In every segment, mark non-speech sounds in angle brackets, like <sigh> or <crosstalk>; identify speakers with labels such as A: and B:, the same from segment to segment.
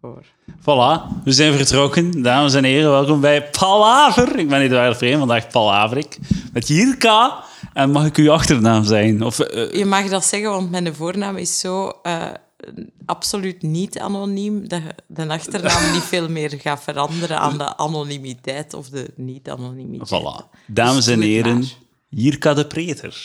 A: voor.
B: Voilà, we zijn vertrokken. Dames en heren, welkom bij Palaver. Ik ben Eduard Vreem, vandaag Palaver ik. Met Jirka. En mag ik uw achternaam zijn? Of, eh, eh,
A: Je mag dat zeggen, want mijn voornaam is zo eh, absoluut niet anoniem dat je de
B: <laughs>
A: achternaam niet veel meer gaat veranderen aan de anonimiteit of de niet-anonimiteit.
B: voilà. Dames en
A: Doe het
B: heren,
A: maar.
B: Jirka de Preter.
A: <laughs>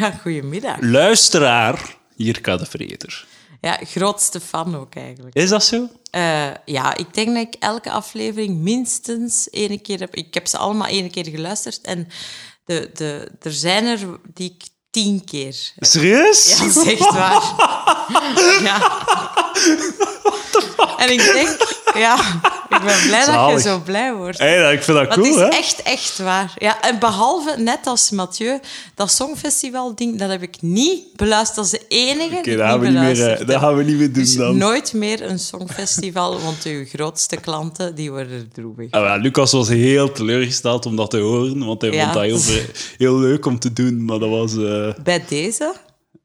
A: Ja, goedemiddag.
B: Luisteraar, Jirka de Preter.
A: Ja, grootste fan ook eigenlijk.
B: Is dat zo?
A: Eh, ja, ik denk dat ik elke aflevering minstens één keer heb... Ik heb ze allemaal één keer geluisterd en de, de, er zijn er die ik tien keer...
B: Serieus?
A: Ja, <laughs> dat is echt waar. Ja. En ik denk, ja, ik ben blij dat
B: Zalig.
A: je zo blij wordt.
B: Hey, dat- ik vind dat
A: Dat
B: cool,
A: is
B: hè?
A: echt, echt waar. Ja, en behalve, net als Mathieu, dat Songfestival-ding, dat heb ik niet beluisterd. Dat is de enige
B: Oké,
A: die ik
B: dat, gaan
A: niet
B: we niet meer,
A: beluisterd
B: eh, dat
A: heb.
B: gaan we niet meer doen
A: Dus
B: dan.
A: nooit meer een Songfestival, want uw grootste klanten, die worden droevig.
B: Ah, wel, Lucas was heel teleurgesteld om dat te horen, want hij
A: Ja.
B: vond dat heel, ver- heel leuk om te doen, maar dat was... eh,
A: Bij deze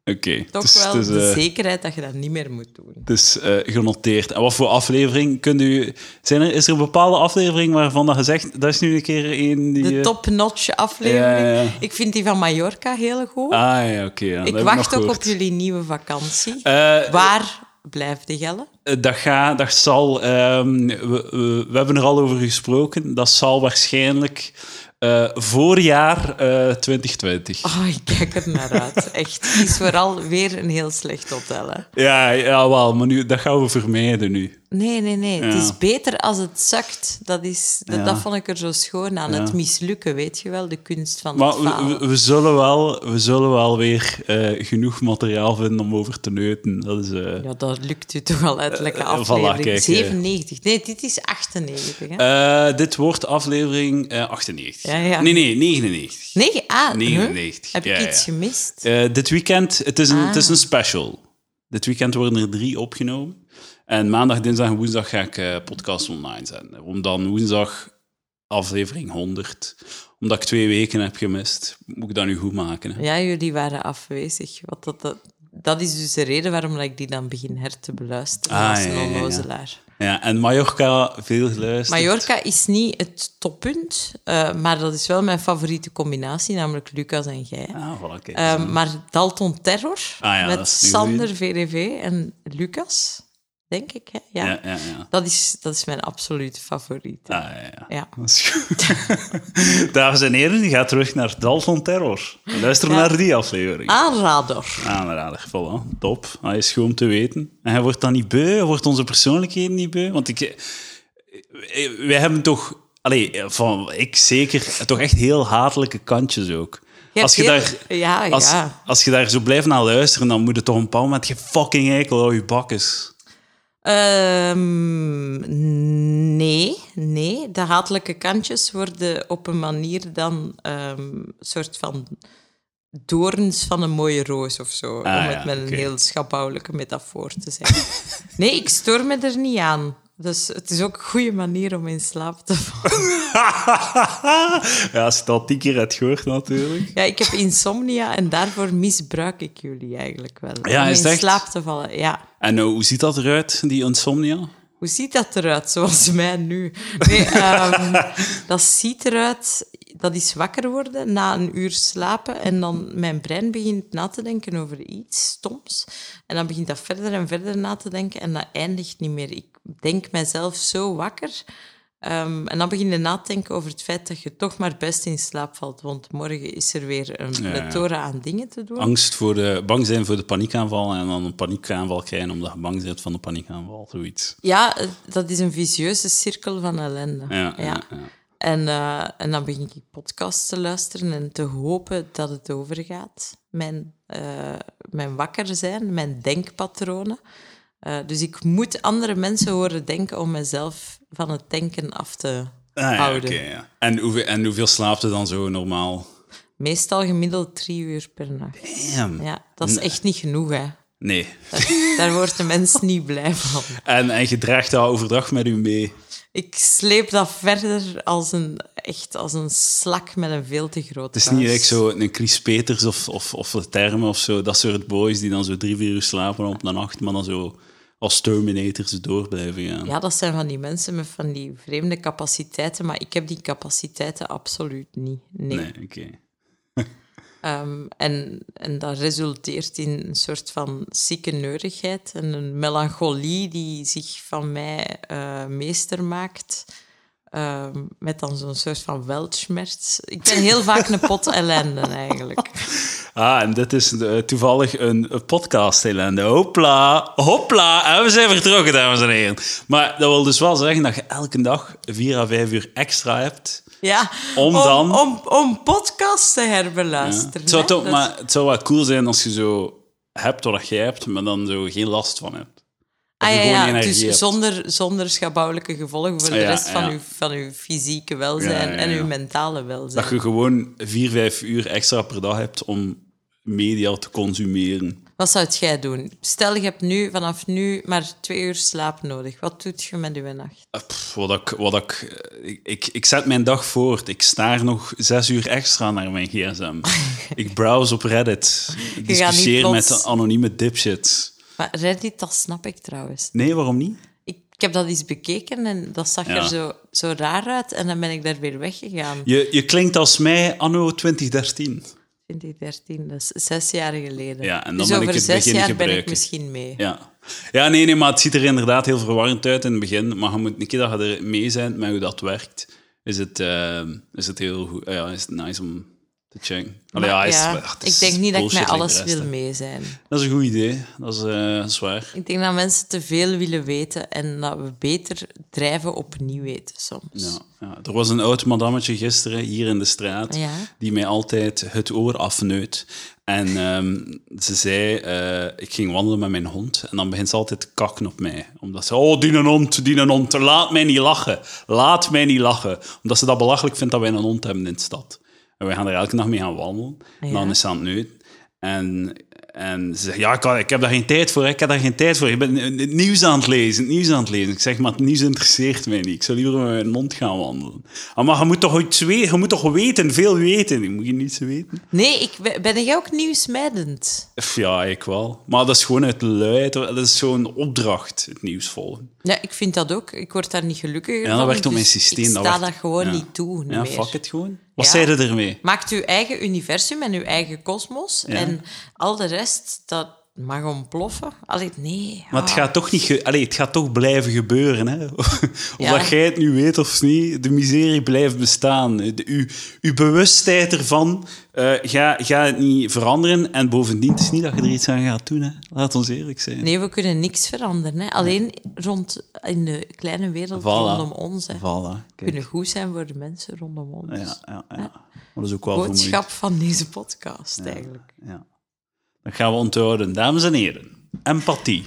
B: Oké.
A: toch
B: Het is-
A: wel
B: het is,
A: de
B: eh,
A: zekerheid dat je dat niet meer moet doen.
B: Dus eh, genoteerd. En wat voor aflevering kunt u. Zijn er, is er een bepaalde aflevering waarvan dat gezegd. Dat is nu een keer een die.
A: De
B: eh,
A: top-notch aflevering.
B: Ja, ja, ja.
A: Ik vind die van Mallorca heel goed.
B: Ah ja, oké. ja, dat
A: Ik
B: heb
A: wacht
B: nog
A: ook op
B: gehoord.
A: jullie nieuwe vakantie.
B: Eh,
A: Waar blijft de Gelle?
B: eh, dat, ga, dat zal. ehm, we, we, we hebben er al over gesproken. Dat zal waarschijnlijk eh, voorjaar eh 2020.
A: Oh, ik kijk er naar uit. Echt. Het is vooral weer een heel slecht hotel. Hè?
B: Ja, ja, wel. Maar nu, dat gaan we vermijden nu.
A: Nee, nee, nee. Het
B: Ja.
A: is beter als het zakt. Dat, is, dat,
B: Ja.
A: dat vond ik er zo schoon aan.
B: Ja.
A: Het mislukken, weet je wel. De kunst van
B: Maar
A: het falen.
B: we, we- we zullen, wel, we zullen wel weer eh, genoeg materiaal vinden om over te neuten. Dat is. eh,
A: Ja, dat lukt u toch al uit. Lekker
B: Eh, eh, voilà,
A: aflevering.
B: kijk, eh.
A: 97. Nee, dit is 98. Hè?
B: Eh, dit wordt aflevering eh, 98.
A: Ja, ja.
B: Nee, nee, 99.
A: nee, ah, huh?
B: 99,
A: Heb
B: ja,
A: ik iets
B: ja.
A: gemist? Ah.
B: Eh, dit weekend, het is, een, het is een special. Dit weekend worden er drie opgenomen. En maandag, dinsdag en woensdag ga ik eh, podcast online zetten. Om dan woensdag aflevering 100. Omdat ik twee weken heb gemist, moet ik dat nu goed maken. Hè?
A: Ja, jullie waren afwezig. Wat dat, dat, dat is dus de reden waarom ik die dan begin her te beluisteren
B: Ah,
A: als
B: ja,
A: een
B: ja, ja.
A: onnozelaar.
B: Ja, en Mallorca, veel geluisterd.
A: Mallorca is niet het toppunt, eh, maar dat is wel mijn favoriete combinatie, namelijk Lucas en jij.
B: Ah, voilà, kijk.
A: Eh, maar Dalton Terror
B: Ah ja, dat
A: met
B: is een
A: Sander, VDV en Lucas, denk ik. Hè? Ja.
B: ja, ja, ja.
A: Dat, is, dat is mijn absolute favoriet.
B: Ah, ja, ja.
A: Ja.
B: Dat is goed. <laughs> Dames en heren, ga terug naar Dal van Terror. Luister
A: Ja.
B: naar die aflevering.
A: Aanrader.
B: Aanrader, voilà. Top. Hij is goed om te weten. En hij wordt dan niet beu, hij wordt onze persoonlijkheden niet beu. Want ik, eh, wij hebben toch, allee, eh, van ik zeker, eh, toch echt heel hatelijke kantjes ook.
A: Je
B: als, je
A: hebt
B: daar,
A: heel- Ja,
B: als,
A: ja.
B: als je daar zo blijft naar luisteren, dan moet het toch een bepaald moment je fucking eikel aan je bak is.
A: Ehm, nee, nee. De hatelijke kantjes worden op een manier dan ehm, een soort van doorns van een mooie roos of zo. om
B: Ah, ja,
A: het met een
B: oké.
A: heel schaphoudelijke metafoor te
B: <laughs>
A: zeggen. nee, ik stoor me er niet aan. Dus het is ook een goede manier om in slaap te vallen.
B: <laughs> ja, als je het al tien keer hebt gehoord natuurlijk.
A: Ja, ik heb insomnia en daarvoor misbruik ik jullie eigenlijk wel.
B: Ja,
A: om
B: is
A: in
B: het echt?
A: slaap te vallen, ja.
B: En eh, hoe ziet dat eruit, die insomnia?
A: Hoe ziet dat eruit, zoals <laughs> mij nu? Nee, ehm,
B: <laughs>
A: dat ziet eruit... Dat is wakker worden na een uur slapen en dan mijn brein begint na te denken over iets stoms. En dan begint dat verder en verder na te denken en dat eindigt niet meer. Ik denk mijzelf zo wakker. ehm, en dan begin je na te denken over het feit dat je toch maar best in slaap valt. Want morgen is er weer een
B: ja.
A: plethora aan dingen te doen.
B: Angst voor de, bang zijn voor de paniekaanval en dan een paniekaanval krijgen omdat je bang bent van de paniekaanval, zoiets.
A: Ja, eh, dat is een vicieuze cirkel van ellende.
B: Ja, ja, ja.
A: En, eh, en dan begin ik podcasts te luisteren en te hopen dat het overgaat. Mijn, eh, mijn wakker zijn, mijn denkpatronen. Eh, dus ik moet andere mensen horen denken om mezelf van het denken af te
B: Ah, ja,
A: houden.
B: oké, ja. en, hoeveel, en hoeveel slaapt er dan zo normaal?
A: Meestal gemiddeld drie uur per nacht.
B: Damn.
A: Ja, dat is echt niet genoeg, hè.
B: Nee. <laughs>
A: Daar wordt de mens niet blij van.
B: En, en je draagt dat overdag met u mee.
A: Ik sleep dat verder als een, echt als een slak met een veel te grote
B: Het is niet echt zo een Chris Peters of, of, of de termen of zo, dat soort boys die dan zo drie, vier uur slapen op de nacht, maar dan zo als Terminators door blijven gaan.
A: Ja, dat zijn van die mensen met van die vreemde capaciteiten, maar ik heb die capaciteiten absoluut niet. Nee.
B: Nee, oké.
A: Ehm, en, en dat resulteert in een soort van zieke neurigheid en een melancholie die zich van mij eh, meester maakt. Ehm, met dan zo'n soort van weltschmerz. Ik ben heel vaak een pot ellende eigenlijk.
B: <laughs> Ah, en dit is eh, toevallig een, een podcast, Helende. Hopla, hopla. En we zijn vertrokken, dames en heren. Maar dat wil dus wel zeggen dat je elke dag vier à vijf uur extra hebt.
A: Ja,
B: Om dan-
A: Om, om podcasts te
B: Ja.
A: herbeluisteren.
B: Het, zou
A: hè.
B: toch,
A: Dat-
B: maar het zou wel cool zijn als je zo hebt wat jij hebt, maar dan zo geen last van hebt.
A: Ah,
B: je
A: ja,
B: gewoon
A: ja,
B: energie
A: dus
B: hebt. Ah,
A: zonder, zonder schabouwelijke gevolgen voor de
B: Ja,
A: rest van,
B: ja.
A: uw, van uw fysieke welzijn
B: Ja, ja,
A: en
B: ja.
A: uw mentale
B: Dat
A: welzijn.
B: je gewoon vier, vijf uur extra per dag hebt om media te consumeren.
A: Wat zou jij doen? Stel, je hebt nu, vanaf nu maar twee uur slaap nodig. Wat doet je met uw nacht?
B: Eh, pff, wat ik, wat ik, eh, ik, ik, ik zet mijn dag voort. Ik staar nog zes uur extra naar mijn
A: <laughs>
B: gsm. ik browse op Reddit. Ik discussieer
A: plots-
B: met anonieme dipshits.
A: Maar Reddit, dat snap ik trouwens.
B: Nee, waarom niet?
A: Ik, ik heb dat eens bekeken en dat zag
B: Ja.
A: er zo, zo raar uit. En dan ben ik daar weer weggegaan.
B: Je, je klinkt als mij anno 2013.
A: 2013, dat is zes jaar geleden.
B: Ja, en dan
A: dus
B: ben ik
A: over
B: het
A: zes
B: beginnen
A: jaar ben ik
B: gebruiken.
A: misschien mee.
B: Ja. ja, nee, nee, maar het ziet er inderdaad heel verwarrend uit in het begin. Maar je moet een keer dat je er mee bent met hoe dat werkt, is het, eh, is het heel goed. Ah ja, is het nice om te checken. Allee,
A: Maar
B: ja, is-
A: ja,
B: ach, het is
A: ik denk niet dat ik
B: bullshit
A: met
B: like de
A: alles
B: rest,
A: wil
B: hè.
A: mee zijn.
B: Dat is een goed idee, dat is, eh, dat is waar.
A: Ik denk dat mensen te veel willen weten en dat we beter drijven op niet weten soms.
B: Ja, ja. Er was een oud madammetje gisteren hier in de straat
A: Ja.
B: die mij altijd het oor afneut. En ehm, ze zei, eh, ik ging wandelen met mijn hond en dan begint ze altijd te kakken op mij. Omdat ze, oh, die een hond, die een hond, laat mij niet lachen. Laat mij niet lachen. Omdat ze dat belachelijk vindt dat wij een hond hebben in de stad. En wij gaan er elke dag mee gaan wandelen. En dan is ze aan het neuten. En, en ze zegt, ja, ik, kan- ik heb daar geen tijd voor, hè. ik heb daar geen tijd voor. Ik ben het nieuws aan het lezen, het nieuws aan het lezen. Ik zeg, maar het nieuws interesseert mij niet. Ik zou liever met mijn mond gaan wandelen. Ah, maar je moet toch iets weten, je moet toch weten, veel weten. Ik Moet je niets weten?
A: Nee, ik, ben- ben jij ook nieuwsmijdend?
B: Pff, Ja, ik wel. Maar dat is gewoon uit luid, dat is zo'n opdracht, het nieuws volgen.
A: Ja, ik vind dat ook. Ik word daar niet gelukkiger
B: Ja, dat
A: van,
B: werkt op mijn
A: dus
B: systeem.
A: Ik sta dat,
B: werkt-
A: gewoon
B: ja.
A: niet toe. Niet
B: Ja,
A: meer.
B: fuck het gewoon. Wat
A: Ja.
B: zei je ermee?
A: Maakt uw eigen universum en uw eigen kosmos. En al de rest, dat mag ontploffen. Allee, nee.
B: Maar het
A: ah.
B: gaat toch, niet ge- Allee, het gaat toch blijven gebeuren. Hè? <laughs> of
A: Ja.
B: dat jij het nu weet of niet, de miserie blijft bestaan. De, uw, uw bewustheid ervan eh gaat ga het niet veranderen. En bovendien, het is niet dat je er iets aan gaat doen. Hè? Laat ons eerlijk zijn.
A: Nee, we kunnen niks veranderen. Hè. Alleen rond in de kleine wereld
B: Voilà.
A: rondom ons. Hè.
B: Voilà.
A: We
B: Kijk.
A: kunnen goed zijn voor de mensen rondom ons.
B: Ja, ja, ja. Maar dat is ook wel
A: boodschap van deze podcast, eigenlijk.
B: vermoeiend. Ja. Dat gaan we onthouden. Dames en heren, empathie.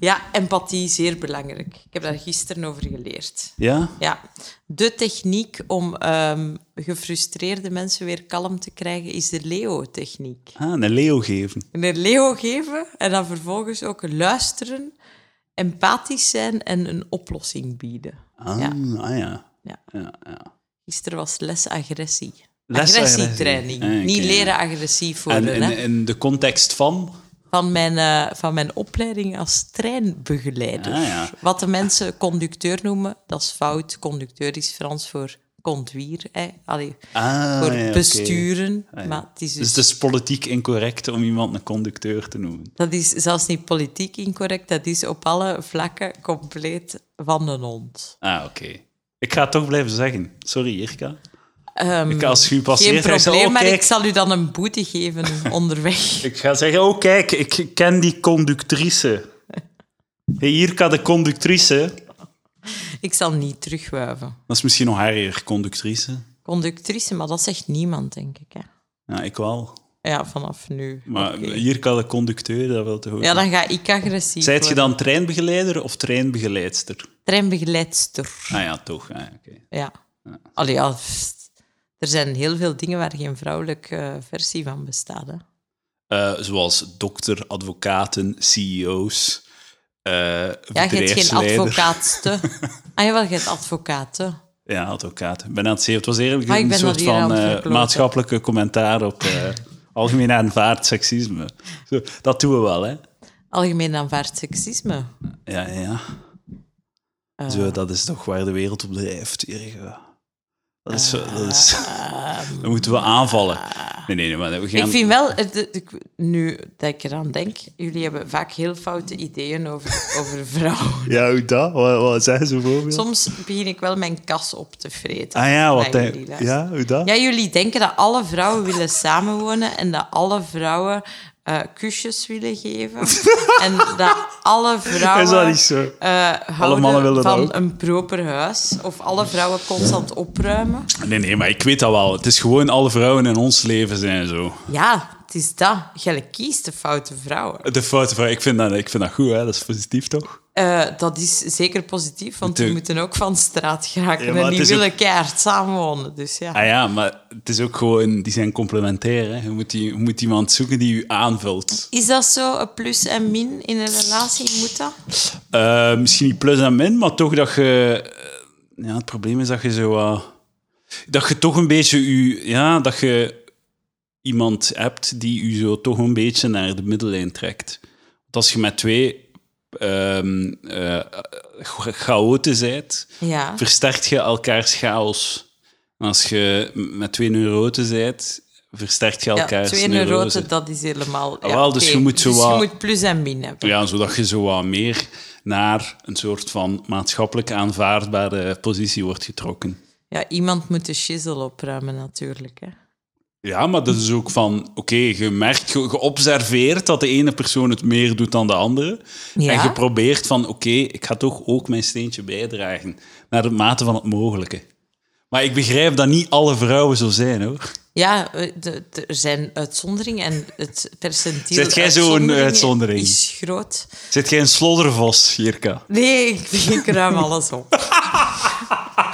A: Ja, empathie, zeer belangrijk. Ik heb daar gisteren over geleerd.
B: Ja?
A: Ja, de techniek om ehm, gefrustreerde mensen weer kalm te krijgen is de Leo-techniek.
B: Ah, een leeuw geven.
A: Een Leo geven en dan vervolgens ook luisteren, empathisch zijn en een oplossing bieden.
B: Ah,
A: Ja.
B: ah, ja.
A: Ja.
B: ja, ja.
A: Gisteren was les agressie.
B: Les agressie.
A: Agressietraining.
B: Ah, oké,
A: Niet
B: ja.
A: leren agressief
B: En
A: worden.
B: in,
A: hè.
B: in de context van...
A: van mijn, eh, van mijn opleiding als treinbegeleider.
B: Ah, ja.
A: Wat de mensen conducteur noemen, dat is fout. Conducteur is Frans voor conduire, hè. Allee,
B: Ah,
A: voor
B: ja, oké.
A: besturen.
B: ja.
A: Maar het is dus,
B: Dus het is politiek incorrect om iemand een conducteur te noemen.
A: dat is zelfs niet politiek incorrect, dat is op alle vlakken compleet van de hond.
B: Ah, oké. Ik ga het toch blijven zeggen. Sorry, Jirka.
A: Ehm,
B: Ik, als je u passeert,
A: geen
B: ga ik zeggen,
A: probleem,
B: oh,
A: maar
B: kijk.
A: ik zal u dan een boete geven <laughs> onderweg.
B: Ik ga zeggen, oh kijk, ik ken die conductrice. Hey, Jirka, de conductrice.
A: Ik zal niet terugwuiven.
B: Dat is misschien nog erger, conductrice.
A: Conductrice, maar dat zegt niemand, denk ik. Hè.
B: Ja, ik wel.
A: Ja, vanaf nu.
B: Maar
A: Oké.
B: Jirka, de conducteur, dat wil te horen.
A: Ja, dan ga ik agressief
B: Zijt je
A: worden.
B: dan treinbegeleider of treinbegeleidster?
A: Treinbegeleidster.
B: Ah ja, toch. Ah, ja, oké.
A: Ja. Allee, ja, pst. er zijn heel veel dingen waar geen vrouwelijke eh, versie van bestaat. Hè.
B: Eh, zoals dokter, advocaten, CEO's, eh
A: Ja, je hebt geen
B: bedrijfsleider.
A: advocaatste. ah jawel, je hebt advocaten.
B: Ja, advocaat. Ik ben aan het zeven. Het was eigenlijk
A: Maar ik
B: een
A: ben
B: soort
A: dat hier aan
B: van
A: het
B: eh,
A: verkloten.
B: maatschappelijke commentaar op eh algemeen aanvaard seksisme. Zo, dat doen we wel, hè?
A: algemeen aanvaard seksisme.
B: Ja, ja, ja.
A: Eh,
B: Zo, dat is toch waar de wereld op drijft. Erik. Dat is, dat is,
A: ehm,
B: dan moeten we aanvallen. Nee, nee, nee, maar we gaan...
A: Ik vind wel, eh, de- de- nu dat ik eraan denk, jullie hebben vaak heel foute ideeën over, over
B: <laughs>
A: vrouwen.
B: Ja, hoe dat? Wat, wat zijn ze voorbeeld?
A: Soms begin ik wel mijn kas op te vreten.
B: Ah ja, wat
A: bij
B: hij-
A: jullie luisteren.
B: Ja, hoe dat?
A: Ja, jullie denken dat alle vrouwen willen samenwonen en dat alle vrouwen eh, kusjes willen
B: <laughs>
A: geven. en dat alle vrouwen
B: Is dat niet zo?
A: eh, houden
B: mannen willen dat
A: van
B: ook.
A: een proper huis. Of alle vrouwen constant opruimen.
B: Nee, nee, maar ik weet dat wel. Het is gewoon alle vrouwen in ons leven zijn zo.
A: Ja, het is dat. Jij kiest de foute vrouwen.
B: De foute vrouw, ik vind dat, ik vind dat goed, hè? dat is positief toch?
A: Eh, dat is zeker positief, want die
B: Natuurlijk.
A: moeten ook van straat geraken.
B: Ja, maar
A: en
B: het
A: die
B: is
A: willen keihard samenwonen. Dus ja.
B: Ah ja, maar het is ook gewoon, die zijn complementair. Hè? Je, moet die, je moet iemand zoeken die je aanvult.
A: Is dat zo, een plus en min in een relatie? Moet dat?
B: Eh, misschien niet plus en min, maar toch dat je. eh, Ja, het probleem is dat je zo. wat- dat je toch een beetje. Je, ja, dat je iemand hebt die je zo toch een beetje naar de middellijn trekt. Want als je met twee ehm eh, cha- chaoten bent,
A: Ja.
B: versterkt je elkaars chaos. En als je m- met twee neuroten bent, versterkt je
A: Ja,
B: elkaars
A: twee
B: neurose.
A: neuroten, dat is helemaal... Ja,
B: wel, dus
A: oké.
B: je moet zo
A: Dus
B: wat-
A: je moet plus en min hebben.
B: Ja, zodat je zo wat meer naar een soort van maatschappelijk aanvaardbare positie wordt getrokken.
A: Ja, iemand moet de shizzle opruimen natuurlijk. Hè.
B: Ja, maar dat is ook van, oké, je merkt, je, je observeert dat de ene persoon het meer doet dan de andere.
A: Ja.
B: En je probeert van, oké, ik ga toch ook mijn steentje bijdragen. Naar de mate van het mogelijke. Maar ik begrijp dat niet alle vrouwen zo zijn, hoor.
A: Ja, eh, de- de- er zijn uitzonderingen en het percentiel...
B: Zet jij zo'n
A: uitzonderingen
B: uitzondering?
A: ...is groot.
B: Zit jij een sloddervos, Jirka?
A: Nee, ik, <laughs> ik ruim alles op.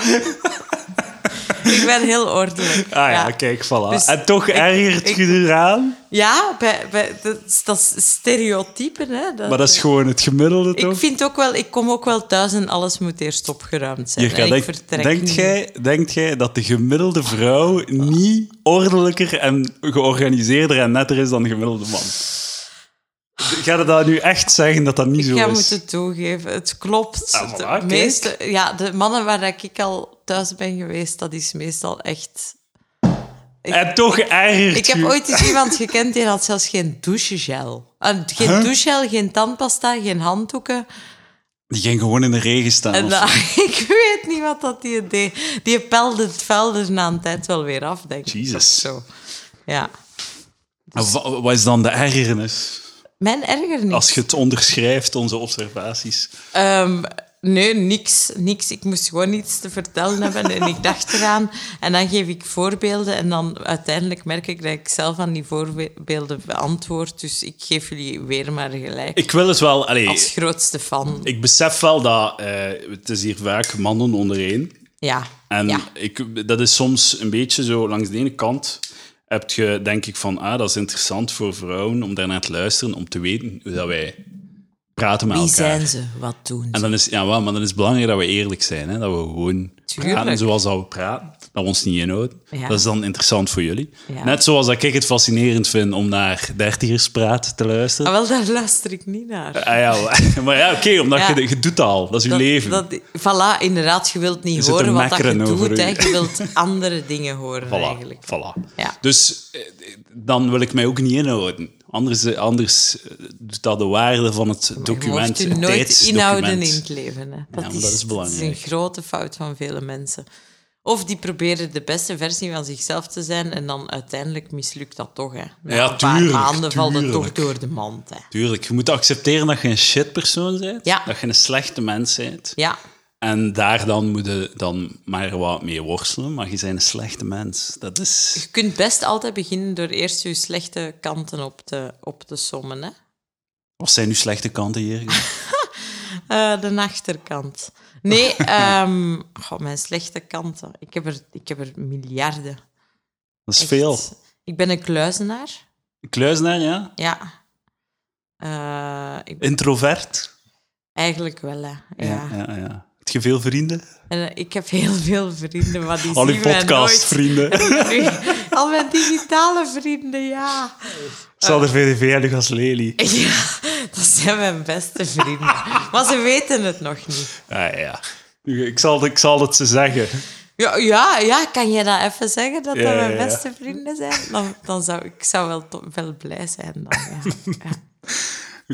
A: <laughs> ik ben heel ordelijk.
B: Ah ja, kijk, voilà.
A: Dus
B: en toch
A: ik-
B: ergert
A: ik-
B: je eraan?
A: Ja, bij, bij, dat, is- dat is stereotypen. Hè? Dat,
B: Maar dat is gewoon het gemiddelde, toch?
A: ik vind ook wel, ik kom ook wel thuis en alles moet eerst opgeruimd zijn.
B: Jirka,
A: en ik
B: denk-
A: vertrek
B: denkt,
A: niet.
B: jij, denkt jij dat de gemiddelde vrouw niet ordelijker en georganiseerder en netter is dan de gemiddelde man? Ga je dat nu echt zeggen dat dat niet
A: Ik
B: zo
A: ga
B: is?
A: moeten toegeven, het klopt.
B: Ah, voilà,
A: de,
B: kijk.
A: meeste, ja, de mannen waar ik al thuis ben geweest, dat is meestal echt...
B: En toch ergert
A: Ik heb
B: u-
A: ooit eens iemand gekend die had zelfs geen douchegel. Eh, geen
B: Huh?
A: douchegel, geen tandpasta, geen handdoeken.
B: Die ging gewoon in de regen staan.
A: En
B: of
A: dat-
B: zo.
A: <laughs> ik weet niet wat dat die deed. Die pelde het vuil er na een tijd wel weer af, denk ik.
B: Jezus.
A: Of Zo. Ja.
B: En wa- Wat is dan de ergernis?
A: Mijn ergernis.
B: Als je het onderschrijft, onze observaties.
A: Ehm, nee, niks, niks. Ik moest gewoon iets te vertellen hebben en ik dacht eraan. En dan geef ik voorbeelden en dan uiteindelijk merk ik dat ik zelf aan die voorbeelden beantwoord. Dus ik geef jullie weer maar gelijk.
B: Ik wil het wel... Allee,
A: Als grootste fan.
B: Ik besef wel dat... eh, het is hier vaak mannen onder één.
A: Ja.
B: En
A: ja.
B: ik, dat is soms een beetje zo, langs de ene kant heb je denk ik van, ah, dat is interessant voor vrouwen om daarnaar te luisteren, om te weten hoe dat wij praten met
A: Wie
B: elkaar.
A: zijn ze? Wat doen ze?
B: En dan is, ja, wel, maar dan is het belangrijk dat we eerlijk zijn, hè? dat we gewoon
A: Tuurlijk.
B: praten zoals dat we praten, dat we ons niet inhouden.
A: Ja.
B: Dat is dan interessant voor jullie.
A: Ja.
B: Net zoals dat ik het fascinerend vind om naar dertigerspraat te luisteren.
A: Ah, wel, daar luister ik niet naar.
B: Ah, ja, <laughs> maar- maar ja, oké, omdat
A: Oh. Ja.
B: Je, je doet dat al, dat is je
A: Dat-
B: leven.
A: Dat, voilà, inderdaad, je wilt niet
B: zit te
A: horen wat dat je
B: mekkeren over
A: doet.
B: u.
A: hè. Je wilt andere dingen
B: <laughs>
A: horen
B: Voilà,
A: eigenlijk.
B: voilà.
A: Ja.
B: Dus eh, dan wil ik mij ook niet inhouden. Anders, eh, anders eh, doet dat de waarde van het
A: je
B: document,
A: mocht je
B: het
A: nooit inhouden in
B: tijdsdocument.
A: het leven. Hè. Dat,
B: maar
A: is,
B: dat is
A: een
B: belangrijk.
A: grote fout van vele mensen. Of die proberen de beste versie van zichzelf te zijn en dan uiteindelijk mislukt dat toch. Hè. Na
B: Ja,
A: een paar
B: tuurlijk,
A: maanden valt het toch
B: tuurlijk.
A: door de mand. Hè.
B: Tuurlijk, je moet accepteren dat je een shitpersoon bent.
A: Ja.
B: Dat je een slechte mens bent.
A: Ja,
B: En daar dan moet je dan maar wat mee worstelen. Maar je bent een slechte mens. Dat is...
A: je kunt best altijd beginnen door eerst je slechte kanten op te, op te sommen. Hè.
B: Wat zijn nu slechte kanten
A: <laughs>
B: hier?
A: Eh, de
B: <laughs>
A: achterkant. Nee, ehm, goh, mijn slechte kanten. Ik heb er, ik heb er miljarden.
B: Dat is
A: Echt.
B: veel.
A: Ik ben een kluizenaar.
B: Kluizenaar, ja?
A: Ja. Eh, ik,
B: Introvert?
A: eigenlijk wel, hè. Ja.
B: ja, ja. Heb je veel vrienden?
A: En, eh, ik heb heel veel vrienden, maar die
B: Al
A: zien
B: je
A: <laughs> mij nooit.
B: podcastvrienden.
A: Nu, Al mijn digitale vrienden, ja.
C: Sander VDV en Lucas Lely.
A: Ja, dat zijn mijn beste vrienden. Maar ze weten het nog niet.
C: Ah, ja. Ik zal, ik zal het ze zeggen.
A: Ja, ja, ja kan jij dat even zeggen, dat
C: Ja,
A: dat
C: ja,
A: mijn
C: ja.
A: beste vrienden zijn? Dan, dan zou ik zou wel, to- wel blij zijn. Dan, ja. Ja.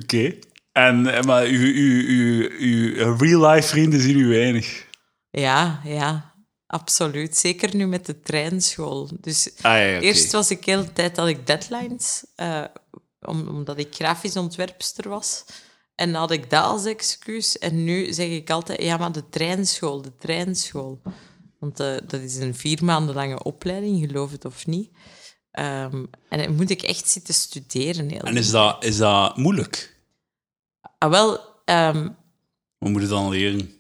C: Oké. En, eh, maar uw, uw, uw, uw real-life vrienden zien u weinig.
A: Ja, ja, absoluut. Zeker nu met de treinschool. Dus
C: Ah, ja, oké.
A: eerst was ik heel de tijd dat ik deadlines, eh, om- omdat ik grafisch ontwerpster was. En dan had ik dat als excuus. En nu zeg ik altijd, ja, maar de treinschool, de treinschool. Want eh, dat is een vier maanden lange opleiding, geloof het of niet. Ehm, en dan moet ik echt zitten studeren. Heel
B: En is dat, is dat moeilijk?
A: Ah, wel, ehm,
B: Wat moet je dan leren?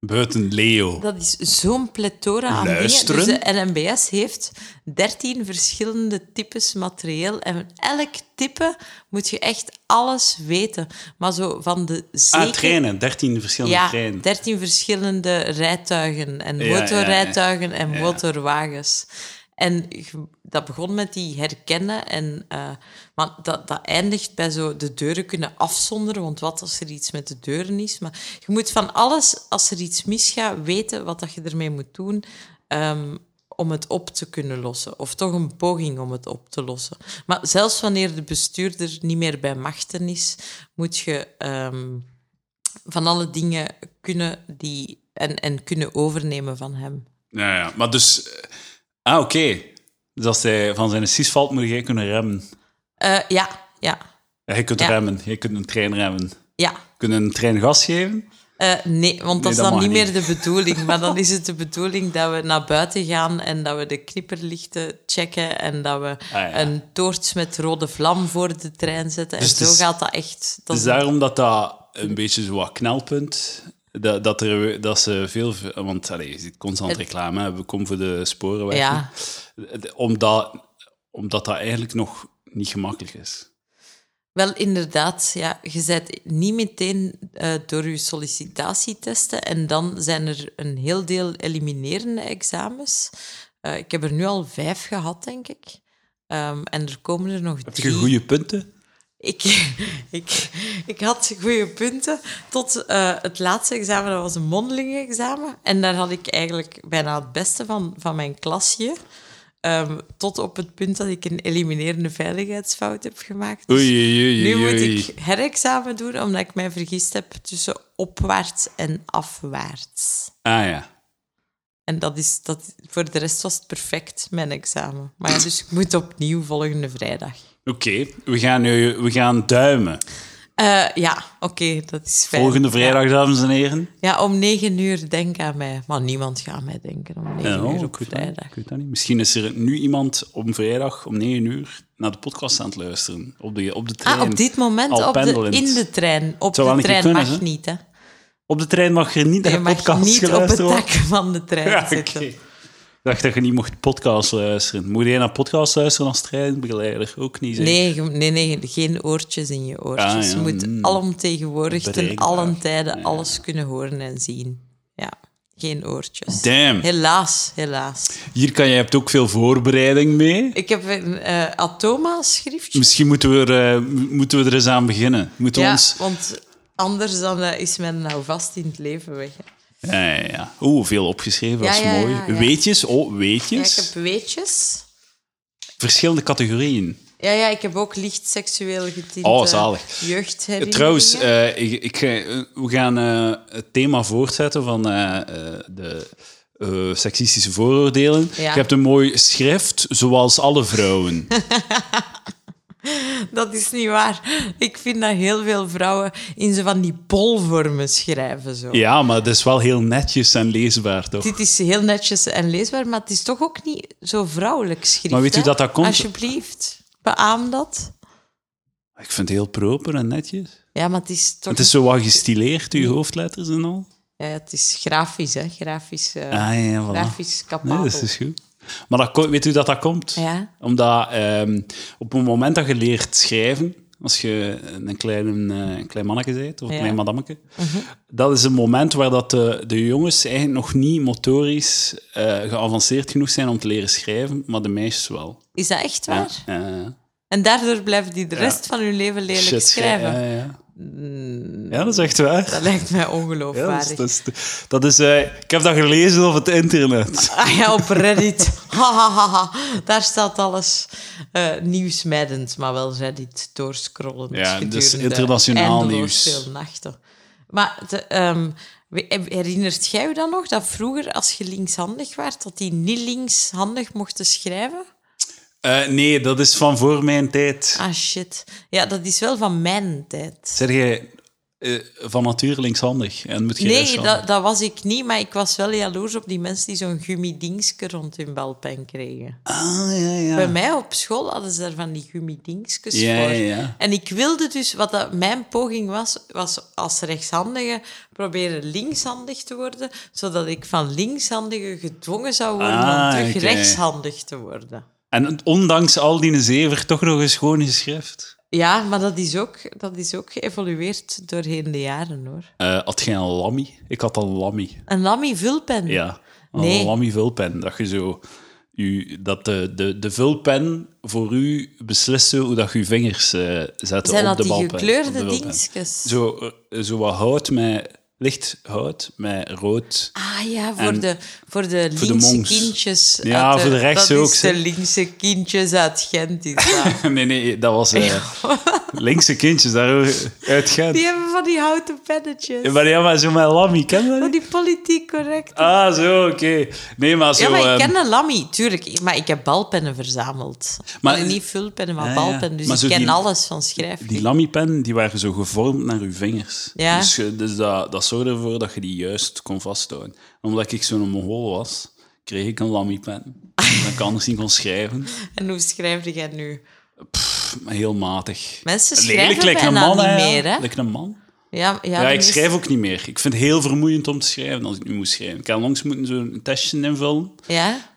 B: Buiten Leo.
A: Dat is zo'n pletora aan
B: Luisteren.
A: dingen. Dus de NMBS heeft 13 verschillende types materieel. En van elk type moet je echt alles weten. Maar zo van de zeker...
B: Ah, treinen. 13 verschillende
A: Ja,
B: treinen.
A: 13 verschillende rijtuigen en
B: Ja, ja, ja.
A: motorrijtuigen en motorwagens. En je- dat begon met die herkennen. En, eh, maar dat, dat eindigt bij zo de deuren kunnen afzonderen. Want wat als er iets met de deuren is? Maar je moet van alles, als er iets misgaat, weten wat dat je ermee moet doen. ehm, om het op te kunnen lossen. Of toch een poging om het op te lossen. Maar zelfs wanneer de bestuurder niet meer bij machten is, moet je ehm, van alle dingen kunnen die en, en kunnen overnemen van hem.
B: Ja, ja. Maar dus... eh, Ah, oké. Dus als hij van zijn sis valt, moet jij kunnen remmen.
A: Eh, ja, ja,
B: Ja, Jij kunt
A: Ja.
B: remmen. Jij kunt een trein remmen.
A: ja.
B: Kun je een trein gas geven?
A: Eh, nee, want dat
B: dat
A: is dan
B: mag
A: niet meer
B: niet.
A: de bedoeling. Maar
B: <laughs>
A: dan is het de bedoeling dat we naar buiten gaan en dat we de knipperlichten checken en dat we
B: Ah, ja.
A: een toorts met rode vlam voor de trein zetten.
B: Dus
A: en
B: het
A: zo
B: is-
A: gaat dat echt. Dat
B: Het is
A: is-
B: daarom dat dat een beetje zo wat knelpunt... Dat, dat, er, dat ze veel... Want allee, je ziet constant reclame. hè. We komen voor de sporenweg.
A: Ja.
B: Omdat, omdat dat eigenlijk nog niet gemakkelijk is.
A: Wel, inderdaad. Ja. Je bent niet meteen eh, door je sollicitatietesten. En dan zijn er een heel deel eliminerende examens. Eh, ik heb er nu al vijf gehad, denk ik. Ehm, en er komen er nog
B: Heb
A: drie.
B: je goede punten?
A: Ik, <laughs> ik, ik had goede punten tot eh, het laatste examen. Dat was een mondelingenexamen. En daar had ik eigenlijk bijna het beste van, van mijn klasje. Ehm, tot op het punt dat ik een eliminerende veiligheidsfout heb gemaakt. Dus
B: Oei, oei, oei,
A: nu
B: oei,
A: moet
B: oei.
A: ik herexamen doen, omdat ik mij vergist heb tussen opwaarts en afwaarts.
B: Ah ja.
A: En dat is, dat, voor de rest was het perfect, mijn examen. Maar ja, dus ik moet opnieuw volgende vrijdag.
B: Oké, we, gaan nu, we gaan duimen.
A: Eh, ja, oké, dat is fijn.
B: Volgende vrijdag, dames en heren.
A: Ja, om negen uur denk aan mij. Maar niemand gaat aan mij denken om negen
B: Oh,
A: uur op
B: ik weet dat niet,
A: vrijdag.
B: ik weet dat niet. Misschien is er nu iemand om vrijdag om 9 uur naar de podcast aan het luisteren. Op de, op de trein.
A: Ah, op dit moment
B: Al
A: op de,
B: pendelend.
A: in de trein. Op
B: Zou wel
A: de
B: een keer
A: trein
B: kunnen,
A: mag
B: hè?
A: niet, hè.
B: Op de trein mag je niet naar
A: Je
B: de
A: mag
B: podcast
A: niet op het
B: geluisterd
A: dak
B: worden.
A: van de trein <laughs>
B: Ja, oké.
A: zitten.
B: Ik dacht dat je niet mocht podcast luisteren. Moet je naar podcast luisteren als treinbegeleider? Ook niet, zeg.
A: Nee, ge- nee, nee, geen oortjes in je oortjes.
B: Ah, ja,
A: Je moet
B: mm.
A: alomtegenwoordig ten
B: Bereikbaar,
A: allen tijden alles kunnen horen en zien. Ja, geen oortjes.
B: Damn.
A: Helaas, helaas.
B: Hier kan je hebt ook veel voorbereiding mee.
A: Ik heb een eh, Atoma-schriftje.
B: Misschien moeten we, er, eh, m- moeten we er eens aan beginnen. Moeten we
A: Ja,
B: ons...
A: want anders dan, eh, is men nou vast in het leven weg. hè.
B: Ja, ja, ja. Oeh, veel opgeschreven, dat is
A: Ja, ja,
B: mooi.
A: ja, ja.
B: Weetjes, oh,
A: Ja,
B: weetjes.
A: ik heb weetjes.
B: Verschillende categorieën.
A: Ja, ja, ik heb ook licht seksueel getint.
B: Oh,
A: eh,
B: zalig.
A: Jeugdherinneringen.
B: Trouwens, eh, ik, ik, ga- eh, we gaan eh, het thema voortzetten van eh, eh, de eh, seksistische vooroordelen.
A: Ja.
B: Je hebt een mooi schrift, zoals alle vrouwen.
A: Dat is niet waar. Ik vind dat heel veel vrouwen in zo van die bolvormen schrijven. Zo.
B: ja, maar dat is wel heel netjes en leesbaar, toch?
A: Dit is heel netjes en leesbaar, maar het is toch ook niet zo vrouwelijk schrift.
B: Maar weet u
A: hè?
B: dat dat komt?
A: Alsjeblieft, beaam dat.
B: Ik vind het heel proper en netjes.
A: Ja, maar het is toch...
B: Het is zo wat gestileerd, uw hoofdletters en al.
A: Ja, het is grafisch, hè. Grafisch, eh,
B: Ah ja, voilà.
A: grafisch
B: Nee,
A: capabel.
B: dat is dus goed. Maar dat, ko- weet u dat dat komt?
A: Ja.
B: Omdat ehm, op het moment dat je leert schrijven, als je een, klein, eh, klein manneke bent, of een klein madammeke.
A: Mhm.
B: Dat is een moment waar dat de, de jongens eigenlijk nog niet motorisch eh, geavanceerd genoeg zijn om te leren schrijven, maar de meisjes wel.
A: Is dat echt waar?
B: Ja, eh,
A: En daardoor blijven die de rest van hun leven lelijk
B: shit
A: schrijven. Mm.
B: Ja, ja. ja, dat is echt waar.
A: Dat lijkt mij
B: Ja, dat
A: ongeloofwaardig.
B: is, dat is- dat is, eh, ik heb dat gelezen op het internet.
A: Ah ja, op Reddit. <laughs> Ha, ha, ha, ha. Daar staat alles eh nieuwsmijdend, maar wel Reddit doorscrollend.
B: Ja, dus
A: gedurende
B: internationaal
A: eindeloos
B: nieuws.
A: veel nachten. Maar de, ehm, we- herinnert jij je dan nog dat vroeger, als je linkshandig werd, dat die niet linkshandig mochten schrijven?
B: Eh, nee, dat is van voor mijn tijd.
A: Ah, shit. Ja, dat is wel van mijn tijd.
B: Zeg jij eh, van nature linkshandig en moet je
A: Nee,
B: rechtshandig?
A: dat, dat was ik niet, maar ik was wel jaloers op die mensen die zo'n gummidingske rond hun balpen kregen.
B: Ah, ja, ja.
A: Bij mij op school hadden ze daar van die gummidingsjes
B: Ja,
A: voor.
B: ja, ja.
A: En ik wilde dus, wat dat, mijn poging was, was als rechtshandige proberen linkshandig te worden, zodat ik van linkshandige gedwongen zou worden
B: Ah,
A: om terug
B: oké.
A: rechtshandig te worden.
B: En ondanks al die zever toch nog eens gewoon geschrift.
A: Ja, maar dat is ook, dat is ook geëvolueerd doorheen de jaren, hoor.
B: Eh had jij een lammy? Ik had een lammy.
A: Een lammy vulpen.
B: Ja, een
A: Nee.
B: lammy vulpen. Dat je zo... U, dat de, de, de vulpen voor u besliste hoe dat je je vingers eh zetten
A: Zijn
B: op
A: dat
B: de
A: die
B: balpen. op de
A: gekleurde
B: vulpen.
A: dingetjes?
B: Zo, eh, zo wat hout met... Licht hout met rood. <laughs>
A: Ah ja, voor
B: En-
A: de, voor de
B: de
A: linkse
B: monks.
A: kindjes.
B: Ja,
A: uit
B: voor de rechtse
A: dat
B: ook,
A: is
B: zeg.
A: de linkse kindjes uit Gent, is dat.
B: nee, nee, dat was... eh,
A: <laughs>
B: linkse kindjes daar uit Gent.
A: Die hebben van die houten pennetjes.
B: Ja, Maar ja, maar zo met lammy, ken je dat
A: Van
B: niet?
A: die politiek correct.
B: Ah, zo, oké. Nee, maar zo...
A: ja, maar
B: ehm,
A: ik ken een lammy, tuurlijk. Ik- Maar ik heb balpennen verzameld.
B: Maar-
A: Maar, niet vulpennen, maar
B: Ja, ja.
A: balpennen. Dus
B: Maar zo
A: ik ken
B: die-
A: alles van schrijf.
B: Die lammiepen die waren zo gevormd naar je vingers.
A: Ja.
B: Dus, je- dus dat, dat zorgde ervoor dat je die juist kon vasthouden. Omdat ik zo'n Mongool was, kreeg ik een lammiepen. Dat ik anders niet kon schrijven.
A: En hoe schrijf jij nu?
B: Pff, maar heel matig.
A: Mensen
B: Lelijk,
A: schrijven
B: lijkt een
A: bijna
B: man,
A: niet
B: hè.
A: meer, hè?
B: Lijkt een man.
A: Ja, ja, dus-
B: Ja,
A: de
B: ik
A: meeste-
B: schrijf ook niet meer. Ik vind het heel vermoeiend om te schrijven als ik nu moet schrijven. Ik had langs moeten zo'n testje invullen.
A: Ja,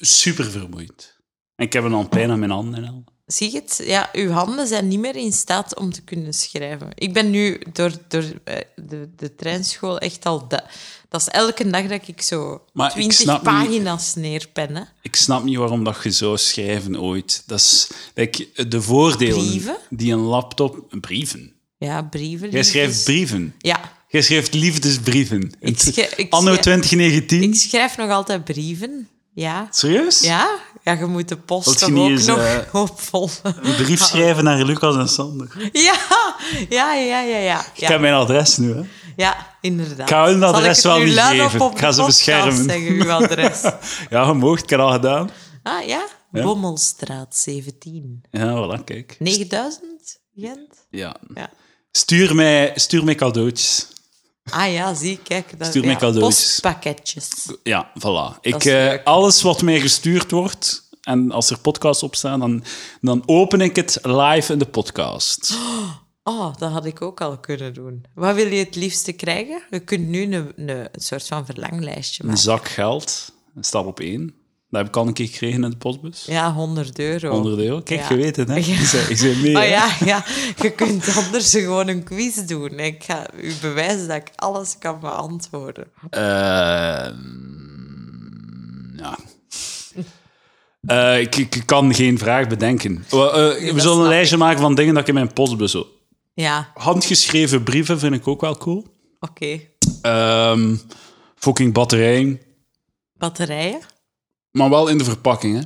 B: Super vermoeiend. En ik heb een al pijn aan mijn handen en al.
A: zie je het? Ja, uw handen zijn niet meer in staat om te kunnen schrijven. Ik ben nu door, door eh, de, de treinschool echt al... da- dat is elke dag dat ik zo
B: Maar ik snap
A: twintig
B: niet-
A: pagina's neerpen, hè.
B: Ik snap niet waarom dat je zou schrijven ooit. Dat is like, de voordelen
A: Brieven?
B: die een laptop... Brieven.
A: Ja, brieven.
B: Jij
A: liefdes.
B: schrijft brieven.
A: Ja,
B: Jij schrijft liefdesbrieven.
A: Ik schrijf- ik
B: Anno
A: schrijf-
B: 2019?
A: Ik schrijf nog altijd brieven. Ja.
B: Serieus?
A: Ja, ja je moet de post
B: Wilt je
A: toch
B: niet
A: ook
B: eens,
A: nog
B: eh,
A: opvol.
B: Een brief schrijven naar Lucas en Sander.
A: <laughs> Ah, Ja, ja, ja, ja, ja.
B: Ik heb
A: Ja,
B: mijn adres nu, hè.
A: ja inderdaad.
B: Ik ga hun
A: Zal
B: adres
A: het
B: wel
A: nu
B: niet
A: luid
B: geven.
A: op op
B: Ik
A: de
B: ga ze
A: podcast
B: beschermen.
A: zeggen, uw
B: <laughs>
A: adres.
B: Ja, je moogt. Ik heb dat al gedaan.
A: Ah ja, Bommelstraat 17.
B: Ja, voilà, kijk.
A: 9000, Gent?
B: Ja.
A: Ja.
B: Stuur, mij, stuur mij cadeautjes.
A: Ah ja, zie, kijk. Dat,
B: Stuur mij
A: ja,
B: cadeautjes.
A: Postpakketjes.
B: Ja, voilà. Ik,
A: is
B: eh,
A: leuk.
B: alles wat mij gestuurd wordt, en als er podcasts op staan, dan, dan open ik het live in de podcast.
A: Oh, dat had ik ook al kunnen doen. Wat wil je het liefste krijgen? Je kunt nu een, een soort van verlanglijstje
B: Een
A: maken.
B: zak geld, een stap op één. Dat heb ik al een keer gekregen in de postbus.
A: Ja, 100 euro.
B: 100 euro. Kijk,
A: Ja.
B: je weet het, hè? Ik zei, ik zei mee.
A: Maar
B: hè.
A: ja, ja, je kunt anders gewoon een quiz doen. Ik ga u bewijzen dat ik alles kan beantwoorden.
B: Ehm, ja. Eh, ik, ik kan geen vraag bedenken. Wel, eh, we zullen
A: snap
B: een lijstje maken van dingen dat ik in mijn postbus... heb.
A: Ja,
B: Handgeschreven brieven vind ik ook wel cool.
A: oké.
B: Ehm, fucking batterijen.
A: Batterijen?
B: Maar wel in de verpakking,
A: <laughs>
B: hè?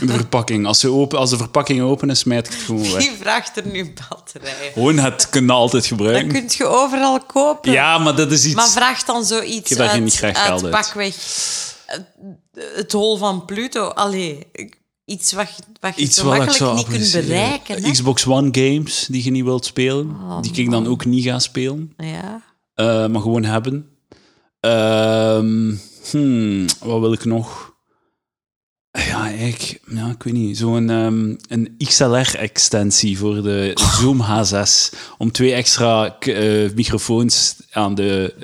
B: In de verpakking. Als, ze open, als de verpakking open is, smijt ik het gewoon weg.
A: <laughs> Wie vraagt er nu batterijen?
B: Gewoon, het kunnen altijd
A: Dat
B: gebruiken.
A: kun je overal kopen.
B: Ja, maar dat is iets...
A: Maar vraag dan zoiets
B: Ik heb daar
A: uit,
B: niet graag
A: uit
B: geld uit.
A: pakweg eh, het hol van Pluto. Allee, ik- iets wat, je- wat je
B: iets
A: zo
B: wat ik
A: makkelijk
B: zou
A: niet kunt
B: appreciëren.
A: bereiken. Hè? Oh,
B: Xbox One games die je niet wilt spelen, die ik dan ook niet ga spelen,
A: Ja.
B: eh, maar gewoon hebben. Ehm, hmm, wat wil ik nog? Ja, ik, ja, ik weet niet. Zo'n ehm, een XLR-extensie voor de
A: Oh.
B: Zoom H6. Om twee extra k- eh, microfoons aan de,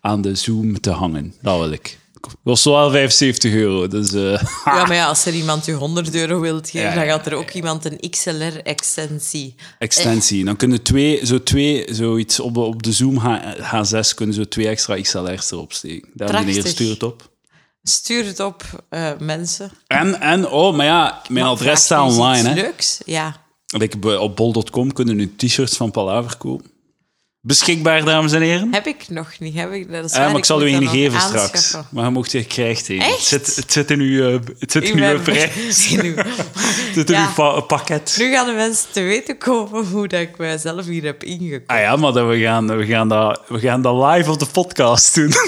B: aan de Zoom te hangen. Dat wil ik. Kost wel 75 euro, dus... eh,
A: Ja, maar ja, als er iemand je 100 euro wilt geven,
B: Ja, ja,
A: dan gaat er ook iemand een XLR-extensie.
B: extensie. Dan kunnen twee, zo twee, zoiets op de, op de Zoom H, H6 kunnen zo twee extra XLR's erop steken. Daar
A: Prachtig.
B: meneer stuur het op.
A: Stuur het op, eh, mensen.
B: En, en, oh, maar ja, mijn adres
A: Vraag
B: staat
A: eens iets
B: online, hè.
A: leuks, ja.
B: Like, bij- op bol.com kunnen nu t-shirts van Palaver kopen. Beschikbaar, dames en heren.
A: Heb ik nog niet. Heb ik, dat is
B: Eh,
A: waar,
B: maar ik zal u
A: moet
B: een
A: dat
B: geven
A: nog
B: straks.
A: aanschaffen.
B: Maar je mocht je krijgt een.
A: Echt?
B: Het zit, het zit in uw, eh, het <laughs> zit in
A: Ik
B: uw
A: ben- <laughs>
B: prijs.
A: In uw-
B: Het zit in
A: Ja.
B: uw pa- pakket.
A: Nu gaan de mensen te weten komen hoe dat ik mijzelf hier heb ingekocht.
B: Ah ja, maar dan we, gaan, we, gaan dat, we gaan dat live op de podcast doen. <laughs>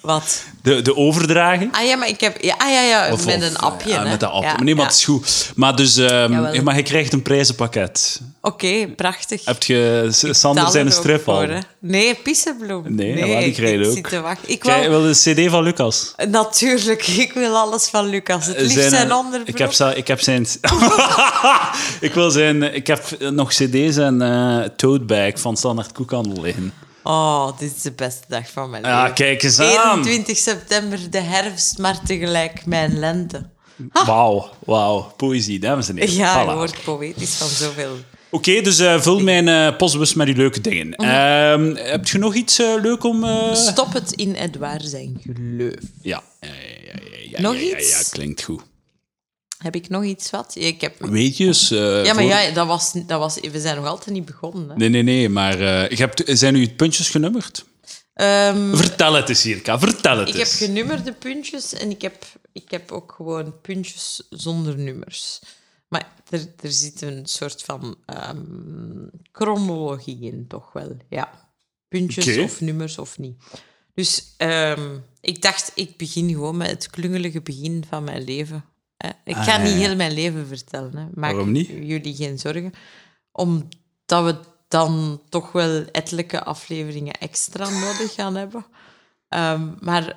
A: Wat?
B: De, de overdraging.
A: Ah ja, maar ik heb... Ja, ah ja, ja,
B: Of-
A: met
B: of,
A: een appje.
B: ja,
A: hè.
B: met een appje.
A: Ja,
B: maar nee, maar
A: ja.
B: het is goed. Maar, dus, ehm,
A: Jawel.
B: ja, maar je krijgt een prijzenpakket.
A: Oké, prachtig.
B: Heb je S- Sander
A: Taal
B: zijn
A: er
B: een
A: ook
B: strip
A: voor,
B: al?
A: hè. Nee, pissenbloem.
B: Nee, ja, maar die
A: ik-
B: krijg je
A: ik
B: ook.
A: zit te wachten. Ik
B: Krijg je
A: wou...
B: wel een cd van Lucas?
A: Natuurlijk, <laughs> ik wil alles van Lucas. Het liefst zijn, onderbroek.
B: eh, ik, heb, za- ik heb zijn... <laughs> ik, wil zijn eh, ik heb nog cd's en eh tote bag van Standaard Koekhandel liggen.
A: Oh, dit is de beste dag van mijn
B: Ja,
A: leven.
B: kijk eens aan.
A: 21 september, de herfst, maar tegelijk mijn lente.
B: Wauw, wauw. Poëzie, dames en heren.
A: Ja, je
B: Voilà.
A: wordt poëtisch van zoveel.
B: Oké, dus eh, vul mijn eh, postbus met die leuke dingen.
A: Mhm.
B: Ehm, heb je nog iets eh, leuk om... eh,
A: Stop het in Edouard zijn geleuf.
B: Ja. Ja, ja, ja, ja,
A: Nog
B: ja, ja,
A: iets?
B: Ja, klinkt goed.
A: Heb ik nog iets wat? Ik heb...
B: Weetjes? eh,
A: Ja, maar
B: voor-
A: ja, dat was, dat was, we zijn nog altijd niet begonnen. Hè?
B: Nee, nee, nee, maar eh, ik heb, zijn nu puntjes genummerd?
A: Ehm,
B: Vertel het eens, Jirka, vertel het
A: ik heb
B: eens.
A: genummerde puntjes en ik heb, ik heb ook gewoon puntjes zonder nummers. Maar er, er zit een soort van ehm, chronologie in, toch wel. Ja. Puntjes
B: Oké.
A: of nummers of niet. Dus ehm, ik dacht, ik begin gewoon met het klungelige begin van mijn leven. hè. Ik ga
B: Ah, ja,
A: niet
B: ja.
A: heel mijn leven vertellen. Hè. Maak
B: Waarom niet?
A: jullie geen zorgen. Omdat we dan toch wel ettelijke afleveringen extra nodig gaan hebben. Ehm, maar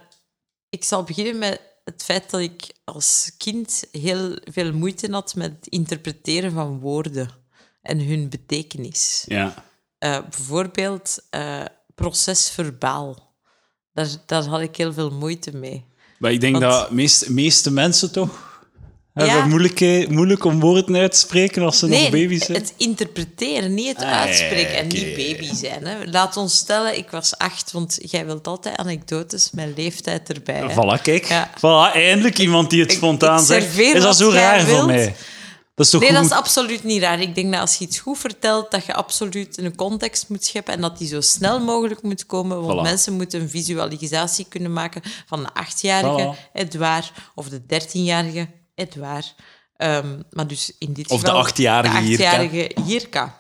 A: ik zal beginnen met het feit dat ik als kind heel veel moeite had met het interpreteren van woorden en hun betekenis.
B: Ja.
A: Eh, bijvoorbeeld eh procesverbaal. Daar, daar had ik heel veel moeite mee.
B: Maar ik denk
A: Want-
B: dat de meest, meeste mensen toch hebben
A: Ja.
B: moeilijk, eh, moeilijk om woorden uit te spreken als ze nog
A: Nee,
B: baby's zijn.
A: het interpreteren, niet het
B: Ah,
A: uitspreken en
B: ja, ja, oké.
A: niet baby zijn. Hè. Laat ons stellen, ik was acht, want jij wilt altijd anekdotes, mijn leeftijd erbij. hè.
B: Voilà, kijk.
A: Ja.
B: Voilà, eindelijk iemand die het
A: ik-
B: spontaan
A: ik
B: zegt.
A: serveer
B: Is dat
A: wat
B: zo
A: jij
B: raar
A: wilt?
B: voor mij? Dat is toch
A: Nee, dat
B: goed?
A: is absoluut niet raar. Ik denk dat als je iets goed vertelt, dat je absoluut een context moet scheppen en dat die zo snel mogelijk moet komen. Want
B: Voilà.
A: mensen moeten een visualisatie kunnen maken van de achtjarige
B: Voilà.
A: Edouard of de dertienjarige Edouard. Ehm, maar dus in dit
B: Of de
A: geval
B: achtjarige
A: de
B: Jirka.
A: achtjarige Jirka.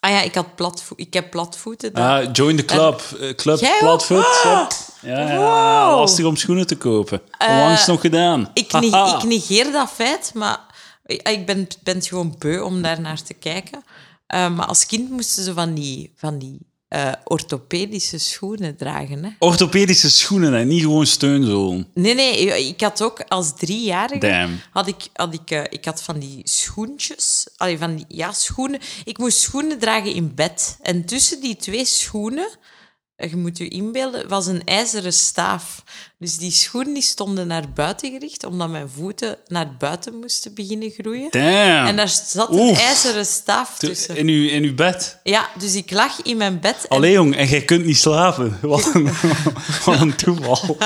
A: Ah ja, ik, had platvo- ik heb platvoeten. dan.
B: Ah, join the club. Eh, club
A: Jij ook?
B: Platvoet.
A: Ah!
B: Ja, ja,
A: Wow. Eh,
B: lastig om schoenen te kopen. Onlangs nog gedaan.
A: Ik, ne-
B: <laughs> Haha.
A: ik negeer dat feit, maar ik ben, ben het gewoon beu om daar naar te kijken. Eh, maar als kind moesten ze van die, van die eh, orthopedische schoenen dragen. Hè?
B: Orthopedische schoenen en niet gewoon steunzolen.
A: Nee, nee, ik had ook als driejarige...
B: Damn.
A: Had ik, had ik, eh, ik had van die schoentjes... Allee, van die, ja, schoenen. Ik moest schoenen dragen in bed. En tussen die twee schoenen, eh, je moet je inbeelden, was een ijzeren staaf. Dus die schoenen die stonden naar buiten gericht, omdat mijn voeten naar buiten moesten beginnen groeien.
B: Damn.
A: En daar zat een
B: Oef.
A: ijzeren staaf tussen.
B: In uw, in uw bed.
A: Ja, dus ik lag in mijn bed en
B: Allee, jong, en jij kunt niet slapen. <laughs> Wat een, wat een
A: <laughs>
B: toeval.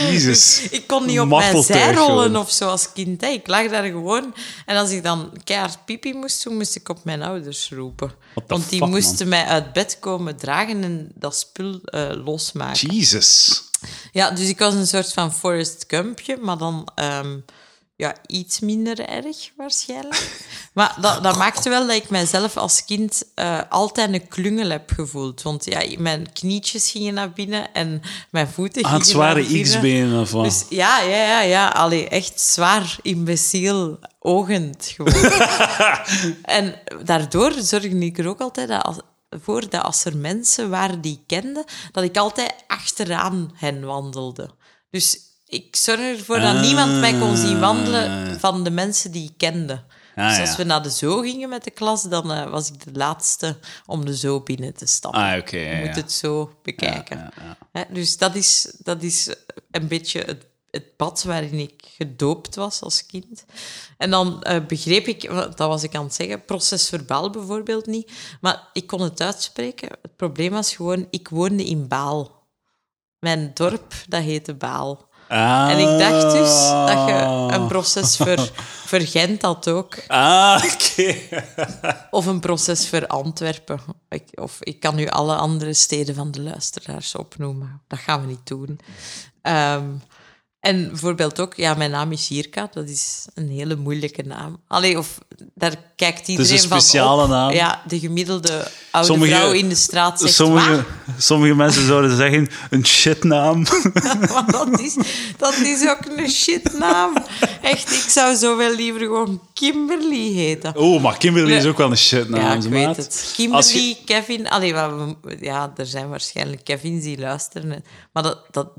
B: Jezus.
A: Ik kon niet op mijn
B: Marteltuig
A: zij rollen
B: gewoon.
A: of zo als kind. Hè. Ik lag daar gewoon. En als ik dan keihard pipi moest doen, moest ik op mijn ouders roepen.
B: What the
A: Want die
B: fuck, man.
A: moesten mij uit bed komen dragen en dat spul eh, losmaken.
B: Jezus.
A: Ja, dus ik was een soort van Forrest Gumpje, maar dan ehm, ja, iets minder erg
B: <laughs>
A: waarschijnlijk. Maar dat, dat maakte wel dat ik mijzelf als kind eh, altijd een klungel heb gevoeld. Want ja, mijn knietjes gingen naar binnen en mijn voeten
B: Aan Ah,
A: gingen
B: het zware
A: naar binnen.
B: X-benen of wat?
A: Dus ja, ja, ja, ja. Allee, echt zwaar, imbeciel, ogend gewoon. en daardoor zorgde ik er ook altijd dat als, voor dat als er mensen waren die ik kende, dat ik altijd achteraan hen wandelde. Dus ik zorgde ervoor dat
B: Ah.
A: niemand mij kon zien wandelen van de mensen die ik kende. dus
B: ja.
A: als we naar de zoo gingen met de klas, dan eh, was ik de laatste om de zoo binnen te stappen.
B: Ah, oké. ja,
A: Je
B: ja.
A: moet het zo bekijken.
B: Ja, ja, ja.
A: Hè, dus dat is, dat is een beetje het, het bad waarin ik gedoopt was als kind. En dan eh, begreep ik, want dat was ik aan het zeggen, procesverbaal bijvoorbeeld niet, maar ik kon het uitspreken. Het probleem was gewoon, ik woonde in Baal. Mijn dorp, dat heette Baal.
B: Ah.
A: En ik dacht dus dat je een
B: <laughs>
A: proces ver, ver Gent had ook.
B: Ah, oké.
A: Of een proces voor Antwerpen. Ik, of ik kan nu alle andere steden van de luisteraars opnoemen. Dat gaan we niet doen. Ehm, en bijvoorbeeld ook, ja, mijn naam is Jirka. Dat is een hele moeilijke naam. Allee, of daar kijkt iedereen van
B: een speciale
A: op.
B: naam.
A: Ja, de gemiddelde oude
B: Sommige-
A: vrouw in de straat zegt...
C: Sommige,
A: "Waar?"
C: sommige mensen zouden zeggen, een shitnaam.
A: Want <laughs> dat is, dat is ook een shitnaam. Echt, ik zou zo wel liever gewoon Kimberly heten.
B: Oh, maar Kimberly is
A: Nee.
B: ook wel een shitnaam,
A: Ja, ik
B: ze
A: weet
B: maat.
A: het.
B: Als
A: Kimberly,
B: je-
A: Kevin... Allee, wat we- ja, er zijn waarschijnlijk Kevins die luisteren. Maar dat, dat,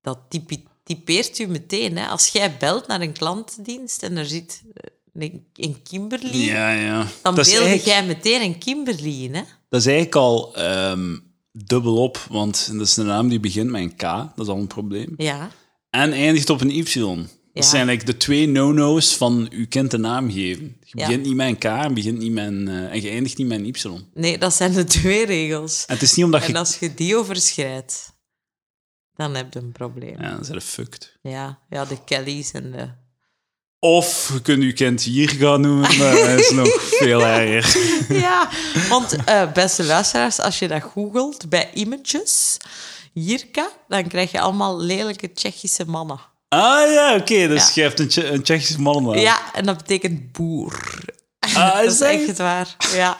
A: dat typi- typeert u meteen. Hè? Als jij belt naar een klantdienst en er zit eh, een, een Kimberly,
B: Ja, ja. dat,
A: dan beeld
B: is eigenlijk,
A: jij meteen een Kimberly in. Hè?
B: dat is eigenlijk al ehm dubbel op, want dat is een naam die begint met een K, dat is al een probleem.
A: Ja.
B: En eindigt op een Y.
A: Ja.
B: Dat zijn eigenlijk de twee no-no's van je kind de naam geven. Je
A: Ja.
B: begint niet met een K en, begint niet met een, eh, en je eindigt niet met een Y. En
A: Nee, dat zijn de <laughs> twee regels.
B: het is niet omdat je...
A: En als je die overschrijdt, dan heb je een probleem.
B: Ja, dan zijn we fucked.
A: Ja, ja de Kellys en de...
B: Of je kunt je kind hier gaan noemen, maar dat is
A: <laughs>
B: nog veel erger.
A: Ja, want eh, beste luisteraars, als je dat googelt bij images, Jirka, dan krijg je allemaal lelijke Tsjechische mannen.
B: Ah ja, oké, dus
A: Ja.
B: je hebt een, Tsje- een Tsjechische man aan.
A: Ja, en dat betekent boer.
B: Ah,
A: <laughs> Dat is
B: dat-
A: echt waar. Ja.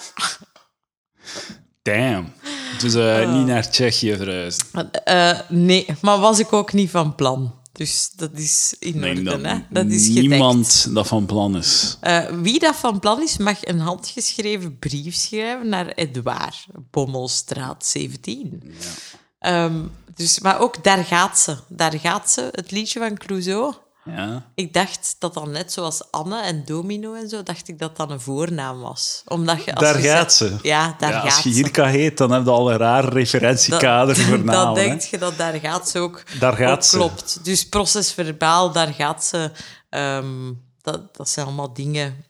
B: Damn. Dus eh,
A: Oh.
B: niet naar Tsjechië verhuizen.
A: Eh, nee, maar was ik ook niet van plan. Dus dat is in
B: Ik denk dat,
A: orde, hè? Dat is gedekt.
B: niemand dat van plan is.
A: Eh, wie dat van plan is, mag een handgeschreven brief schrijven naar Edouard, Bommelstraat 17. Ehm, dus, maar ook daar gaat ze. Daar gaat ze, het liedje van Clouseau.
B: Ja.
A: Ik dacht dat dan net zoals Anne en Domino en zo, dacht ik dat dat een voornaam was. Omdat je, als
C: Daar
A: je
C: gaat
A: zegt-
C: ze.
A: Ja, daar
B: Ja,
A: gaat
B: als je
A: ze.
B: Jirka heet, dan heb je al een raar referentiekader
A: <laughs> Dat-
B: voor
A: Dan
B: namen. hè.
A: denk je dat daar gaat ze ook.
C: Daar gaat
A: ook
C: ze.
A: Klopt. Dus procesverbaal, daar gaat ze. ehm, dat, dat zijn allemaal dingen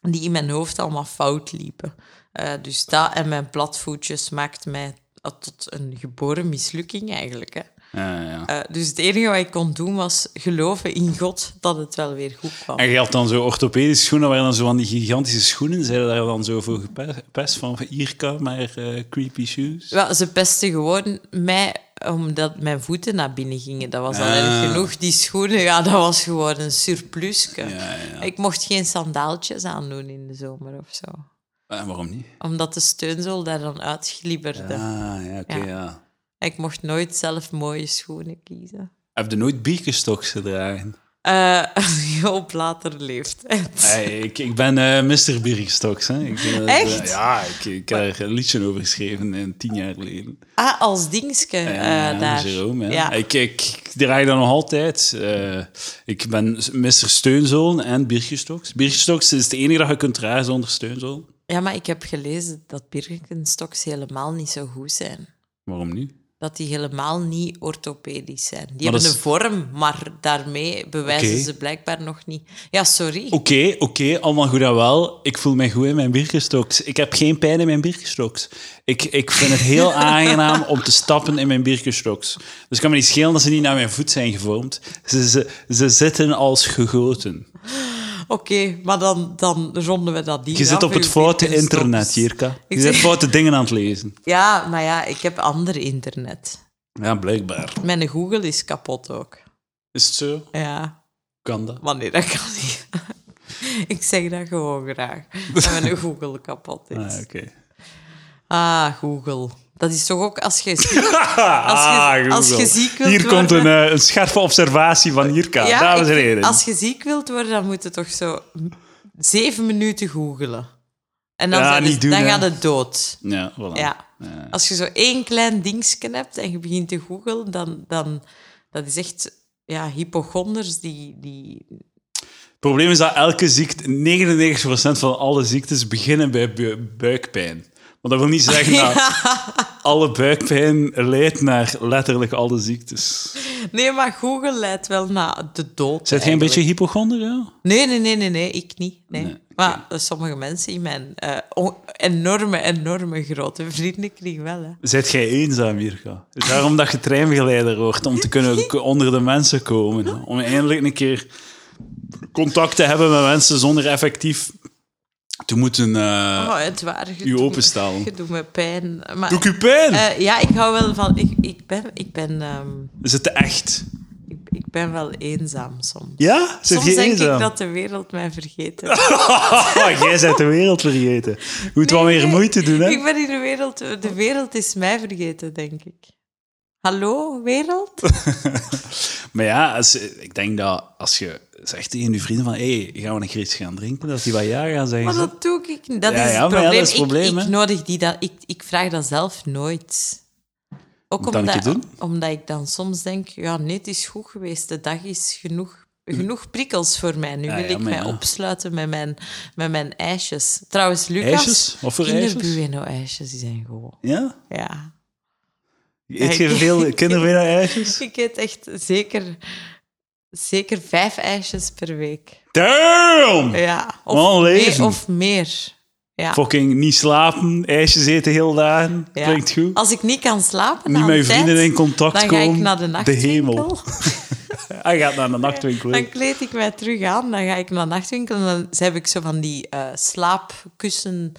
A: die in mijn hoofd allemaal fout liepen. Eh, dus dat en mijn platvoetjes maakt mij tot een geboren mislukking eigenlijk. Hè.
B: Ja, ja.
A: Eh, dus het enige wat ik kon doen was geloven in God dat het wel weer goed kwam.
B: En je had dan zo orthopedische schoenen, waren dan zo van die gigantische schoenen. Zijn daar dan zo voor gepest van Jirka, maar eh, creepy shoes?
A: Wel, ze pesten gewoon mij omdat mijn voeten naar binnen gingen. Dat was
B: Ah.
A: al erg genoeg. Die schoenen, ja, dat was gewoon een surplusje. Ik mocht geen sandaaltjes aandoen in de zomer of zo.
B: Eh, waarom niet?
A: Omdat de steunzool daar dan uitglibberde.
B: Ah, ja, oké,
A: Ja.
B: ja.
A: Ik mocht nooit zelf mooie schoenen kiezen.
B: Heb je nooit bierkenstoks gedragen?
A: Eh, <laughs> op later leeftijd.
B: <laughs> Hey, ik, ik ben eh Mr. Bierkenstoks, hè. Ik, eh,
A: Echt?
B: ja, ik, ik heb er een liedje over geschreven eh, tien jaar geleden.
A: Ah, als dingske eh, daar.
B: Jerome, ja.
A: ja.
B: Ik, ik, ik draai dat nog altijd. Eh, ik ben Mr. Steunzool en Birgestoks. Birgestoks is de enige dat je kunt dragen zonder steunzool.
A: Ja, maar ik heb gelezen dat Birkenstocks helemaal niet zo goed zijn.
B: Waarom niet?
A: dat die helemaal niet orthopedisch zijn. Die
B: dat
A: hebben
B: is-
A: een vorm, maar daarmee bewijzen
B: Oké.
A: ze blijkbaar nog niet. Ja, sorry.
B: Oké, oké, allemaal goed en wel. Ik voel mij goed in mijn Birkenstocks. Ik heb geen pijn in mijn Birkenstocks. Ik, ik vind het
A: <laughs>
B: heel aangenaam om te stappen in mijn Birkenstocks. Dus het kan me niet schelen dat ze niet naar mijn voet zijn gevormd. Ze, ze, ze zitten als gegoten.
A: Oké, maar dan, dan ronden we dat niet
B: Je zit
A: af,
B: op het
A: uw
B: foute
A: Birkenstocks.
B: internet, Jirka.
A: Ik
B: Je
A: zeg-
B: zit foute dingen aan het lezen.
A: Ja, maar ja, ik heb ander internet.
B: Ja, blijkbaar.
A: Mijn Google is kapot ook.
B: Is het zo?
A: Ja,
B: Kan dat?
A: maar nee, dat kan niet. <laughs> ik zeg dat gewoon graag. Dat
B: <laughs>
A: mijn Google kapot is.
B: Ah, oké.
A: Ah, Google. Dat is toch ook als je
B: <laughs>
A: ziek, als je,
B: Ah,
A: als je ziek wilt
C: Hier komt een,
A: worden-
C: eh, een scherpe observatie van Jirka,
A: Ja,
C: dames
A: ik
C: en
A: vind,
C: heren.
A: Als je ziek wilt worden, dan moet je toch zo zeven minuten googelen. En dan,
C: Ja,
A: zijn-
C: niet doen,
A: dan
C: hè.
A: gaat het dood.
B: Ja, voilà.
A: Ja. Als je zo één klein dingetje hebt en je begint te googelen, dan, dan dat is echt ja, hypochonders die, die
B: Het probleem is dat elke ziekte, 99% van alle ziektes beginnen bij bu- buikpijn. Maar dat wil niet
A: <laughs>
B: zeggen dat alle buikpijn leidt naar letterlijk alle ziektes.
A: Nee, maar Google leidt wel naar de dood.
B: Zit jij een beetje hypochonder? Ja?
A: Nee, nee, nee, nee, nee ik niet. Nee.
B: Nee,
A: Maar eh, sommige mensen in mijn eh, o- enorme, enorme grote vriendenkring wel. Hè.
B: Zit jij eenzaam, Mirka? Het is daarom dat je treingeleider wordt, om te
A: <laughs>
B: kunnen k- onder de mensen komen. hè? Om eindelijk een keer contact te hebben met mensen zonder effectief te moeten... eh,
A: Oh, het waar. je
B: u
A: doet me-
B: openstaan.
A: Je doet me pijn. Maar,
B: Doe ik u pijn?
A: eh, ja, ik hou wel van... Ik, ik, ben, ik, ben, ehm,
B: Is het echt?
A: ik, ik ben wel eenzaam soms.
B: Ja? Zit
A: Soms
B: je
A: denk
B: eenzaam?
A: ik dat de wereld mij
B: <laughs>
A: vergeten. heeft.
B: Oh, jij bent de wereld vergeten. Je moet wel meer
A: Nee,
B: moeite doen, hè?
A: Ik ben in de wereld... De wereld is mij vergeten, denk ik. Hallo, wereld?
B: Maar ja, als, ik denk dat als je zegt tegen je vrienden van... Hé, hey, gaan we een keer iets gaan drinken? Dat die wat ja gaan zeggen.
A: Maar
B: zo.
A: dat doe ik niet. Dat
B: Ja,
A: is
B: ja,
A: het
B: maar ja, dat
A: probleem.
B: is het
A: Ik-
B: probleem,
A: ik,
B: hè.
A: nodig die dan... Ik, ik vraag dat zelf nooit. Ook
B: Moet dat een
A: omdat,
B: keer doen?
A: omdat ik dan soms denk... Ja, nee, het is goed geweest. De dag is genoeg... Genoeg prikkels voor mij. Nu
B: Ja,
A: wil
B: ja,
A: ik
B: maar
A: mij
B: ja.
A: opsluiten met mijn, met mijn ijsjes. Trouwens, Lucas...
B: Ijsjes? Wat voor ijsjes?
A: Kinderbueno-ijsjes, die zijn goed.
B: Ja?
A: Ja.
B: Eet je
A: <laughs>
B: veel kinderwinnaar-ijsjes?
A: Ik eet echt zeker, zeker vijf ijsjes per week.
B: Damn!
A: Ja. Of,
B: Wel
A: meer-
B: leven.
A: of meer. Ja.
B: Fucking niet slapen, ijsjes eten heel dagen.
A: Ja.
B: Klinkt goed.
A: Als ik niet kan slapen,
B: niet
A: na
B: met je
A: een tijd,
B: vrienden in contact
A: dan
B: komen.
A: ga ik naar de nachtwinkel.
B: hemel. Hij gaat naar de nachtwinkel. hè.
A: Dan kleed ik mij terug aan, dan ga ik naar de nachtwinkel en dan heb ik zo van die eh slaapkussen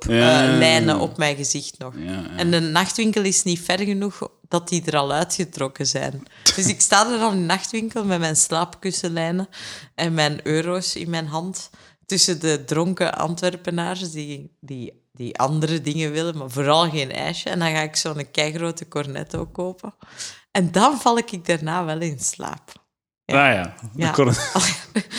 B: Ja.
A: lijnen op mijn gezicht nog.
B: ja.
A: En de nachtwinkel is niet ver genoeg dat die er al uitgetrokken zijn. Dus ik sta er dan in de nachtwinkel met mijn slaapkussenlijnen en mijn euro's in mijn hand tussen de dronken Antwerpenaars die, die, die andere dingen willen, maar vooral geen ijsje. En dan ga ik zo'n keigrote cornetto kopen. En dan val ik daarna wel in slaap.
B: Nou ja, de
A: Ja.
B: cornet-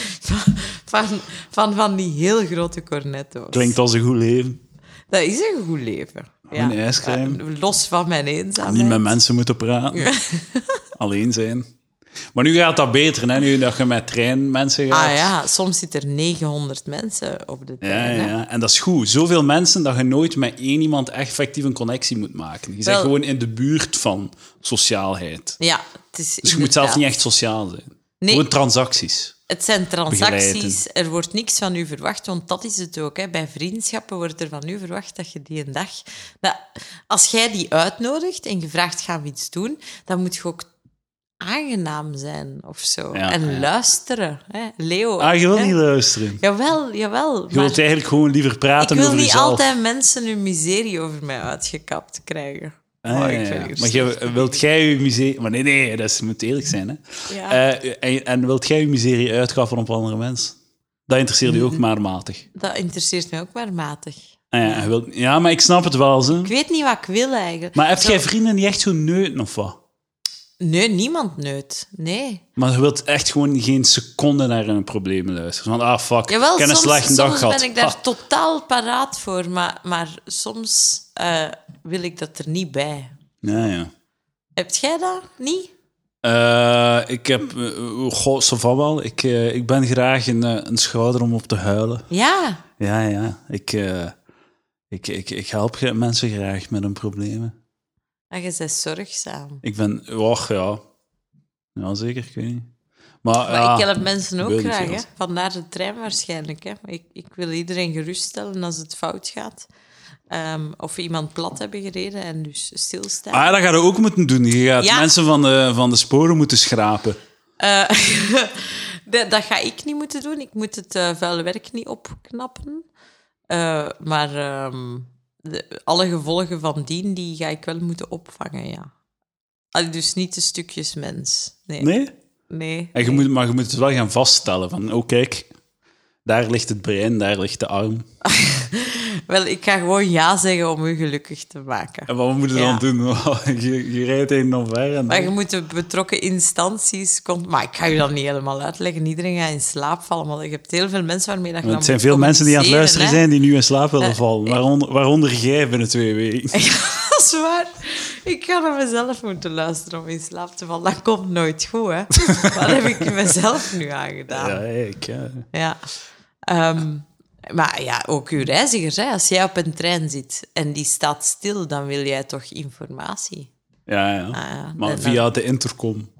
A: <laughs> van, van, van, van die heel grote cornetto's.
B: klinkt als een goed leven.
A: Dat is een goed leven. Ja.
B: Een ijscrème.
A: Ja, Los van mijn
B: Niet
A: eenzaamheid.
B: met mensen moeten praten. Alleen zijn. Maar nu gaat dat beter, hè? Nu dat je met trein mensen gaat.
A: Ah ja, soms zitten er 900 mensen op de
B: Ja,
A: trein. hè.
B: ja. En dat is goed. Zoveel mensen dat je nooit met één iemand echt effectief een connectie moet maken. Je bent
A: Wel-
B: gewoon in de buurt van sociaalheid.
A: Ja, het is
B: Dus je moet zelf niet echt sociaal zijn.
A: Nee.
B: Gewoon transacties.
A: Het zijn transacties,
B: begeleiden.
A: er wordt niks van u verwacht, want dat is het ook. Hè. Bij vriendschappen wordt er van u verwacht dat je die een dag... Dat, als jij die uitnodigt en je vraagt gaan we iets doen, dan moet je ook aangenaam zijn of zo.
B: Ja,
A: en
B: ja.
A: luisteren. Hè. Leo...
B: Ah, je wilt
A: hè.
B: niet luisteren.
A: Jawel, jawel.
B: Je wilt
A: maar
B: eigenlijk gewoon liever praten
A: ik wil
B: over
A: niet
B: jezelf.
A: altijd mensen hun miserie over mij uitgekapt krijgen.
B: Ah,
A: Oh,
B: ja,
A: ik
B: ja.
A: ben hier
B: Maar je, wilt jij je miserie... Maar nee, nee, dat is- moet eerlijk zijn. Hè?
A: Ja.
B: Eh, en, en wilt jij je miserie uitgaffen op andere mensen? Dat interesseert je ook maar matig.
A: Dat interesseert mij ook maar matig.
B: Ah, ja, je wilt- ja, maar ik snap het wel. Zo.
A: Ik weet niet wat ik wil eigenlijk.
B: Maar heb
A: Zo-
B: jij vrienden die echt zo neuten of wat?
A: Nee, niemand neut. Nee.
B: Maar je wilt echt gewoon geen seconde naar hun problemen luisteren. Van, ah, fuck,
A: Jawel,
B: ik heb een
A: soms,
B: slechte dag
A: soms
B: gehad.
A: ben ik daar
B: Ah,
A: totaal paraat voor, maar, maar soms eh, wil ik dat er niet bij.
B: ja, ja.
A: Hebt jij dat niet?
B: Eh, ik heb... eh, goh, ça va wel. Ik, eh, ik ben graag een, eh, een schouder om op te huilen.
A: Ja.
B: Ja, ja. Ik, eh, ik, ik, ik help gra- mensen graag met hun problemen.
A: En Ah, je bent zorgzaam.
B: Ik ben... Och, ja. Ja, zeker. Ik weet niet. Maar, ah.
A: Maar
B: ja,
A: ik help mensen ook
B: wil niet
A: graag.
B: veel.
A: Hè? Vandaar de trein waarschijnlijk. Hè? Ik, ik wil iedereen geruststellen als het fout gaat. Ehm, of we iemand plat hebben gereden en dus stilstaan.
B: Ah, dat ga je ook moeten doen. Je gaat
A: Ja.
B: mensen van de, van de sporen moeten schrapen.
A: Eh, dat, dat ga ik niet moeten doen. Ik moet het eh, vuile werk niet opknappen. Eh, maar ehm, de- alle gevolgen van dien, die ga ik wel moeten opvangen, ja. Allee, dus niet de stukjes mens. Nee.
B: Nee?
A: Nee.
B: En je moet, maar je moet het wel gaan vaststellen. Van, oh kijk, daar ligt het brein, daar ligt de arm.
A: Wel, ik ga gewoon ja zeggen om u gelukkig te maken.
B: En wat moet je dan
A: Ja.
B: doen? <laughs> je, je rijdt een omver en...
A: Maar je moet de betrokken instanties... Kon... Maar ik ga je dat niet helemaal uitleggen. Iedereen gaat in slaap vallen, want je hebt heel veel mensen waarmee dat
B: Want
A: je dan
B: het zijn
A: moet
B: veel mensen die aan het luisteren
A: communiceren, hè.
B: zijn die nu in slaap willen
A: Eh,
B: vallen. Waaronder, waaronder jij binnen twee weken.
A: Ja, <laughs> dat is waar. Ik ga naar mezelf moeten luisteren om in slaap te vallen. Dat komt nooit goed, hè. <laughs> Wat heb ik mezelf nu aangedaan?
B: Ja, ik. Ja.
A: Ja. Ehm, maar ja, ook uw reizigers. Hè. Als jij op een trein zit en die staat stil, dan wil jij toch informatie?
B: Ja, ja.
A: Ah, ja,
B: maar
A: dat-
B: via de intercom.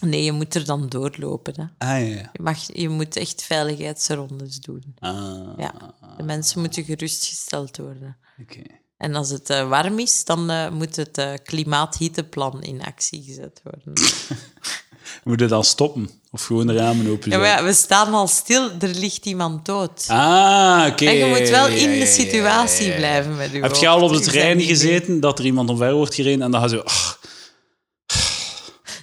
A: Nee, je moet er dan doorlopen. Hè.
B: Ah, ja, ja.
A: Je, mag, je moet echt veiligheidsrondes doen.
B: Ah,
A: Ja. De mensen moeten gerustgesteld worden.
B: oké.
A: En als het eh, warm is, dan eh, moet het eh klimaathitteplan in actie gezet worden.
B: Moet je dan stoppen? Of gewoon de ramen open
A: Ja, maar
B: zetten?
A: ja, we staan al stil, er ligt iemand dood.
B: Ah, oké.
A: en je moet wel
B: Ja,
A: in
B: ja,
A: de
B: ja,
A: situatie
B: ja, ja.
A: blijven met uw
B: Heb
A: hoofd.
B: je al op de
A: Je bent
B: trein
A: niet mee.
B: gezeten dat er iemand omver wordt gereden en dan ga je zo... "Ach,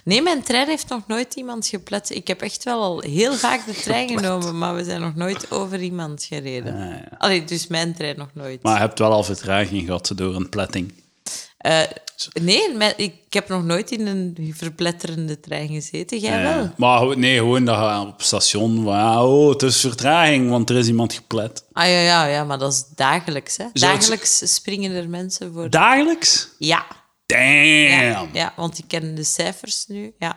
A: Nee, mijn trein heeft nog nooit iemand geplet. Ik heb echt wel al heel vaak de trein genomen, maar we zijn nog nooit over iemand gereden. Allee, dus mijn trein nog nooit.
B: Ah, Maar je hebt wel al vertraging gehad door een pletting.
A: Eh, nee, mijn- ik heb nog nooit in een verpletterende trein gezeten. Jij
B: Ah, Ja.
A: wel?
B: Eh, Maar ho- nee, gewoon dat je op het station... Van, ja, oh, het is vertraging, want er is iemand geplet.
A: Ah ja, ja, ja, maar dat is dagelijks. Hè?
B: Zou het-
A: Dagelijks springen er mensen voor.
B: Dagelijks?
A: Ja. Ja,
B: Damn!
A: ja, want ik ken de cijfers nu. Ja.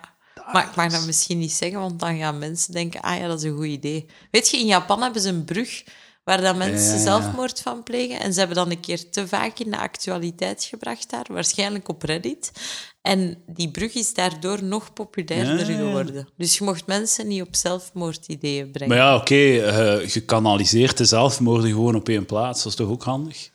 A: Maar ik mag dat misschien niet zeggen, want dan gaan mensen denken: ah ja, dat is een goed idee. Weet je, in Japan hebben ze een brug waar dat mensen
B: Ja.
A: zelfmoord van plegen. En ze hebben dan een keer te vaak in de actualiteit gebracht daar, waarschijnlijk op Reddit. En die brug is daardoor nog populairder
B: Ja, ja.
A: geworden. Dus je mocht mensen niet op zelfmoordideeën brengen.
B: Maar ja, oké, eh, gekanaliseerd de zelfmoorden gewoon op één plaats. Dat is toch ook handig?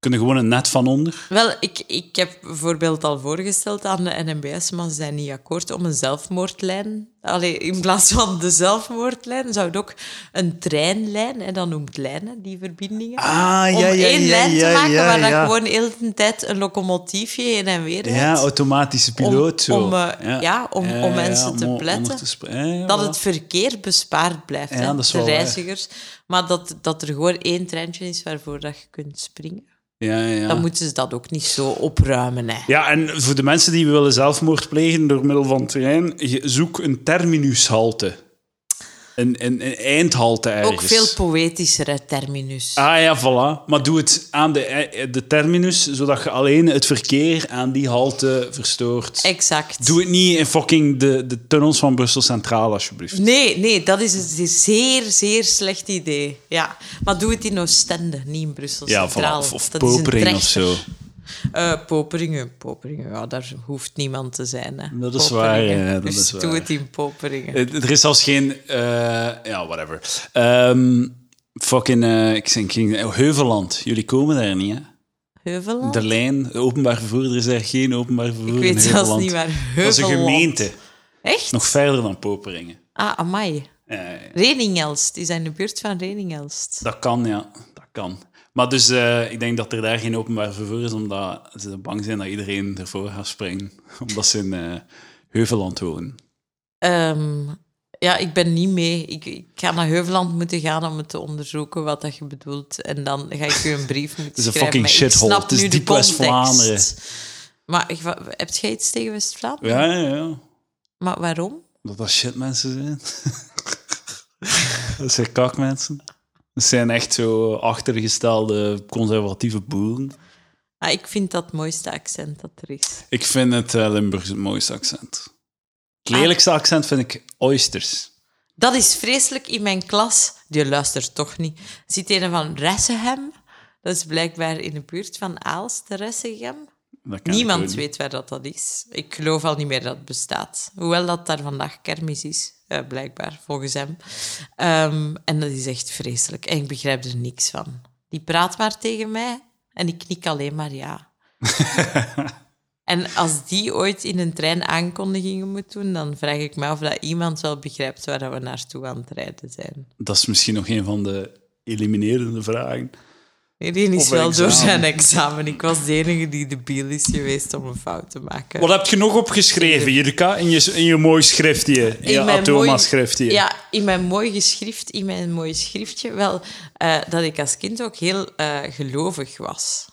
B: Kunnen gewoon een net van onder?
A: Wel, ik, ik heb bijvoorbeeld al voorgesteld aan de NMBS, maar ze zijn niet akkoord om een zelfmoordlijn. Allee, in plaats van de zelfmoordlijn zou het ook een treinlijn, en dan noemt lijnen die verbindingen.
B: Ah,
A: om één lijn te maken waar dat gewoon heel de tijd een locomotiefje heen en weer rijdt.
B: Ja, automatische piloot. zo.
A: om, eh, ja, om- om mensen te
B: om- om
A: pletten.
B: er spre- ja, eh, ja,
A: dat
B: voilà.
A: het verkeer bespaard blijft,
B: Ja,
A: hè,
B: dat is
A: de
B: wel waar.
A: reizigers. Maar dat, dat er gewoon één treintje is waarvoor dat je kunt springen.
B: Ja, ja.
A: Dan moeten ze dat ook niet zo opruimen, hè.
B: Ja, en voor de mensen die willen zelfmoord plegen door middel van terrein, je- zoek een terminushalte. Een, een, een eindhalte ergens.
A: Ook veel poëtischer, hè, terminus.
B: Ah ja, voilà. Maar doe het aan de, eh, de terminus, zodat je alleen het verkeer aan die halte verstoort.
A: Exact.
B: Doe het niet in fucking de, de tunnels van Brussel Centraal, alsjeblieft.
A: Nee, nee, dat is een zeer, zeer slecht idee. Ja. Maar doe het in Oostende, niet in Brussel
B: Ja,
A: Centraal.
B: voilà. Of, of
A: Dat is een
B: Popering of
A: trechter.
B: zo.
A: Eh, poperingen, poperingen. Ja, daar hoeft niemand te zijn. Hè.
B: Dat is
A: Poperingen.
B: waar, ja, dat
A: dus
B: is
A: doe
B: waar.
A: het in poperingen.
B: Het- Er is zelfs geen... eh, ja, whatever. Ehm, fucking... eh, ik zeg- ik ging, oh, Heuveland. Jullie komen daar niet, hè?
A: Heuveland?
B: De lijn, de openbaar vervoer, er is daar geen openbaar vervoer
A: Ik
B: in
A: weet zelfs
B: Heuveland.
A: niet waar
B: Dat is een
A: Heuveland-
B: gemeente,
A: Echt?
B: nog verder dan Poperingen.
A: Ah, amai.
B: Ja, ja, ja.
A: Reningelst. Die zijn in de buurt van Reningelst.
B: dat kan, ja. Dat kan. Maar dus, eh, ik denk dat er daar geen openbaar vervoer is, omdat ze bang zijn dat iedereen ervoor gaat springen. <laughs> Omdat ze in eh, Heuveland wonen.
A: Ehm, ja, ik ben niet mee. Ik, ik ga naar Heuveland moeten gaan om het te onderzoeken wat dat je bedoelt. En dan ga ik u een brief
B: <laughs>
A: moeten schrijven.
B: is een fucking
A: maar ik
B: shithole.
A: snap
B: Het is
A: nu de
B: diep West-Vlaanderen.
A: context. Maar ik, wa- heb jij iets tegen West-Vlaanderen?
B: Ja, ja, ja.
A: Maar waarom?
B: Dat dat shit mensen zijn. <laughs> dat zijn kakmensen. Dat zijn echt zo achtergestelde conservatieve boeren.
A: Ah, ik vind dat het mooiste accent dat er is.
B: Ik vind het eh, Limburgs het mooiste accent. Het lelijkste accent vind ik oysters.
A: Dat is vreselijk in mijn klas. Die luistert toch niet. Zit een van Ressehem. Dat is blijkbaar in de buurt van Aalst, Ressehem.
B: Dat ken ik ook
A: Niemand
B: niet.
A: weet waar dat, dat is. Ik geloof al niet meer dat het bestaat. Hoewel dat daar vandaag kermis is, eh, blijkbaar, volgens hem. Ehm, en dat is echt vreselijk. En ik begrijp er niks van. Die praat maar tegen mij en ik knik alleen maar ja. en als die ooit in een trein aankondigingen moet doen, dan vraag ik me af dat iemand wel begrijpt waar dat we naartoe aan het rijden zijn.
B: Dat is misschien nog een van de eliminerende vragen.
A: Iedereen is
C: Op een
A: wel door
C: examen.
A: zijn examen. Ik was de enige die debiel is geweest om een fout te maken.
C: Wat heb je nog opgeschreven, Jirka? In je, in je mooi schriftje. In je
A: mijn
C: Atoma-schriftje.
A: mooi- Ja, in mijn mooi geschrift, in mijn mooi schriftje. Wel, eh, dat ik als kind ook heel eh, gelovig was.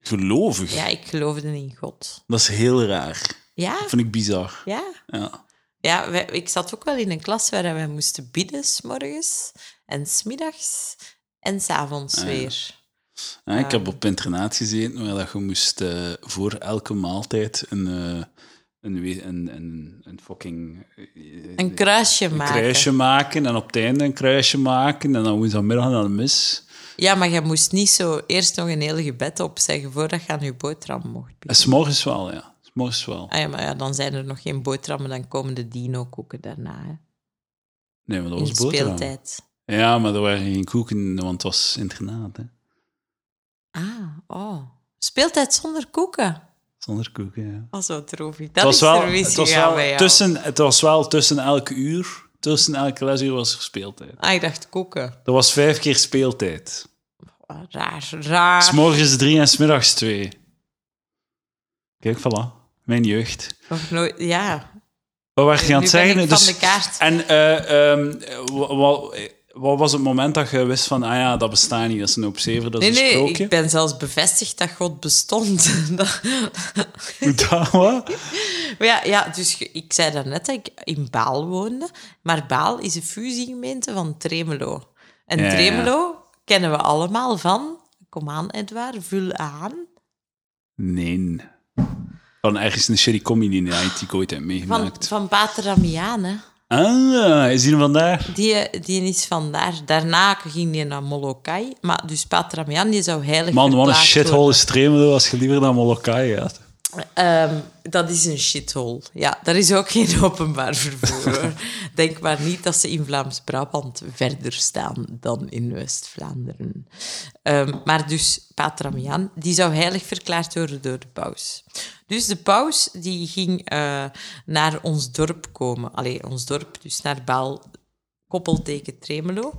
B: Gelovig.
A: Ja, ik geloofde in God.
B: Dat is heel raar.
A: Ja,
B: Dat vind ik bizar.
A: ja.
B: Ja.
A: Ja, wij- ik zat ook wel in een klas waar wij moesten bidden, s morgens en smiddags en s
B: Ah,
A: avonds weer.
B: Ja, ik heb op internaat gezeten waar dat je moest eh, voor elke maaltijd een, eh, een, we- een, een, een fucking eh,
A: Een kruisje
B: een
A: maken.
B: kruisje maken en op het einde een kruisje maken en dan woensdagmiddag naar de mis.
A: Ja, maar je moest niet zo eerst nog een heel gebed opzeggen voordat je aan je boterham mocht
B: En
C: Eh,
A: bieden.
B: s'morgens wel, ja. S'morgens wel.
A: Ah ja, maar ja, dan zijn er nog geen boterhammen, dan komen de dino-koeken daarna. Hè.
B: Nee, maar dat
A: In
B: was
A: de
B: boterham.
A: speeltijd.
B: Ja, maar er waren geen koeken, want het was internaat, hè.
A: Ah, oh. Speeltijd zonder koeken.
B: Zonder koeken, ja.
A: Oh, zo droevig. Dat
C: Het was
A: is
C: wel,
A: service
C: het was
A: gegaan bij
C: wel
A: jou.
C: tussen, het was wel tussen elke uur, tussen elke lesuur was er speeltijd.
A: Ah, ik dacht koeken.
C: Er was vijf keer speeltijd.
A: Ah, Raar, raar.
C: S morgens drie en s middags twee. Kijk, voilà. Mijn jeugd.
A: Nog nooit, ja.
C: Wat werd je aan
A: Nu
C: het
A: ben
C: zeggen? Dus
A: ik van de kaart.
C: En eh, ehm, wa- wa- wat was het moment dat je wist van, ah ja, dat bestaat niet, dat is een op zeven, dat is
A: Nee,
C: een
A: nee,
C: sprookje?
A: ik ben zelfs bevestigd dat God bestond. <laughs> Dat-
C: <laughs> Dat, wat?
A: Maar ja, ja, dus ge- ik zei daarnet dat ik in Baal woonde. Maar Baal is een fusiegemeente van Tremelo. En
B: Ja, ja.
A: Tremelo kennen we allemaal van... Kom aan, Edouard, vul aan.
B: Nee. Van ergens een shitty comedy night die ik ooit heb
A: Van,
B: meegemaakt.
A: van Pater Damiaan, hè.
B: Ah, is die er vandaag?
A: Die, die is vandaar. Daarna ging hij naar Molokai. Maar dus Pater Damiaan, die zou heilig
B: Man, wat een
A: verklaard
B: shithole
A: worden.
B: is Tremelo als je liever naar Molokai gaat.
A: Ehm, dat is een shithole. Ja, daar is ook <laughs> geen openbaar vervoer. hoor. Denk maar niet dat ze in Vlaams-Brabant verder staan dan in West-Vlaanderen. Ehm, maar dus, Pater Damiaan, die zou heilig verklaard worden door de paus. Dus de paus die ging eh, naar ons dorp komen. Allee, ons dorp, dus naar Baal, koppelteken Tremelo.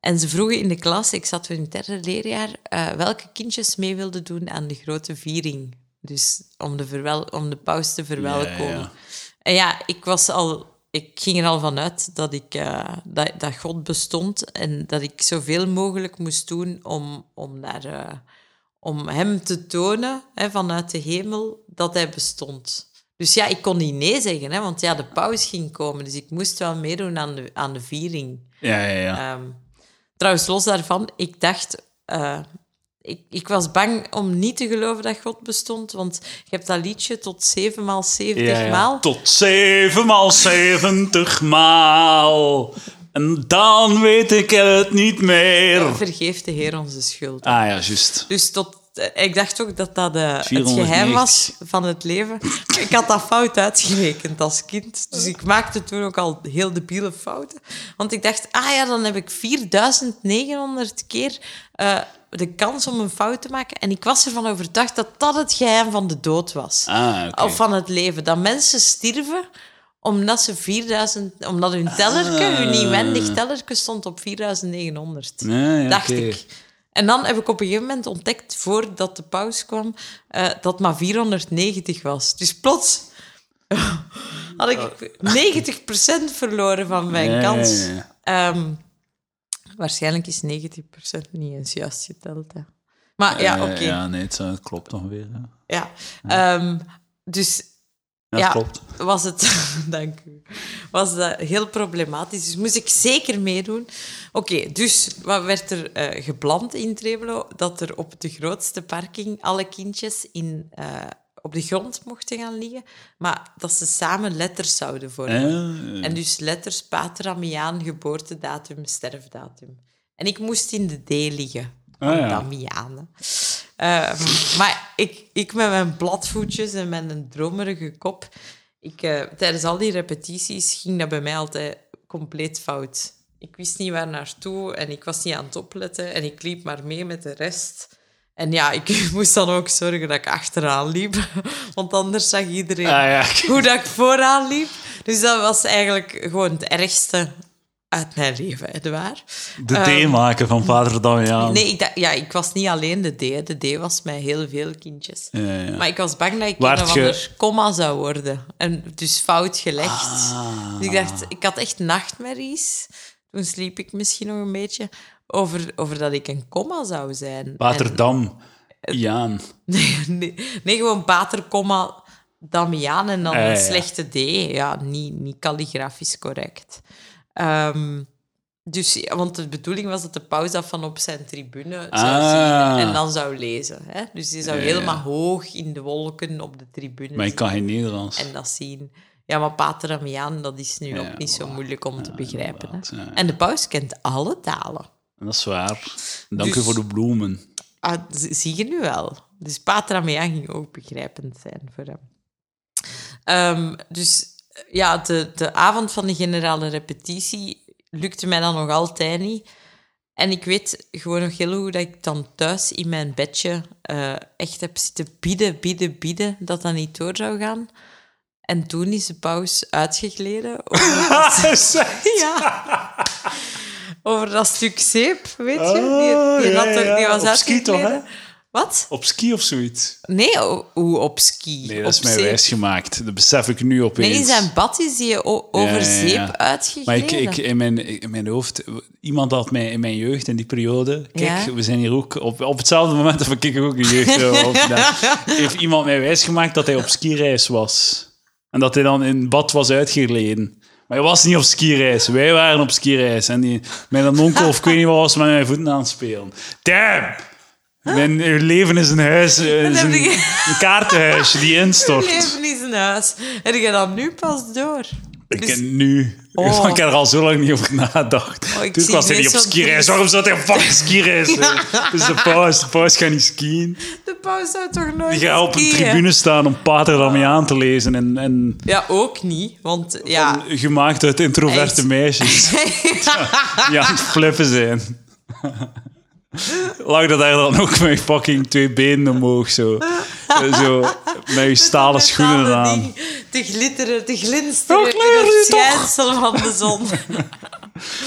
A: En ze vroegen in de klas, ik zat toen in het derde leerjaar, eh, welke kindjes mee wilden doen aan de grote viering. Dus om de, verwel om de paus te verwelkomen.
B: Ja, ja.
A: En ja, ik was al... Ik ging er al vanuit dat, ik, eh, dat, dat God bestond en dat ik zoveel mogelijk moest doen om, om, daar, eh, om hem te tonen hè, vanuit de hemel dat hij bestond. Dus ja, ik kon niet nee zeggen, hè, want ja, de paus ging komen, dus ik moest wel meedoen aan de, aan de viering.
B: Ja, ja, ja.
A: Ehm, trouwens, los daarvan, ik dacht... eh, ik, ik was bang om niet te geloven dat God bestond, want je hebt dat liedje tot zeven maal zeventig
C: Ja, ja.
A: maal.
B: Tot 7 maal 70 maal. En dan weet ik het niet meer. Ah
A: Vergeef de Heer onze schuld.
B: ja, juist.
A: Dus tot, eh, ik dacht ook dat dat eh, het
B: 490.
A: geheim was van het leven. Ik had dat fout uitgerekend als kind. Dus ik maakte toen ook al heel debiele fouten. Want ik dacht, ah ja, dan heb ik 4900 keer eh, de kans om een fout te maken. En ik was ervan overtuigd dat dat het geheim van de dood was.
B: Ah, oké.
A: Of van het leven. Dat mensen stierven omdat ze 4000, omdat hun tellerke,
B: Ah.
A: hun inwendig tellerke stond op 4900
B: Ja, ja,
A: dacht
B: oké.
A: ik. En dan heb ik op een gegeven moment ontdekt, voordat de pauze kwam, eh, dat maar 490 was. Dus plots <laughs> had ik 90% verloren van mijn
B: Ja, ja,
A: kans.
B: ja.
A: Ehm, waarschijnlijk is 90% niet eens juist geteld. Hè. Maar ja,
B: Eh,
A: oké. ja.
B: Ja, nee, het, eh, klopt ongeveer. Ja,
A: Ehm, dus
B: ja,
A: Ja.
B: klopt.
A: was het, <laughs> dank u, was dat heel problematisch. Dus moest ik zeker meedoen. Oké, dus wat werd er eh gepland in Trebelo? Dat er op de grootste parking alle kindjes in, eh, op de grond mochten gaan liggen, maar dat ze samen letters zouden vormen.
B: Eh,
A: En dus letters pater, Damiaan, geboortedatum, sterfdatum. En ik moest in de D liggen.
B: Ah, ja.
A: Damiaan. hè. Ehm, maar ik, ik met mijn bladvoetjes en met een dromerige kop... Ik, eh, tijdens al die repetities ging dat bij mij altijd compleet fout. Ik wist niet waar naartoe en ik was niet aan het opletten. En ik liep maar mee met de rest. En ja, ik <laughs> moest dan ook zorgen dat ik achteraan liep. <laughs> Want anders zag iedereen <laughs>
C: Ah ja,
A: hoe dat ik vooraan liep. Dus dat was eigenlijk gewoon het ergste uit mijn leven, echt waar.
B: De
A: Ehm.
B: thee maken van vader Damiaan.
A: Nee, ik, dacht- ja, ik was niet alleen de D. hè. De D was mij heel veel kindjes.
B: Ja, ja.
A: Maar ik was bang dat ik
B: Waart
A: een of ander
B: ge-
A: comma zou worden. En dus fout gelegd.
B: Ah.
A: Dus ik dacht, ik had echt nachtmerries. Toen sliep ik misschien nog een beetje. Over, over dat ik een comma zou zijn. En- eh,
B: Waterdam. Jaan.
A: <laughs> nee, nee, nee, gewoon Bater, comma, Damiaan en dan
B: Ah, ja,
A: een
B: ja.
A: slechte D. Ja, niet, niet kalligrafisch correct. Ehm, dus, ja, want de bedoeling was dat de paus dat van op zijn tribune zou
B: Ah.
A: zien en dan zou lezen. Hè? Dus die zou
B: Ja, ja.
A: helemaal hoog in de wolken op de tribune
B: Maar ik kan geen Nederlands.
A: en dat zien. Ja, maar Pater Damiaan, dat is nu
B: Ja,
A: ook niet zo
B: voilà.
A: moeilijk om te begrijpen. Hè?
B: inderdaad, ja, ja.
A: En de paus kent alle talen.
B: Dat is waar. Dank u
A: Dus-
B: voor de
A: <laughs>
B: bloemen.
A: Ah, z- zie je nu wel. Dus Pater Ameyang ging ook begrijpend zijn voor hem. Ehm, dus ja, de, de avond van de generale repetitie lukte mij dan nog altijd niet. En ik weet gewoon nog heel goed dat ik dan thuis in mijn bedje eh, echt heb zitten bieden, bieden, bieden dat dat niet door zou gaan. En toen is de paus uitgegleden. Over dat, ja, over dat stuk zeep, weet je. Die, die,
B: Oh,
A: had
B: ja,
A: er- die
B: ja.
A: was
B: Op ski toch, hè?
A: uitgegleden. Wat?
B: Op ski of zoiets?
A: Nee, o- hoe op ski?
B: Nee, dat is
A: op
B: mij
A: zeep.
B: wijsgemaakt. Dat besef ik nu opeens.
A: Nee, in zijn bad is hij o- over
B: Ja, ja, ja.
A: zeep uitgegleden.
B: Maar ik, ik, in, mijn, in mijn hoofd, iemand had mij in mijn jeugd, in die periode. Kijk,
A: Ja.
B: we zijn hier ook op, op hetzelfde moment. dat ik ook een jeugd. eh, op- nou,
A: <laughs>
B: heeft iemand mij wijsgemaakt dat hij op skireis was. En dat hij dan in bad was uitgeleden. Maar hij was niet op skireis. Wij waren op skireis. En die, mijn onkel, of ik weet niet wat, was met mijn voeten aan het spelen. Damn! Mijn uw leven is een
A: <laughs>
B: huis, eh, is
A: heb
B: een,
A: je-
B: een kaartenhuisje die instort.
A: <laughs> Leven is een huis. En je dat nu pas door.
B: Ik
A: Dus-
B: ken nu.
A: Oh.
B: <laughs> Ik heb er al zo lang niet over nagedacht.
A: Oh, ik
B: Toen
A: zie
B: was hij
A: het
B: niet op
A: net zo
B: skireis.
A: triest.
B: Waarom zou hij op fucking skireis
A: <laughs>
B: zijn? Dus de paus, de paus gaat niet skiën.
A: De paus zou toch nooit
B: Die gaat op een
A: skiën? Ah.
B: tribune staan om Pater Damiaan te lezen. En, en
A: Ja, ook niet. Want ja...
B: van- gemaakt uit introverte
A: Echt. <laughs>
B: meisjes. Die aan het flippen zijn. Lag dat daar dan ook met fucking twee benen omhoog
A: <laughs>
B: zo. Eh, zo met je stalen schoenen
A: Metalen
B: aan.
A: ding Te glitteren, te glinsteren.
B: Dat
A: in
B: kleur je
A: het
B: toch?
A: schijnsel van de zon.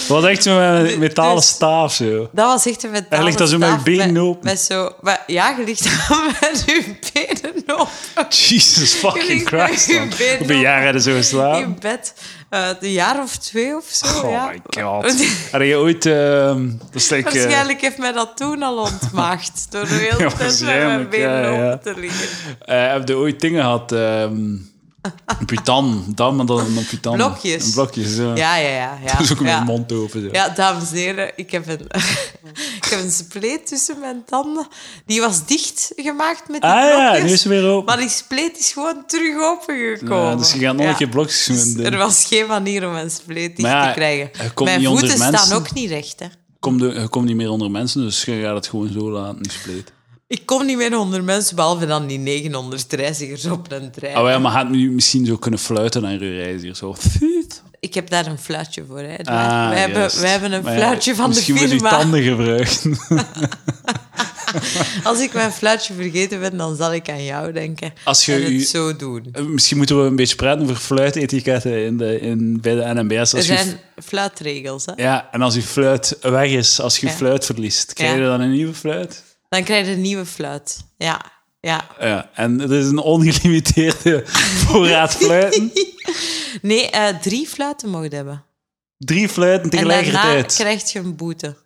B: Dat was echt zo met een metalen
A: Dus-
B: staaf zo.
A: Dat was echt een metalen
B: Hij ligt dan zo met
A: staaf
B: je benen open.
A: Met zo, maar ja, je ligt dan <laughs> met je benen open.
B: Jesus fucking
A: ligt <laughs> met
B: Christ.
A: je
B: man.
A: benen
B: Op een jaar hadden ze geslapen.
A: in bed. eh een jaar of twee of zo.
B: Oh
A: ja.
B: my
A: <laughs>
B: god. eh, Had je ooit... ehm, dat is like, eh,
A: Waarschijnlijk heeft mij dat toen al ontmaagd. Door de
B: Ja,
A: hele tijd met mijn
B: waarschijnlijk,
A: benen
B: ja, ja.
A: open te liggen.
B: eh, heb je ooit dingen gehad... ehm putan. Dan, maar dan een putan.
A: Blokjes.
B: Een blokjes, ja.
A: Ja, ja, ja. ja.
B: <laughs> Dat is ook met
A: ja.
B: mijn mond open. Zo.
A: Ja, dames en heren, ik heb een, <laughs> ik heb een spleet tussen mijn tanden. Die was dichtgemaakt met die
B: Ah ja,
A: blokjes.
B: nu is ze weer open.
A: Maar die spleet is gewoon terug opengekomen.
B: Ja, dus je gaat nog
A: Ja.
B: een keer blokjes doen.
A: Dus er was geen manier om een spleet dicht
B: Maar ja,
A: te krijgen.
B: je komt
A: Mijn
B: niet onder
A: voeten
B: mensen.
A: staan ook niet recht, hè.
B: Kom de- je komt niet meer onder mensen, dus je gaat het gewoon zo laten, niet spleet.
A: Ik kom niet meer onder mensen, behalve dan die 900 reizigers op een trein.
B: Oh ja, maar gaat nu misschien zo kunnen fluiten naar je reiziger. Zo. Fuut.
A: Ik heb daar een fluitje voor. Hè.
B: Ah,
A: we, hebben,
B: juist.
A: we hebben een
B: Maar ja,
A: fluitje van de
B: misschien
A: firma.
B: Misschien moet je tanden gebruiken.
A: Als ik mijn fluitje vergeten ben, dan zal ik aan jou denken.
B: Als je
A: en het
B: u-
A: zo doen.
B: Eh, Misschien moeten we een beetje praten over fluitetiketten in de, in, bij de NMBS.
A: Er
B: Als je-
A: zijn fluitregels. Hè.
B: ja, en als je fluit weg is, als je
A: Ja.
B: fluit verliest, krijg je
A: Ja.
B: dan een nieuwe fluit?
A: Dan krijg je een nieuwe fluit. Ja, ja.
B: Ja, en er is een
A: <laughs>
B: ongelimiteerde voorraad fluiten.
A: Nee, eh, drie fluiten mogen hebben.
B: Drie fluiten
A: En daarna
B: tegelijkertijd.
A: krijg je een boete.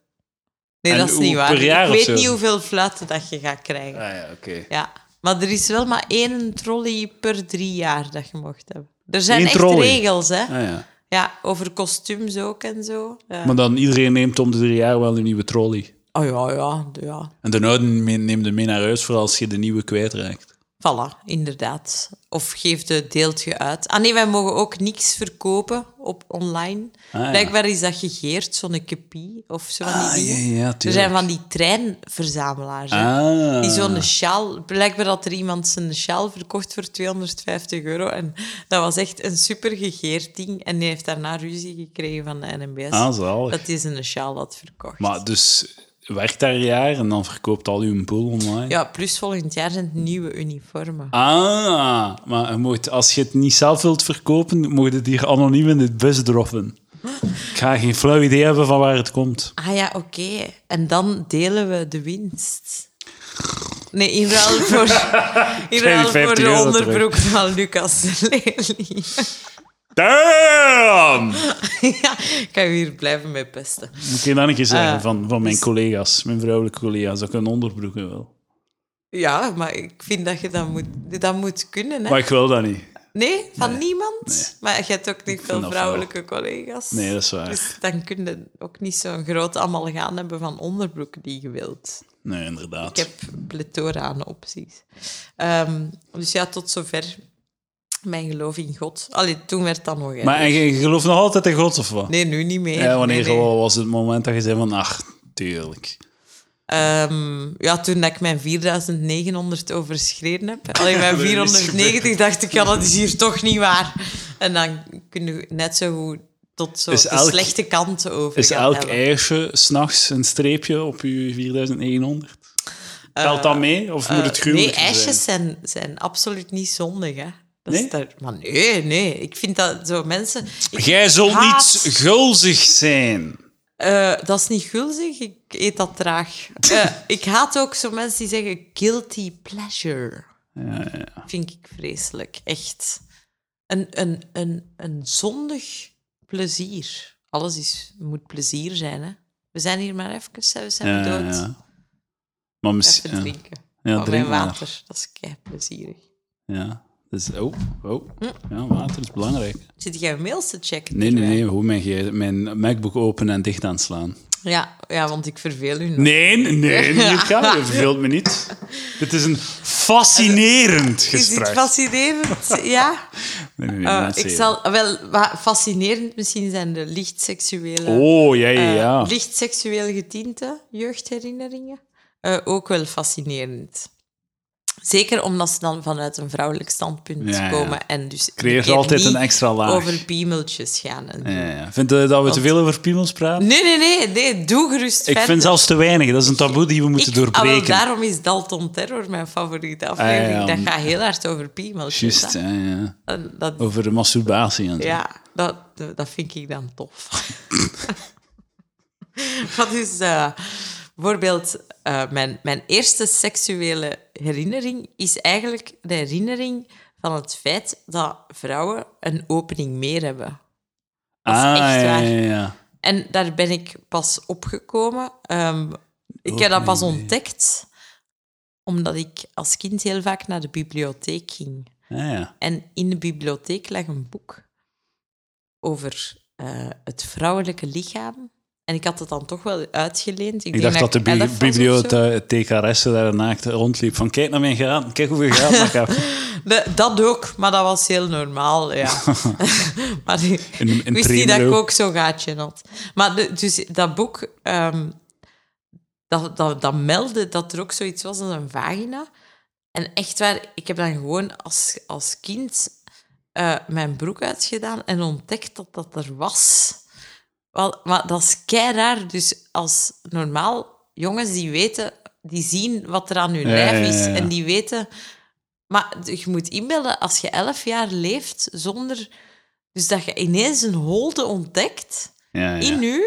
A: Nee,
B: En
A: dat is
B: hoe-
A: niet waar.
B: per jaar
A: ik
B: of
A: weet
B: zo?
A: niet hoeveel fluiten dat je gaat krijgen.
B: Ah ja, oké.
A: Ja, maar er is wel maar één trolley per drie jaar dat je mocht hebben. Er zijn
B: Eén
A: echt
B: trolley?
A: regels, hè?
B: Ah ja.
A: Ja, over kostuums ook en zo. Ja.
B: Maar dan iedereen neemt om de drie jaar wel een nieuwe trolley.
A: Oh ja, ja, ja.
B: En de oude mee- neemt hem mee naar huis voor als je de nieuwe kwijtraakt.
A: Voilà, inderdaad. Of geef de deeltje uit. Ah nee, wij mogen ook niks verkopen op online.
B: Ah, ja.
A: Blijkbaar is dat gegeerd, zo'n kopie of zo van die
B: Ah, ja,
A: dingen.
B: ja,
A: er
B: tuurlijk.
A: zijn van die treinverzamelaars. hè.
B: Ah.
A: Die zo'n sjaal... Blijkbaar had er iemand zijn sjaal verkocht voor 250 euro. En dat was echt een super gegeerd ding. En die heeft daarna ruzie gekregen van de NMBS.
B: Ah, zalig.
A: dat is een sjaal had verkocht.
B: Maar dus werkt daar een jaar en dan verkoopt al uw pool online?
A: Ja, plus volgend jaar zijn het nieuwe uniformen.
B: Ah, maar je moet, als je het niet zelf wilt verkopen, moet je het hier anoniem in de bus droppen. Ik ga geen flauw idee hebben van waar het komt.
A: Ah ja, oké. En dan delen we de winst. Nee, in ruil voor,
B: <laughs>
A: in ruil
B: die 50
A: voor de
B: euro
A: onderbroek van Lucas Lely.
B: Damn!
A: <laughs> ja, ik ga hier blijven mee pesten.
B: Moet je dan een keer zeggen
A: Eh,
B: van, van mijn collega's, mijn vrouwelijke collega's, dat ik hun onderbroeken wil.
A: Ja, maar ik vind dat je dat moet, dat moet kunnen. Hè?
B: Maar ik wil dat niet.
A: Nee, van niemand. Maar je hebt ook niet
B: vind
A: veel
B: dat
A: vrouwelijke collega's.
B: Nee, dat is waar.
A: Dus dan kun je ook niet zo'n groot gaan hebben van onderbroek die je wilt.
B: Nee, inderdaad.
A: Ik heb plethora aan opties. Ehm, dus ja, tot zover mijn geloof in God. Allee, toen werd dat nog... erger.
B: Maar en je je gelooft nog altijd in God of wat?
A: Nee, nu niet meer.
B: Ja, wanneer
A: Nee, nee.
B: wa- was het moment dat je zei van, ach, tuurlijk.
A: Ehm, ja, toen dat ik mijn 4900 overschreden heb. Alleen
B: <laughs>
A: mijn
B: Dat is
A: 490 dacht ik, ja, dat is hier toch niet waar. En dan kun je net zo goed tot zo
B: Is
A: de
B: elk-
A: slechte kant over
B: Is
A: gaan
B: elk
A: hebben.
B: ijsje s'nachts een streepje op je 4900? Telt dat mee? Of moet
A: Eh,
B: het gruwelijk
A: Nee, ijsjes
B: zijn?
A: zijn, zijn absoluut niet zondig, hè. Dat
B: Nee?
A: Is daar, maar nee, nee. Ik vind dat zo mensen... ik
B: Jij zult
A: haat-
B: niet gulzig zijn.
A: Eh, dat is niet gulzig, ik eet dat
B: <laughs>
A: traag. Eh, ik haat ook zo mensen die zeggen guilty pleasure. Vind ik vreselijk, echt. Een, een, een, een zondig plezier. Alles is, moet plezier zijn, hè. We zijn hier maar even, hè, we zijn
B: Ja, ja,
A: dood.
B: ja. Maar misschien...
A: Even
B: ja.
A: drinken.
B: Ja,
A: Van
B: drink
A: mijn
B: maar.
A: water, dat is kei plezierig.
B: Ja, dus, oh, oh.
A: Hm.
B: Ja, water is belangrijk.
A: Zit jij mails te checken?
B: Nee, nee,
A: terwijl?
B: nee, gewoon mijn, ge- mijn MacBook open en dicht aanslaan.
A: Ja, ja, want ik verveel u nog.
B: Nee,
A: <laughs>
B: nee, Mirka, je verveelt me niet. Dit is een fascinerend
A: Is dit
B: gesprek. <laughs>
A: fascinerend? ja.
B: Nee, nee, nee,
A: Eh,
B: niet
A: ik
B: zeker.
A: zal wel wa- fascinerend misschien zijn de licht seksuele,
B: Oh, ja, ja,
A: eh,
B: ja.
A: licht seksueel getinte jeugdherinneringen eh, ook wel fascinerend. Zeker omdat ze dan vanuit een vrouwelijk standpunt
B: Ja, ja.
A: komen en dus
B: Creëert
A: keer
B: altijd
A: niet
B: een extra laag.
A: over piemeltjes gaan. En...
B: Ja, ja. Vind je dat we te veel over piemels praten?
A: Nee, nee, nee, nee, doe gerust
B: Ik
A: verder.
B: vind zelfs te weinig. Dat is een taboe die we moeten
A: Ik- ah, wel,
B: doorbreken. Ah,
A: daarom is Dalton Terror mijn favoriete aflevering.
B: ja,
A: Dat
B: om-
A: gaat heel hard over piemeltjes.
B: Juist,
A: hè.
B: ja, ja.
A: En dat,
B: Over de masturbatie en zo.
A: Ja, dat, eh, dat vind ik dan tof. <laughs> Wat is eh, bijvoorbeeld eh, mijn, mijn eerste seksuele herinnering is eigenlijk de herinnering van het feit dat vrouwen een opening meer hebben. Dat is
B: ah,
A: echt
B: ja,
A: waar.
B: ja, ja.
A: En daar ben ik pas opgekomen. Ehm, ik heb dat pas
B: Opening meer.
A: ontdekt omdat ik als kind heel vaak naar de bibliotheek ging.
B: Ah, ja.
A: En in de bibliotheek lag een boek over eh, het vrouwelijke lichaam. En ik had het dan toch wel uitgeleend.
B: Ik dacht dat de
A: ik elf
B: bi-
A: was of zo.
B: bibliothecaresse daar naakt rondliep. Van kijk naar mijn graad, kijk hoeveel graad ik heb.
A: De- dat ook, maar dat was heel
B: <laughs>
A: normaal, ja. <laughs> maar ik
B: In- in
A: wist niet dat ik
B: Tremelo.
A: ook zo'n gaatje had. Maar de- dus dat boek, ehm, dat, dat, dat meldde dat er ook zoiets was als een vagina. En echt waar, ik heb dan gewoon als, als kind eh, mijn broek uitgedaan en ontdekt dat dat er was. Wel, maar dat is kei raar. Dus als normaal jongens die weten, die zien wat er aan hun
B: Ja,
A: lijf
B: ja,
A: is
B: ja, ja.
A: en die weten. Maar je moet inbeelden, als je elf jaar leeft zonder. Dus dat je ineens een holte ontdekt
B: <laughs> Ja, ja.
A: in u,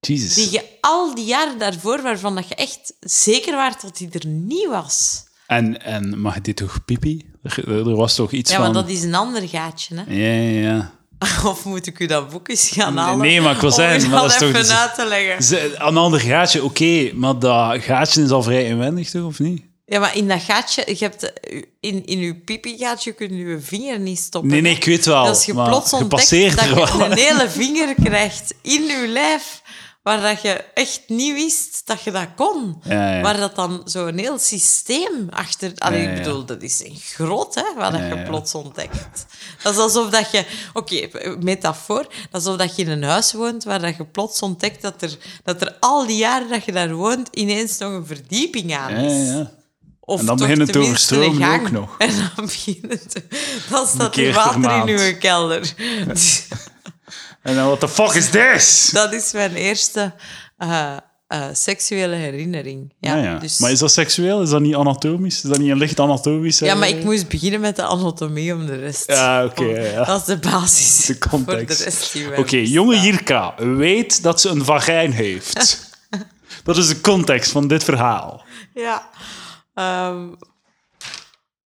B: Jezus.
A: die je al die jaren daarvoor, waarvan dat je echt zeker waart dat die er niet was.
B: En, en mag dit toch pipi? Er, er was toch iets
A: Ja,
B: van...
A: maar dat is een ander gaatje, hè?
B: Ja, ja, ja.
A: <laughs> Of moet ik u dat boek eens gaan
B: Nee,
A: halen?
B: nee, maar ik wil
A: om
B: zeggen,
A: u
B: maar dat is
A: even
B: toch-
A: uit te leggen.
B: Ze- Een ander gaatje, oké. maar dat gaatje is al vrij inwendig, toch? Of niet?
A: Ja, maar in dat gaatje, je hebt, eh, in, in je pipi-gaatje kun je je vinger niet stoppen.
B: Nee, nee, ik weet wel.
A: Dat je
B: maar
A: plots
B: je
A: ontdekt
B: passeert
A: dat
B: er
A: je <laughs>
B: wel. <laughs>
A: een hele vinger krijgt in je lijf, waar dat je echt niet wist dat je dat kon.
B: Ja, ja.
A: Waar dat dan zo'n heel systeem achter... Allee,
B: Ja, ja,
A: ik
B: ja.
A: bedoel, dat is een groot, hè, wat dat
B: Ja,
A: je
B: ja.
A: plots ontdekt. Dat is alsof dat je... Oké, metafoor. Dat is alsof dat je in een huis woont waar dat je plots ontdekt dat er, dat er al die jaren dat je daar woont ineens nog een verdieping aan
B: Ja,
A: is.
B: ja, ja.
A: Of
B: En dan
A: toch
B: beginnen te
A: tenminste een
B: overstromen
A: gang.
B: ook nog.
A: En dan beginnen te... Dan staat er
B: keer per
A: water
B: maand.
A: in uw kelder. Dus
B: En dan, what the fuck is this?
A: dat is mijn eerste eh, eh, seksuele herinnering. Ja,
C: Ah ja.
A: Dus,
C: Maar is dat seksueel? Is dat niet anatomisch? Is dat niet een licht anatomisch?
B: eh,
A: ja, maar ik
C: herinnering?
A: moest beginnen met de anatomie om de rest.
C: Ja, oké,
A: Om-
C: ja, ja.
A: Dat is de basis.
C: De context.
A: Voor de rest Dus die we
C: Oké,
A: hebben
C: jonge
A: bestaan.
C: Jirka weet dat ze een vagijn
A: <laughs>
C: heeft. dat is de context van dit verhaal.
A: Ja. Ehm,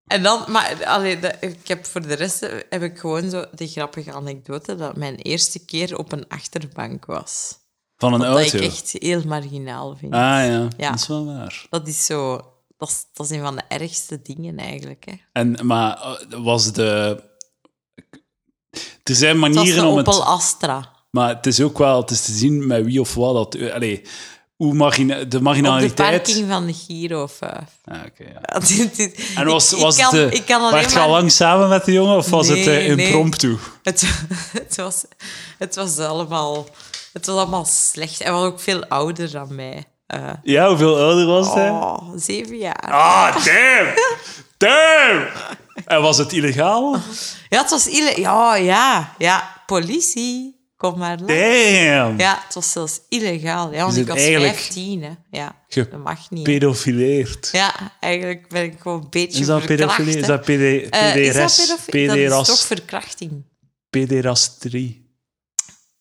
A: en dan, maar allee, de- ik heb voor de rest eh, heb ik gewoon zo de grappige anekdote dat mijn eerste keer op een achterbank was.
C: Van een
A: Dat
C: auto.
A: ik echt heel marginaal vind.
C: Oh, Ah ja.
A: Ja.
C: dat is wel waar.
A: Dat is zo, dat is, dat is een van de ergste dingen eigenlijk. Hè. Het
C: En, maar eh, was de... Er zijn
A: was
C: manieren
A: de
C: om het...
A: Opel Astra.
C: Maar het is ook wel het is te zien met wie of wat dat. eh, Allee, hoe margina, de
A: Op de
C: marginaliteit.
A: parking van de Giro eh, 5. <laughs>
C: Ah, oké, ja.
A: en
C: En was, was
A: ik kan,
C: het. eh,
A: ik kan alleen
C: waart je al
A: maar-
C: lang samen met de jongen of was het
A: Nee,
C: eh,
A: nee.
C: impromptu?
A: Het, <laughs> het, was, het, was allemaal, het was allemaal slecht. Hij was ook veel ouder dan mij. Eh,
C: Ja, hoeveel ouder was hij?
A: oh, zeven jaar.
C: Ah, damn! damn! En was het illegaal?
A: Ja, het was ille- Ja, ja, ja. Politie, kom maar langs.
C: Damn!
A: Ja, het was zelfs illegaal. Ja, want
C: Dus
A: ik was
C: het eigenlijk-
A: 15, hè. Ja,
C: Ge-
A: dat mag niet.
C: Pedofileerd.
A: Ja, eigenlijk ben ik gewoon een beetje
C: Is dat
A: verkracht,
C: pedofilie?
A: hè.
C: Is dat PD,
A: Eh, is dat
C: PDRS?
A: pedofilie? Dat is toch
C: PDRAS?
A: verkrachting?
C: Pederastrie.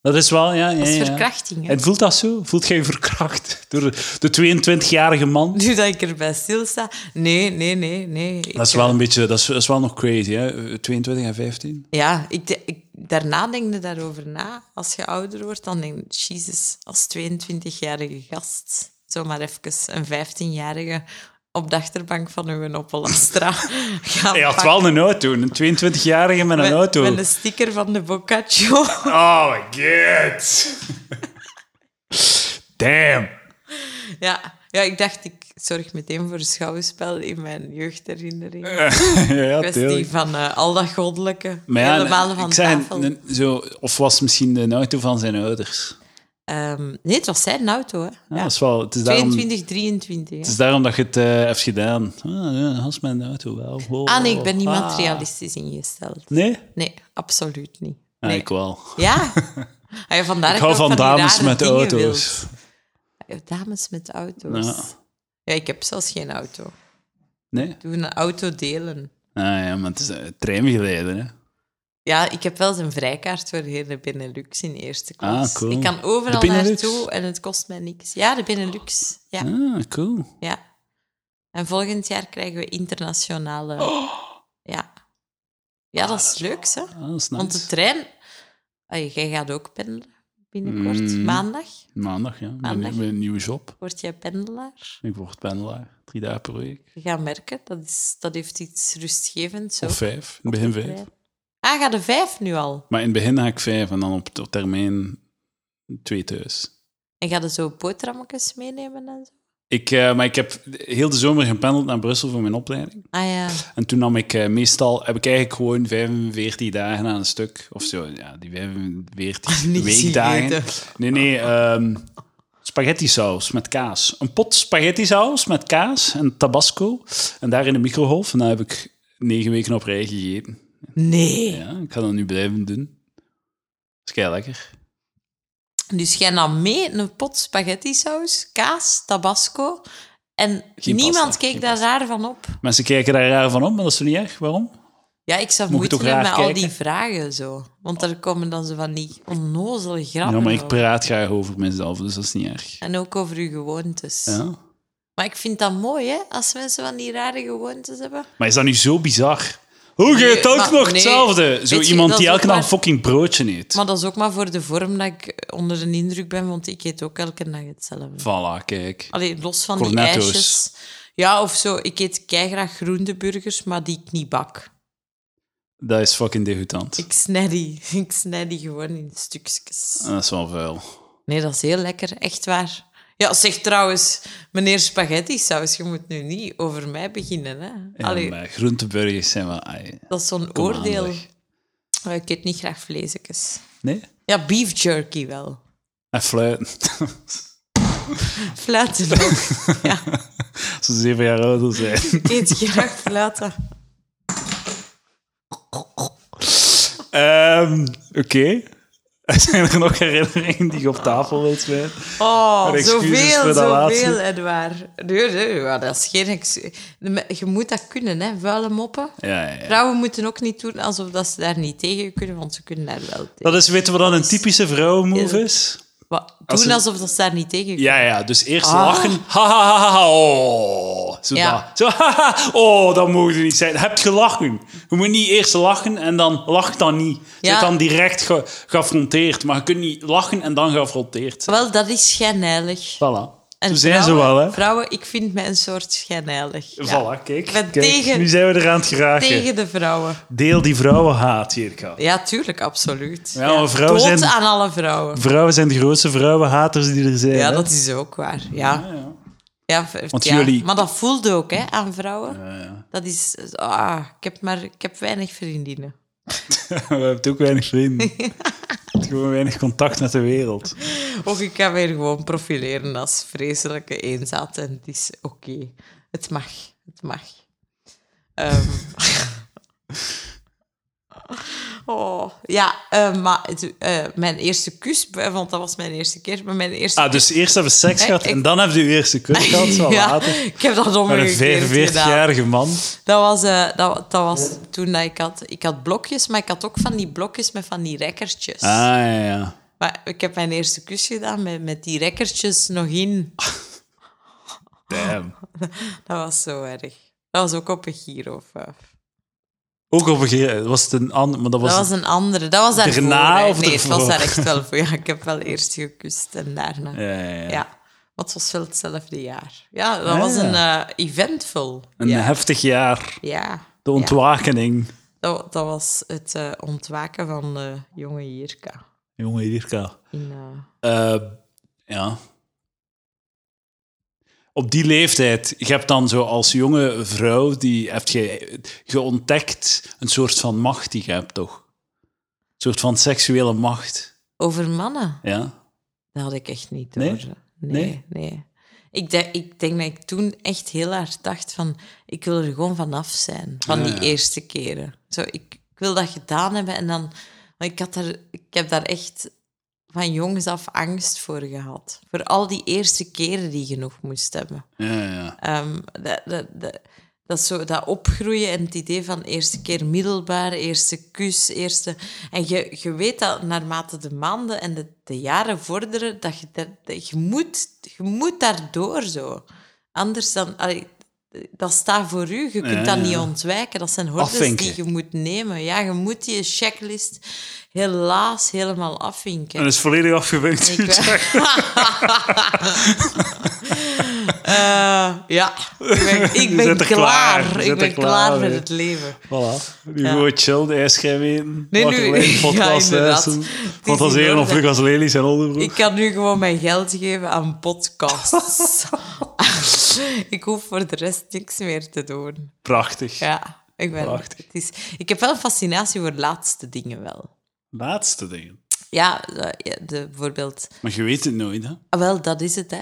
C: Dat is wel, ja. ja,
A: Dat is
C: ja.
A: verkrachting, hè.
C: En voelt dat zo? Voelt jij je verkracht door de 22-jarige man?
A: Nu dat ik erbij stilsta... Nee, nee, nee, nee. Ik,
C: Dat is wel een beetje, dat is, dat is wel nog crazy, hè? 22 en 15.
A: Ja, ik, de- ik, daarna denk je daarover na. Als je ouder wordt, dan denk je, jezus, als 22-jarige gast, zomaar even een 15-jarige op de achterbank van uw Opel Astra. <laughs> gaan
C: Hij had
A: pakken
C: wel een auto, een 22-jarige met een
A: met,
C: auto.
A: Met een sticker van de Boccaccio.
C: Oh my god.
A: <laughs>
C: Damn.
A: ja. ja, ik dacht, ik zorg meteen voor een schouwspel in mijn jeugdherinnering.
C: <laughs> ja,
A: kwestie
C: tuurlijk.
A: van eh, al dat goddelijke.
C: Maar ja,
A: helemaal van
C: ik zeg,
A: tafel.
C: een- zo, of was het misschien de auto van zijn ouders.
A: Ehm, nee, het was zijn auto, hè.
C: Ja,
A: Ja.
C: Dat is wel, het, is daarom,
A: 22, 23. hè.
C: het is daarom dat je het eh, hebt gedaan. Ah, ja, dat is mijn auto wel. Wow.
A: Ah nee, ik ben niet
C: Ah.
A: materialistisch ingesteld.
C: Nee?
A: Nee, absoluut niet.
C: Ah,
A: Nee.
C: ik wel.
A: <laughs> Ja?
C: <laughs>
A: Ah, ja, vandaar
C: Ik
A: dat
C: hou van
A: ook die
C: dames
A: rare
C: met
A: dingen
C: auto's.
A: wil. Ja, Dames met auto's.
C: Ja.
A: Ja. ik heb zelfs geen auto.
C: Nee?
A: Doe een auto delen.
C: Ah, ja, maar het is een treingeleider, hè?
A: Ja, ik heb wel eens een vrijkaart voor de hele Benelux in eerste klas.
C: Ah, cool.
A: Ik kan overal
C: De Benelux?
A: naartoe en het kost mij niks. Ja, de Benelux. Ja,
C: Ah, cool.
A: ja. En volgend jaar krijgen we internationale... Ja. ja, dat is het leukste.
C: Oh. Ah, dat is
A: Want de
C: nice.
A: trein... Ai, jij gaat ook pendelen binnenkort.
C: Mm.
A: Maandag
C: Maandag, ja.
A: Maandag.
B: Een, een nieuwe job.
A: word jij pendelaar.
B: Ik word pendelaar. Drie dagen per week.
A: Je gaat merken, dat, is, dat heeft iets rustgevends. Zo.
B: Of vijf. In het begin vijf.
A: trein. Ah, gaat de vijf nu al?
B: Maar in het begin ga ik vijf en dan op, op termijn twee thuis.
A: En gaat er zo boterhammetjes meenemen en zo?
B: Ik, eh, maar ik heb heel de zomer gependeld naar Brussel voor mijn opleiding.
A: Ah ja.
B: En toen nam ik eh, meestal, heb ik eigenlijk gewoon 45 dagen aan een stuk. Of zo, ja, die 45
A: Niks
B: weekdagen.
A: gegeten.
B: Nee, nee, ehm spaghetti saus met kaas. Een pot spaghetti saus met kaas en tabasco. En daar in de microgolf. En daar heb ik negen weken op rij gegeten.
A: Nee.
B: Ja, ik ga dat nu blijven doen. Dat is kei lekker.
A: Dus jij nam mee een pot spaghetti-saus, kaas, tabasco. En
B: Geen
A: niemand
B: pasta,
A: keek
B: geen
A: daar raar van op.
B: Mensen kijken daar raar van om, maar dat is toch niet erg? Waarom?
A: Ja, ik zou
B: Moet ik
A: moeite
B: toch
A: hebben met
B: raar
A: al die
B: kijken?
A: vragen zo. Want er komen dan zo van die onnozele grappen
B: Ja, maar ik
A: over.
B: praat graag over mezelf, dus dat is niet erg.
A: En ook over uw gewoontes.
B: Ja.
A: Maar ik vind dat mooi, hè? Als mensen van die rare gewoontes hebben.
B: Maar is dat nu zo bizar? Hoe je het
A: Nee,
B: ook
A: maar
B: nog
A: nee.
B: hetzelfde? Zo
A: Weet je,
B: iemand
A: dat
B: die
A: is
B: elke
A: ook
B: dag
A: waar.
B: een fucking broodje eet.
A: Maar dat is ook maar voor de vorm dat ik onder de indruk ben, want ik eet ook elke dag hetzelfde.
B: Voilà, kijk.
A: Allee, los van die
B: Cornetto's.
A: ijsjes. Ja, of zo. Ik eet keigraag groenteburgers, maar die ik niet bak.
B: Dat is fucking degoutant.
A: Ik snij die. <laughs> Ik snij die gewoon in stukjes.
B: Dat is wel vuil.
A: Nee, dat is heel lekker. Echt waar. Ja, zeg trouwens, meneer spaghetti saus, je moet nu niet over mij beginnen, hè?
B: Ja,
A: Allee,
B: maar groenteburgers zijn wel... ai,
A: dat is zo'n
B: kom aan,
A: oordeel.
B: zeg.
A: Eh, Ik eet niet graag vleesjes.
B: Nee?
A: Ja, beef jerky wel.
B: En fluiten. <laughs>
A: Fluiten ook.
B: Als ze zeven jaar ouder zijn.
A: Ik eet graag fluiten.
B: Ehm, Oké. <laughs>
C: Zijn er nog herinneringen die je op tafel wilt smijten?
A: Oh,
C: Maar excuses
A: zoveel,
C: voor dat
A: zoveel,
C: laatste.
A: Edouard. Nee, nee, maar dat is geen... ex- Je moet dat kunnen, hè, vuile moppen.
B: Ja, ja, ja.
A: Vrouwen moeten ook niet doen alsof dat ze daar niet tegen kunnen, want ze kunnen daar wel tegen.
C: Dat is, weten we dan, een typische vrouwenmove is?
A: Wat, doen
B: als ze-
A: alsof dat ze daar niet tegen kunnen.
B: Ja, ja, dus eerst
A: Ah.
B: lachen. Ha, ha, ha, ha, ha, oh. Zo,
A: Ja.
B: dat. Zo, <laughs> ha, ha, oh, dat mogen ze niet zijn. Heb gelachen. Je moet niet eerst lachen en dan lacht dan niet. Je
A: Ja.
B: bent dan direct ge- geaffronteerd. Maar je kunt niet lachen en dan geaffronteerd.
A: Wel, dat is schijnheilig.
C: Voilà.
A: En
C: Zo zijn ze wel, hè?
A: Vrouwen, ik vind mij een soort schijnheilig. Ja.
B: Voilà, kijk.
A: Ik ben
C: Kijk,
A: tegen,
C: nu zijn we eraan het geraken.
A: tegen de vrouwen.
C: Deel die vrouwenhaat, Jirka.
A: Ja, tuurlijk, absoluut.
C: Ja, maar vrouwen
A: Dood
C: zijn-
A: aan alle vrouwen.
C: Vrouwen zijn de grootste vrouwenhaters die er zijn.
A: Ja,
C: hè?
B: <laughs>
A: dat is ook waar. Ja.
B: Ja, ja.
A: Ja,
B: Want
A: Want ja.
B: jullie-
A: Maar dat voelde ook hè, aan vrouwen. Dat is... Ah, ik, heb maar, ik heb weinig vriendinnen.
C: We hebben ook weinig
A: <laughs>
C: vrienden. We hebben gewoon weinig contact met de wereld.
A: Of ik kan weer gewoon profileren als vreselijke eenzaad. En het is oké. Het mag. Het mag. Ehm. <laughs> oh, ja, eh, maar het- eh, mijn eerste kus... eh, Want dat was mijn eerste keer. Maar mijn eerste
C: Ah, dus eerst hebben we seks
A: Hey,
C: gehad
A: ik-
C: en dan hebben we je eerste kus gehad, zo
A: <laughs> ja,
C: later.
A: ik heb dat
C: Met een
A: omgekeerd gedaan.
C: 45-jarige man.
A: Dat was, eh, dat, dat was toen dat ik had... Ik had blokjes, maar ik had ook van die blokjes met van die rekkertjes.
C: Ah, ja, ja.
A: Maar ik heb mijn eerste kus gedaan met, met die rekkertjes nog in.
C: Damn.
A: Dat was zo erg. Dat was ook op een Giro 5.
C: Ook op een gegeven moment was het een ander, maar dat was,
A: Dat was een andere. Dat was daarvoor.
C: Daarna
A: hè.
C: of
A: nee, het was
C: ervoor?
A: daar echt wel voor. Ja, ik heb wel eerst gekust en daarna. Ja.
C: Ja, ja, ja.
A: Maar het was wel hetzelfde jaar. Ja, dat was een eh, eventvol.
C: Ah, een
A: ja.
C: heftig jaar.
A: ja.
C: De
A: Ja.
C: ontwakening.
A: Dat, dat was het eh, ontwaken van eh jonge Jirka.
C: Jongen, Jirka.
A: In, eh,
C: Eh, ja. Op die leeftijd, je hebt dan zo als jonge vrouw, die hebt je, je ontdekt een soort van macht die je hebt, toch? Een soort van seksuele macht,
A: over mannen,
C: ja?
A: dat had ik echt niet door.
C: Nee?
A: Nee,
C: Nee?
A: nee. Ik, de- ik denk dat ik toen echt heel hard dacht van... Ik wil er gewoon vanaf zijn, van die
C: Ah, ja.
A: eerste keren. Zo, ik, ik wil dat gedaan hebben en dan... Maar ik, had er, ik heb daar echt van jongs af angst voor gehad. Voor al die eerste keren die je nog moest hebben.
C: Ja, ja.
A: Ehm, dat, dat, dat, dat, zo, dat opgroeien en het idee van eerste keer middelbaar, eerste kus, eerste... En je, je weet dat naarmate de maanden en de, de jaren vorderen, dat je, dat, dat je, moet, je moet daardoor zo. Anders dan... allee, dat staat voor u. Je kunt
C: Ja, ja.
A: dat niet ontwijken. Dat zijn hordes
C: Afvinken.
A: die je moet nemen. Ja, je moet die checklist helaas helemaal afvinken.
C: En is volledig afgewerkt.
A: Ik ben- <laughs> Eh, ja, ik ben, ik ben
C: Zet er
A: klaar.
C: klaar. Zet er
A: Ik ben
C: klaar
A: klaar met
C: mee.
A: het leven.
C: Voilà. Nu gewoon chill, de ijsschijf eten.
A: Nee,
C: wakker
A: nu-
C: liggen,
A: <laughs> ja,
C: podcast
A: inderdaad.
C: luisteren,
A: Het is
C: Fantaseren
A: in
C: of
A: orde.
C: Lucas Lely's en onderbroek.
A: Ik kan nu gewoon mijn geld geven aan podcasts. ik hoef voor de rest niks meer te doen.
C: Prachtig.
A: Ja, ik ben...
C: Prachtig.
A: Het is, ik heb wel een fascinatie voor laatste dingen wel.
C: Laatste dingen.
A: Ja, eh, ja, de, bijvoorbeeld...
B: Maar je weet het nooit, hè?
A: Ah, wel, dat is het, hè.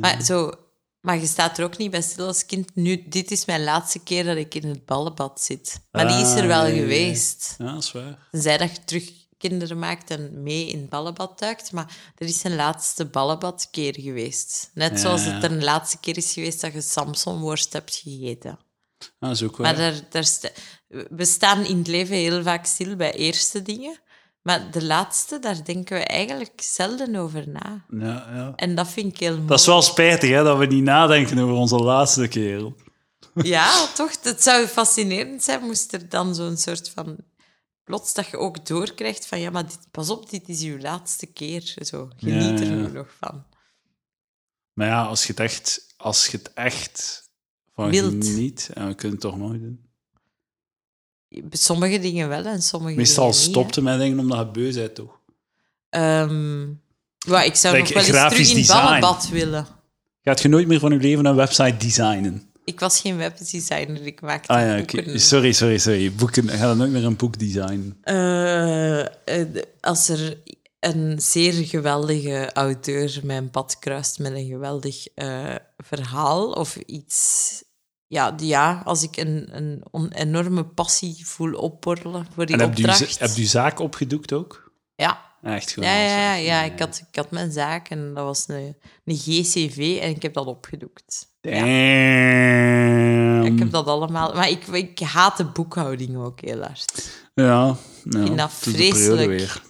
A: Maar, zo, maar je staat er ook niet bij stil als kind. Nu, dit is mijn laatste keer dat ik in het ballenbad zit. Maar die is
C: Ah,
A: er wel
C: ja, ja, ja.
A: geweest.
B: Ja, dat is waar.
A: Zij dat je terug kinderen maakt en mee in het ballenbad duikt. Maar er is een laatste ballenbadkeer geweest. Net zoals
B: ja.
A: het er een laatste keer is geweest dat je Samsonworst hebt gegeten.
B: Ja, dat is ook
A: Maar
B: waar.
A: daar, daar sta- we staan in het leven heel vaak stil bij eerste dingen. Maar de laatste, daar denken we eigenlijk zelden over na.
B: Ja, ja.
A: En dat vind ik heel mooi.
C: Dat is wel spijtig, hè, dat we niet nadenken over onze laatste keer.
A: Ja, toch? Het zou fascinerend zijn, moest er dan zo'n soort van... Plots dat je ook doorkrijgt van, ja, maar dit, pas op, dit is uw laatste keer. Zo, geniet
B: Ja,
A: er
B: ja.
A: nu nog van.
B: Maar ja, als je het echt, als je het echt van
A: Wilt.
B: geniet, en we kunnen het toch nooit doen.
A: Sommige dingen wel en sommige
B: Meestal
A: dingen niet,
B: stopt het met dingen omdat je beu bent, toch?
A: hè. Ehm, maar ik zou
C: Kijk,
A: nog wel eens
C: grafisch
A: terug in het
C: design.
A: ballenbad willen.
B: Gaat je nooit meer van je leven een website designen?
A: Ik was geen webdesigner, ik maakte
B: Ah ja, oké.
A: boeken.
B: sorry, sorry, sorry. Boeken, ga dan nooit meer een boek designen.
A: Eh, eh, als er een zeer geweldige auteur mijn pad kruist met een geweldig eh, verhaal of iets. Ja, die- ja als ik een, een on- enorme passie voel opborrelen voor die
C: En heb je,
A: opdracht.
C: heb je zaak opgedoekt ook?
A: Ja,
B: Ah, Echt gewoon.
A: Ja,
B: alles
A: ja, ja,
B: zelf.
A: ja, ik had, ik had mijn zaak en dat was een, een GCV en ik heb dat opgedoekt. Ja, ik heb
B: Damn.
A: dat allemaal... Maar ik, ik haat de boekhouding ook heel hard.
B: Ja, ja.
A: vind dat
B: het is de periode
A: vreselijk.
B: weer.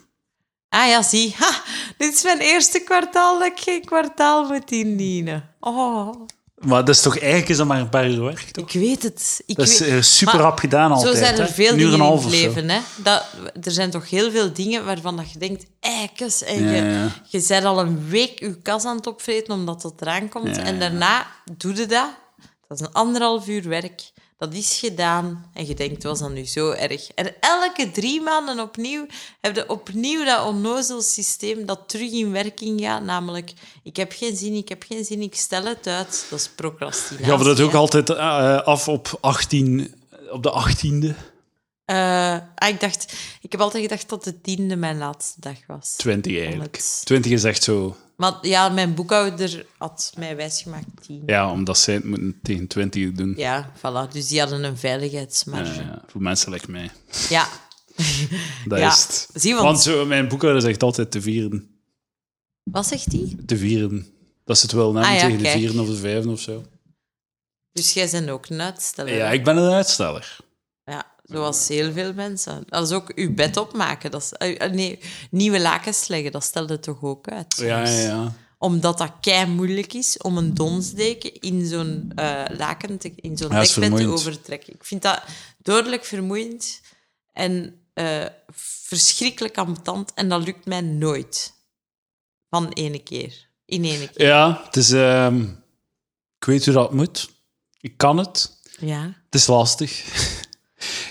A: Ah ja, zie. Ha, dit is mijn eerste kwartaal dat ik geen kwartaal moet indienen. Oh,
B: Maar dat is toch eigenlijk is dat maar een paar uur werk, toch?
A: ik weet het. Ik
B: Dat is
A: weet...
B: eh, super
A: Maar
B: rap gedaan altijd.
A: Zo zijn er
B: hè?
A: veel
B: Een uur en
A: dingen
B: een
A: in
B: half
A: het
B: of zo.
A: leven. Hè? Dat, er zijn toch heel veel dingen waarvan dat je denkt... Eikes, en
B: Ja,
A: je,
B: ja.
A: je bent al een week je kas aan het opvreten omdat dat eraan komt.
B: Ja, ja.
A: En daarna doe je dat. Dat is een anderhalf uur werk. Dat is gedaan. En je denkt, was dat nu zo erg? En elke drie maanden opnieuw heb je opnieuw dat onnozel systeem dat terug in werking gaat. Namelijk, ik heb geen zin, ik heb geen zin, ik stel het uit. Dat is procrastinatie.
B: Gaven dat ook
A: hè.
B: altijd eh, af op, 18, op de 18e,
A: Eh, ah, ik, dacht, ik heb altijd gedacht dat de tiende mijn laatste dag was.
B: 20 eigenlijk.
A: Omdat-
B: 20 is echt zo.
A: Maar ja, mijn boekhouder had mij wijsgemaakt tien.
B: Ja, omdat zij het moeten tegen 20 doen.
A: Ja, voilà. Dus die hadden een veiligheidsmarge.
B: Eh, voor mensen like mij.
A: ja.
B: Dat
A: Ja,
B: is het.
A: zie,
B: want
A: want-
B: zo, mijn boekhouder zegt altijd te vieren.
A: Wat zegt die?
B: Te vieren. Dat is het wel namen
A: Ah ja,
B: tegen de
A: kijk.
B: vieren of de vijven of zo.
A: Dus jij bent ook een uitsteller.
B: Ja, ik ben een uitsteller.
A: Ja, zoals heel veel mensen. Dat is ook uw bed opmaken. Dat is, eh, eh, nee, nieuwe lakens leggen, dat stelde toch ook uit?
B: Ja, ja,
A: soms?
B: ja.
A: Omdat dat kei moeilijk is om een donsdeken in zo'n eh, laken, te, in zo'n
B: Ja, dat is
A: dekbed te
B: vermoeiend.
A: overtrekken. Ik vind dat dodelijk vermoeiend en eh, verschrikkelijk ambetant. En dat lukt mij nooit. Van ene keer. In ene keer.
B: Ja, het is... ehm, ik weet hoe dat moet. Ik kan het.
A: Ja.
B: Het is lastig. <laughs>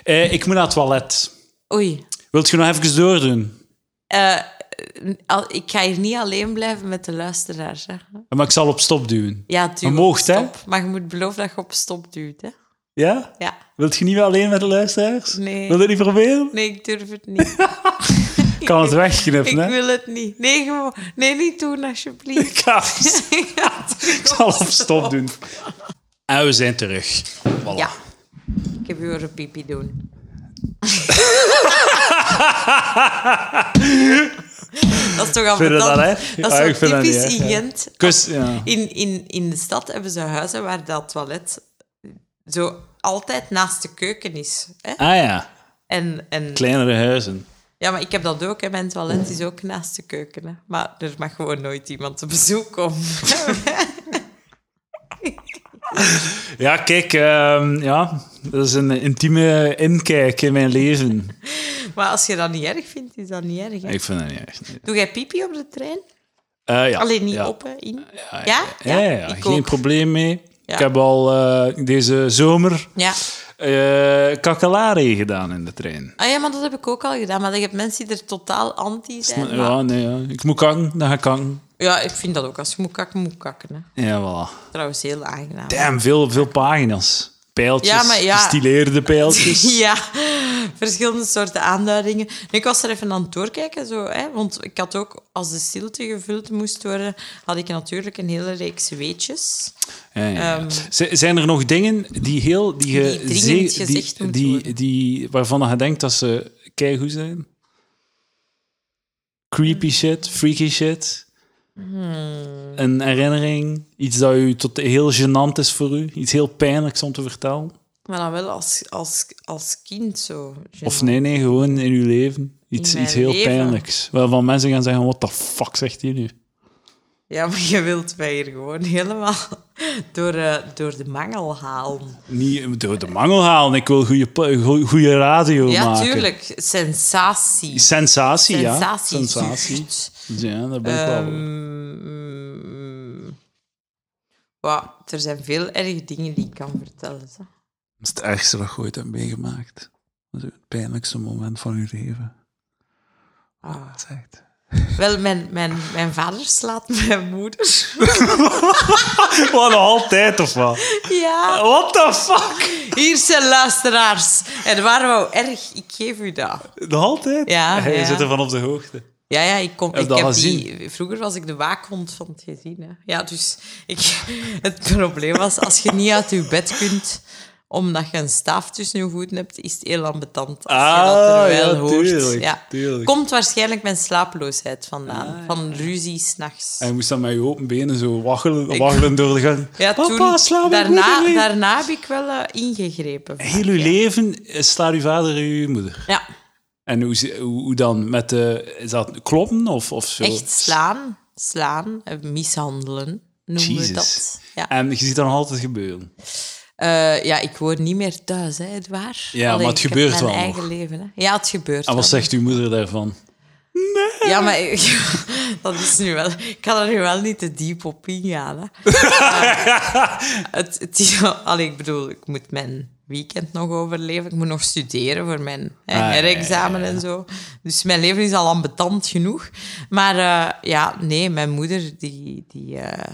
B: Eh, ik moet naar het toilet.
A: Oei.
B: Wilt je nog even doordoen?
A: Eh, al- ik ga hier niet alleen blijven met de luisteraars. Hè.
B: Maar ik zal op stop duwen.
A: Ja, duw
B: Je
A: op
B: moogt, hè?
A: stop. Maar je moet beloven dat je op stop duwt, hè?
B: Ja?
A: Ja.
B: Wilt je niet meer alleen met de luisteraars?
A: Nee.
B: Wil je niet proberen?
A: Nee, ik durf het niet.
B: Ik kan het
A: <laughs>
B: wegknippen,
A: ik
B: hè?
A: wil het niet. Nee, gewoon... Nee, niet doen, alsjeblieft. <laughs>
B: Ik <laughs> ga op- dus ik zal op stop doen. En we zijn terug. Voilà.
A: Ja. Ik heb u een pipi
B: <laughs>
A: doen. dat is toch al
B: Vind je dat,
A: dat
B: hè?
A: is
B: Ja,
A: zo
B: ik vind dat
A: typisch
B: niet, hè.
A: in
B: Ja.
A: Gent.
B: Kus, ja.
A: In, in, in de stad hebben ze huizen waar dat toilet zo altijd naast de keuken is. Hè?
B: Ah ja,
A: En, en,
B: kleinere huizen.
A: ja, maar ik heb dat ook. Hè. Mijn toilet is ook naast de keuken. Hè. Maar er mag gewoon nooit iemand op bezoek
B: <laughs>
A: komen.
B: Ja, kijk, ehm, ja. dat is een intieme inkijk in mijn leven.
A: maar als je dat niet erg vindt, is dat niet erg. Hè?
B: Ik vind dat niet echt.
A: Doe jij pipi op de trein?
B: Eh, ja.
A: Alleen niet
B: ja.
A: op, hè, in? Ja?
B: Ja, ja, ja.
A: Ik
B: geen
A: ook.
B: probleem mee.
A: Ja.
B: Ik heb al eh, deze zomer
A: Ja.
B: eh kakkelari gedaan in de trein.
A: Ah ja, maar dat heb ik ook al gedaan. Maar je hebt mensen die er totaal anti zijn. maar- Ja.
B: Ja, nee, ja. Ik moet kangen, dan ga ik kangen.
A: ik vind dat ook. Als je moet kakken, moet kakken. Hè.
B: Ja, voilà.
A: Trouwens, heel aangenaam.
B: Damn, veel, veel pagina's. Pijltjes,
A: Ja, maar ja.
B: gestileerde pijltjes.
A: <laughs> Ja, verschillende soorten aanduidingen. Nee, ik was er even aan het doorkijken, zo, hè, want ik had ook, als de stilte gevuld moest worden, had ik natuurlijk een hele reeks weetjes.
B: Ja, ja, ja.
A: Ehm.
B: Z- zijn er nog dingen die heel... Die, je
A: Die dringend
B: zeer-
A: gezegd moeten
B: die,
A: worden?
B: die Waarvan je denkt dat ze keigoed zijn? Creepy
A: Hmm.
B: shit, freaky shit. Een herinnering, iets dat u tot heel gênant is voor u, iets heel pijnlijks om te vertellen.
A: Maar dan wel als, als, als kind zo.
B: Of nee, nee, gewoon in uw leven. Iets,
A: In mijn
B: iets heel
A: leven?
B: pijnlijks. Waarvan mensen gaan zeggen, what the fuck zegt hij nu?
A: Ja, maar je wilt mij hier gewoon helemaal <laughs> door, eh, door de mangel halen.
B: Niet door de mangel halen, ik wil goede radio
A: ja,
B: maken.
A: tuurlijk. Sensatie.
B: Sensatie, ja.
A: Sensatie.
B: Sensatie. <laughs> Ja, daar ben ik wel voor.
A: Ehm, wauw, er zijn veel erg dingen die ik kan vertellen. Zo.
B: Dat is het ergste dat je ooit hebt meegemaakt. Dat is het pijnlijkste moment van je leven.
A: Ah.
B: Dat is echt...
A: Wel, mijn, mijn, mijn vader slaat mijn moeder.
B: <laughs>
A: <laughs>
B: Wat, nog altijd of wat?
A: Ja,
B: What the fuck?
A: hier zijn luisteraars. En waar wou erg, ik geef u dat.
B: Nog altijd?
A: Ja,
B: Hij
A: ja.
B: zit ervan op de hoogte.
A: Ja, ja, ik kom.
B: Heb
A: Ik
B: dat
A: heb die,
B: gezien?
A: vroeger was ik de waakhond van het <laughs> gezin. Hè. Ja, dus ik, het probleem was, als je niet uit je bed kunt omdat je een staaf tussen je voeten hebt, is het heel ambetant. Als je dat er wel hoort.
B: Ah, tuurlijk,
A: ja.
B: tuurlijk. Ah,
A: Komt waarschijnlijk mijn slaaploosheid vandaan. Van ruzie s'nachts.
B: En je moest dan met je open benen zo waggelen, waggelen door de gang.
A: Ja,
B: Papa, slaap
A: daarna,
B: daarna,
A: daarna heb ik wel eh, ingegrepen. vaak,
B: Heel uw
A: ja.
B: leven eh, slaat uw vader en uw moeder.
A: Ja,
B: En hoe, ze- hoe, hoe dan? Met, eh, is dat kloppen of, of zo?
A: echt slaan. Slaan, eh, mishandelen noemen we
B: Jezus.
A: dat. Ja.
B: En je ziet dat nog altijd gebeuren.
A: Eh, ja, ik woon niet meer thuis, hè, het waar.
B: Ja, maar het
A: ik heb
B: gebeurt
A: mijn
B: wel
A: eigen
B: nog.
A: leven. Hè. Ja, het gebeurt.
B: En wat
A: wel.
B: zegt uw moeder daarvan?
A: Ja, maar ik- <laughs> dat is nu wel. Ik kan er nu wel niet te diep op ingaan.
B: <laughs>
A: Hè. Maar het, het is, allee, ik bedoel, ik moet mijn weekend nog overleven. Ik moet nog studeren voor mijn hè,
B: Ah, ja, ja,
A: herexamen en zo. Dus mijn leven is al ambetant genoeg. Maar eh, ja, nee, mijn moeder die. die eh,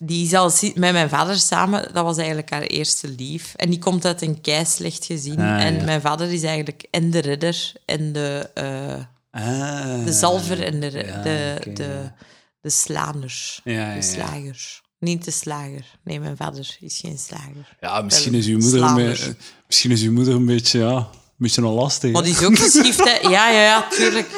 A: die is al si- met mijn vader samen, dat was eigenlijk haar eerste lief. En die komt uit een kei slecht gezin.
B: Ah,
A: en
B: ja.
A: mijn vader is eigenlijk en de redder en de eh,
B: Ah.
A: de zalver en de,
B: ja,
A: de,
B: oké,
A: de, de slaner.
B: Ja, ja, ja.
A: De slager. Niet de slager. Nee, mijn vader is geen slager.
B: Ja, misschien
A: Wel,
B: is, uw moeder een
A: slanders.
B: be- misschien is uw moeder een beetje, ja, een, beetje een lastig.
A: Maar die is ook geschift,
B: <laughs>
A: hè? Ja, ja, ja, tuurlijk.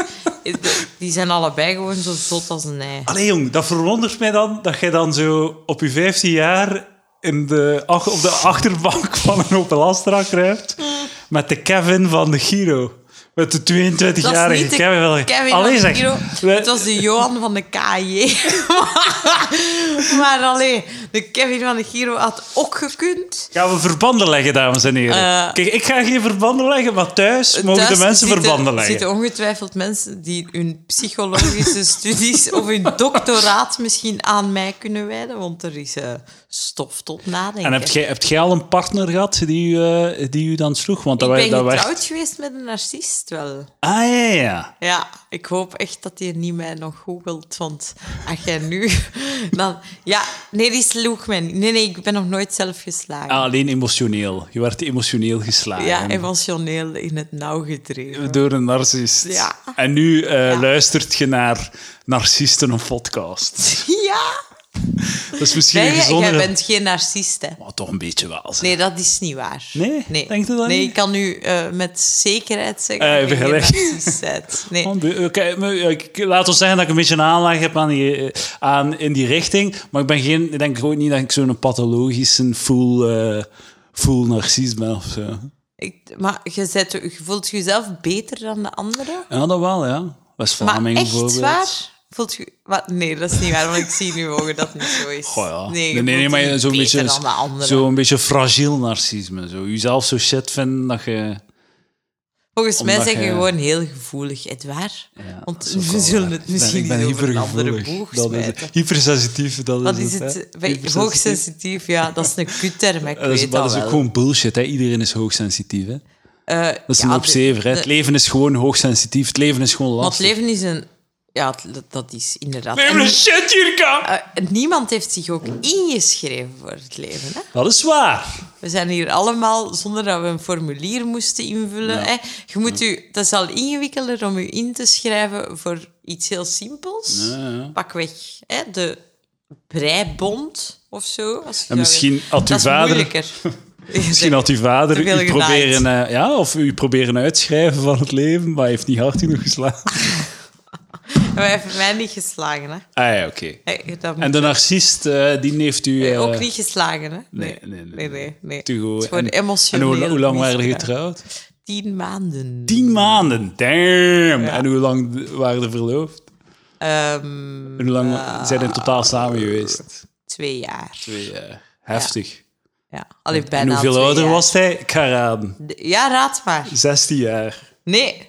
A: Eh, De- Die zijn allebei gewoon zo zot als een ei.
B: Allee jong, dat verwondert mij dan dat jij dan zo op je 15 jaar in de, ach- op de achterbank <laughs> van een Opel Astra kruipt met de Kevin van de Giro. Met de 22-jarige
A: niet de
B: Kevin van de
A: Kevin
B: Allee,
A: van de
B: zeg,
A: Giro.
B: wij-
A: Het was de Johan van de KJ. <laughs> maar alleen, de Kevin van de Giro had ook gekund.
B: Gaan we verbanden leggen, dames en heren?
A: Eh,
B: Kijk, ik ga geen verbanden leggen, maar thuis mogen
A: Thuis
B: de mensen
A: zitten-
B: verbanden leggen.
A: zitten ongetwijfeld mensen die hun psychologische <laughs> studies of hun doctoraat misschien aan mij kunnen wijden, want er is eh, stof tot nadenken.
B: En hebt jij, hebt jij al een partner gehad die, u, eh, die u dan sloeg? Want dat
A: ik
B: wij-
A: ben
B: dat wij-
A: getrouwd geweest met een narcist wel.
B: Ah ja, ja, ja.
A: Ja, ik hoop echt dat hij niet mij nog googelt, want als jij nu... <laughs> Dan, ja, nee, die sloeg mij niet. Nee, nee, ik ben nog nooit zelf geslagen.
B: Ah, alleen emotioneel. Je werd emotioneel geslagen.
A: ja, emotioneel in het nauw gedreven.
B: Door een narcist.
A: Ja.
B: En nu eh, luistert je naar narcisten een podcast.
A: Ja!
B: Dat is misschien
A: Nee,
B: een
A: jij
B: gezondere...
A: bent geen narcist, hè.
B: Maar toch een beetje wel. zeg.
A: Nee, dat is niet waar.
B: Nee? Denk je dat
A: Nee,
B: niet?
A: ik kan nu eh, met zekerheid zeggen
B: Eh,
A: dat ik geen
B: vergelijk.
A: narcist ben. Nee.
B: Oh, be- oké, maar, eh, ik- Laat ons zeggen dat ik een beetje een aanleg heb aan die, eh, aan, in die richting. Maar ik ben geen, ik denk gewoon niet dat ik zo'n pathologische full, eh, full narcist ben of zo.
A: Ik, maar je, zet, je voelt jezelf beter dan de anderen?
B: Ja, dat wel, ja.
A: Maar
B: West-Vlamingen
A: echt
B: bijvoorbeeld.
A: waar? Voelt je, wat? Nee, dat is niet waar, want ik zie in uw ogen dat het niet zo is.
B: Goh, ja.
A: Nee, je
B: nee, nee,
A: voelt je
B: maar
A: niet
B: zo'n
A: beter
B: beetje,
A: dan de anderen.
B: zo'n beetje fragiel narcisme. Zo. Jezelf zo shit vinden dat je...
A: Volgens mij
B: omdat
A: zijn je
B: je-
A: gewoon heel gevoelig, Edouard.
B: Ja, dat
A: Want
B: is ook
A: we
B: wel
A: zullen
B: waar.
A: het misschien
B: ik ben, ik
A: niet
B: ben
A: over een andere
B: hypergevoelig.
A: boeg
B: Dat is
A: smijten.
B: het. Hypersensitief, dat is
A: Wat is
B: het, hè.
A: het? Bij-
B: Hypersensitief.
A: Hoogsensitief, ja, dat is een kutterm, ik
B: Ja, Dat is,
A: weet
B: maar dat
A: dat
B: is ook
A: wel.
B: gewoon bullshit. Hè. Iedereen is hoogsensitief. Hè.
A: Eh,
B: Dat is
A: ja,
B: een opzever. Hè.
A: de-
B: Het leven is gewoon hoogsensitief. Het leven is gewoon
A: Want
B: lastig.
A: leven is een... Ja, het- dat- dat is inderdaad...
B: leven
A: En-
B: is shit, Jirka!
A: eh, niemand heeft zich ook ingeschreven voor het leven. Hè?
B: Dat is waar.
A: We zijn hier allemaal zonder dat we een formulier moesten invullen. Hè? Je moet u, dat is al ingewikkelder om u in te schrijven voor iets heel simpels. Pak weg hè? de breibond of zo. Als je dat
B: misschien
A: weet.
B: had uw
A: dat is
B: vader- <laughs>
A: moeilijker.
B: Misschien had uw vader
A: Te veel
B: u
A: genaaid.
B: proberen, eh, ja, of u proberen uitschrijven van het leven, maar hij heeft niet hard genoeg geslagen.
A: Maar hij heeft mij niet geslagen. Hè?
B: Ah ja, oké.
A: Hè, dat moet-
B: En de narcist, eh, die heeft u... eh,
A: Ook niet geslagen, hè?
B: Nee, nee, nee.
A: nee. nee, nee.
B: te goed.
A: Het is gewoon
B: En- En
A: emotioneel.
B: hoe, hoe lang waren jullie
A: misbruik.
B: getrouwd?
A: Tien maanden.
B: Tien maanden, damn! En hoe lang waren ze verloofd?
A: Ehm,
B: En hoe lang zijn ze in totaal samen geweest?
A: twee jaar.
B: Twee jaar. Heftig.
A: Ja, allee,
B: En
A: bijna
B: hoeveel
A: twee
B: ouder
A: jaar.
B: was hij? Ik ga raden.
A: De- Ja, raad maar.
B: 16 jaar.
A: Nee.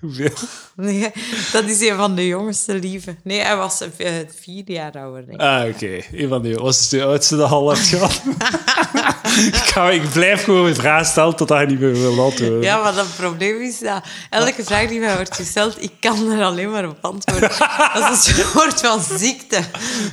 B: Hoeveel?
A: nee, <laughs> dat is een van de jongste lieven. Nee, hij was eh, vier jaar ouder, denk ik.
B: Ah, oké. Een van die was het de oudste dat al heeft
A: <laughs>
B: gehad. ik, ga, ik blijf gewoon een vraag stellen totdat hij niet meer wil antwoorden.
A: Ja, maar dat probleem is dat elke vraag die mij wordt gesteld, ik kan er alleen maar op antwoorden.
B: <laughs>
A: Dat is een soort van ziekte.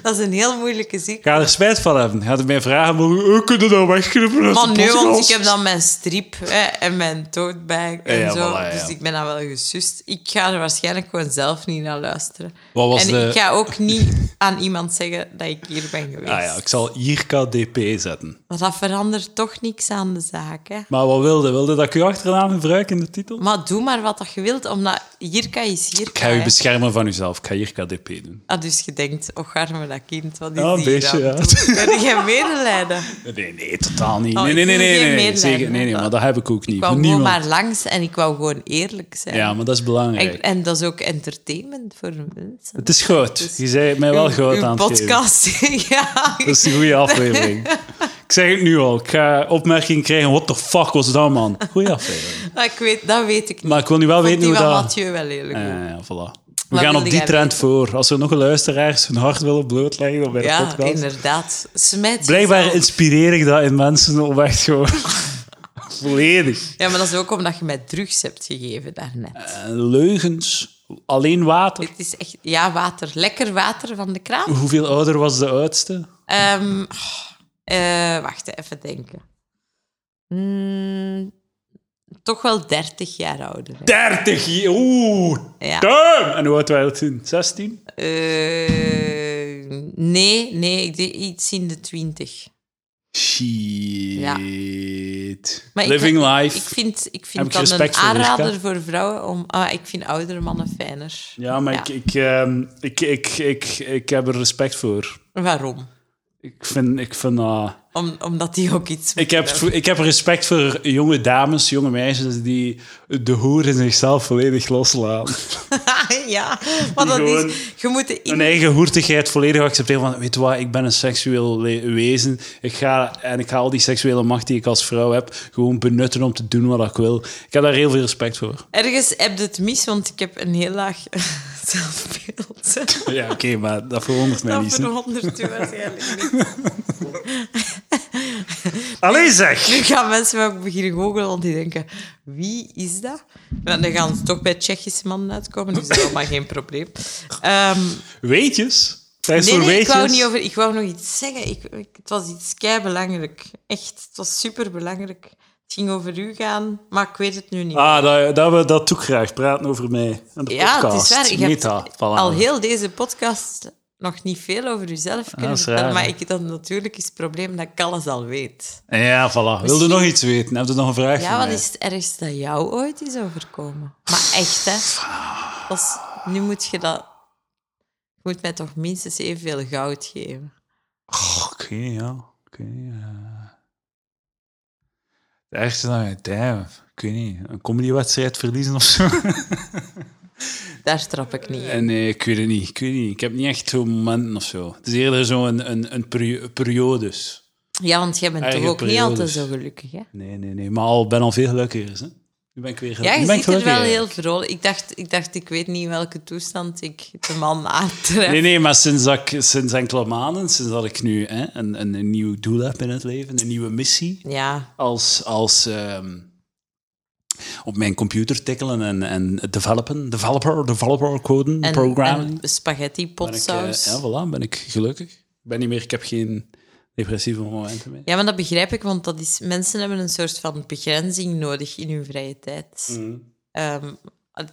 A: Dat is een heel moeilijke ziekte.
B: Ga er spijt van hebben. Ga er mij vragen, maar hoe hoe kunnen we dat nou wegknippen uit
A: Maar
B: de
A: nee, want ik
B: podcast?
A: heb dan mijn strip. Hè. en mijn tote bag en
B: dus- Ja,
A: zo.
B: voilà, ja.
A: Dus ik ben dan wel gesust. Ik ga er waarschijnlijk gewoon zelf niet naar luisteren.
B: Wat was
A: en
B: de-
A: ik ga ook niet aan iemand zeggen dat ik hier ben geweest.
B: Ah ja, ik zal Jirka DP zetten.
A: Maar dat verandert toch niks aan de zaak, hè.
B: Maar wat wilde? Wilde dat ik uw achternaam gebruik in de titel?
A: Maar doe maar wat dat je wilt, omdat Jirka is Jirka.
B: Ik ga u
A: hè.
B: beschermen van uzelf. Ik ga Jirka DP doen.
A: Ah, dus je denkt, och arme dat kind, wat is
B: Ja, een
A: die hier
B: beetje,
A: aan het doen? Kun je
B: <laughs>
A: medelijden?
B: Nee, nee, totaal niet.
A: Oh,
B: nee, nee,
A: ik
B: nee,
A: wil
B: nee, nee,
A: geen
B: nee,
A: medelijden
B: zeker, nee, nee,
A: hebben.
B: maar dat heb ik ook niet.
A: Ik wou
B: Voor
A: gewoon
B: niemand.
A: maar langs en ik wou gewoon eerlijk zijn.
B: Ja, maar dat is belangrijk.
A: en, en dat is ook entertainment voor mensen.
B: Het is goud. Je zei het mij wel goud
A: Dus Uw
B: aan het geven.
A: podcast, <laughs> ja.
B: <laughs> Dat is een goede aflevering.
A: <laughs>
B: Ik zeg het nu al. Ik ga opmerking krijgen. What the fuck was dat, man? Goeie
A: <laughs>
B: aflevering.
A: Maar ik weet, dat weet ik niet.
B: Maar ik wil nu wel
A: Vond
B: weten
A: die
B: hoe
A: van
B: dat...
A: Mathieu wel eerlijk.
B: Ja,
A: doen.
B: ja, ja, voilà. We
A: Wat
B: gaan op
A: wilde
B: die
A: jij
B: trend voor. Als er nog luisteraars hun hart willen blootleggen dan bij de
A: ja,
B: podcast.
A: inderdaad. Smijt
B: Blijkbaar
A: jezelf.
B: inspireer ik dat in mensen om echt gewoon...
A: <laughs>
B: volledig.
A: Ja, maar dat is ook omdat je mij drugs hebt gegeven daarnet.
B: Eh, leugens. Alleen water.
A: Het is echt... Ja, water. Lekker water van de kraan.
B: Hoeveel ouder was de oudste?
A: Ehm, oh, eh, wacht, hè, even denken. Hmm, toch wel 30 jaar ouder. hè.
B: 30 jaar. Oeh,
A: Ja.
B: damn. En hoe oud waren we toen? 16?
A: Eh, nee, nee, ik deed iets in de 20.
B: Shit.
A: Maar ik-
B: Living life.
A: Ik vind, ik
B: Heb
A: vind
B: ik
A: dat een
B: respect voor,
A: aanrader
B: Rivka?
A: voor vrouwen om. Ah, ik vind oudere mannen fijner.
B: Ja, maar Ik, ik, ehm, ik, ik, ik, ik heb er respect voor.
A: Waarom?
B: Ik vind, ik vind ah,
A: Om, omdat die ook iets. <laughs>
B: ik heb, ik heb respect voor jonge dames, jonge meisjes die de hoer in zichzelf volledig loslaten.
A: ja, maar dat
B: gewoon
A: is. Je moet de in-
B: Hun eigen hoertigheid volledig accepteren van, weet je wat, ik ben een seksueel le- wezen. Ik ga, en ik ga al die seksuele macht die ik als vrouw heb, gewoon benutten om te doen wat ik wil. Ik heb daar heel veel respect voor.
A: Ergens heb je het mis, want ik heb een heel laag <laughs> zelfbeeld.
B: Ja, oké, maar dat verwondert mij
A: dat
B: niet. hè.
A: verandert u waarschijnlijk niet.
B: Allee zeg!
A: Nu gaan mensen me ook beginnen googelen, want die denken, wie is dat? Want dan gaan ze toch bij Tsjechische mannen uitkomen, dus dat is allemaal geen probleem. Ehm,
B: Weetjes? Tijd
A: nee,
B: voor
A: nee, ik
B: weetjes?
A: wou, niet over, ik wou nog iets zeggen. Ik, ik- het was iets kei belangrijk. Echt, het was super belangrijk. Het ging over u gaan, maar ik weet het nu niet.
B: Ah, dat, dat, we, dat doe ik graag. Praten over mij. En de
A: ja,
B: podcast.
A: het is waar. Ik heb
B: Meta.
A: al heel deze podcast nog niet veel over uzelf kunnen
B: dat is
A: vertellen,
B: raar,
A: maar
B: hè?
A: ik, dat natuurlijk is het probleem dat ik alles al weet.
B: Ja, voilà. Wilde nog iets weten? Heb je nog een vraag
A: Ja,
B: voor
A: wat
B: mij?
A: is het ergste dat jou ooit is overkomen? Maar echt, hè? Dat is- nu moet je dat. Je moet mij toch minstens evenveel goud geven.
B: Oké, ja. Oké, eh. ja. Het ergste dan... Damn. Ik weet niet. Een comedywedstrijd verliezen of <laughs> zo?
A: Daar trap ik niet in.
B: En Eh, nee, ik weet het niet. Ik weet het niet. Ik heb niet echt zo'n momenten of zo. Het is eerder zo'n een, een perio- periodes.
A: Ja, want jij bent toch
B: Eigen
A: ook niet altijd
B: periodes.
A: zo gelukkig, hè?
B: Nee, nee, nee. Maar al ben al veel gelukkiger. Hè? Nu ben ik weer
A: Ja,
B: nu
A: je
B: ben ik
A: ziet er wel
B: gelukkiger.
A: heel vrolijk. Ik dacht, ik dacht, ik weet niet in welke toestand ik de man <laughs> aantref.
B: Nee, nee, maar sinds, dat ik, sinds enkele maanden, sinds dat ik nu hè, een, een, een nieuw doel heb in het leven, een nieuwe missie,
A: Ja,
B: als, als ehm, op mijn computer tikkelen en, en developen, developer, developer coden,
A: en,
B: programming.
A: en spaghetti
B: ben ik,
A: potsaus.
B: eh, ja, voilà, ben ik gelukkig. Ik ben niet meer, ik heb geen depressieve momenten meer.
A: Ja, maar dat begrijp ik, want dat is, mensen hebben een soort van begrenzing nodig in hun vrije tijd.
B: Mhm.
A: Ehm,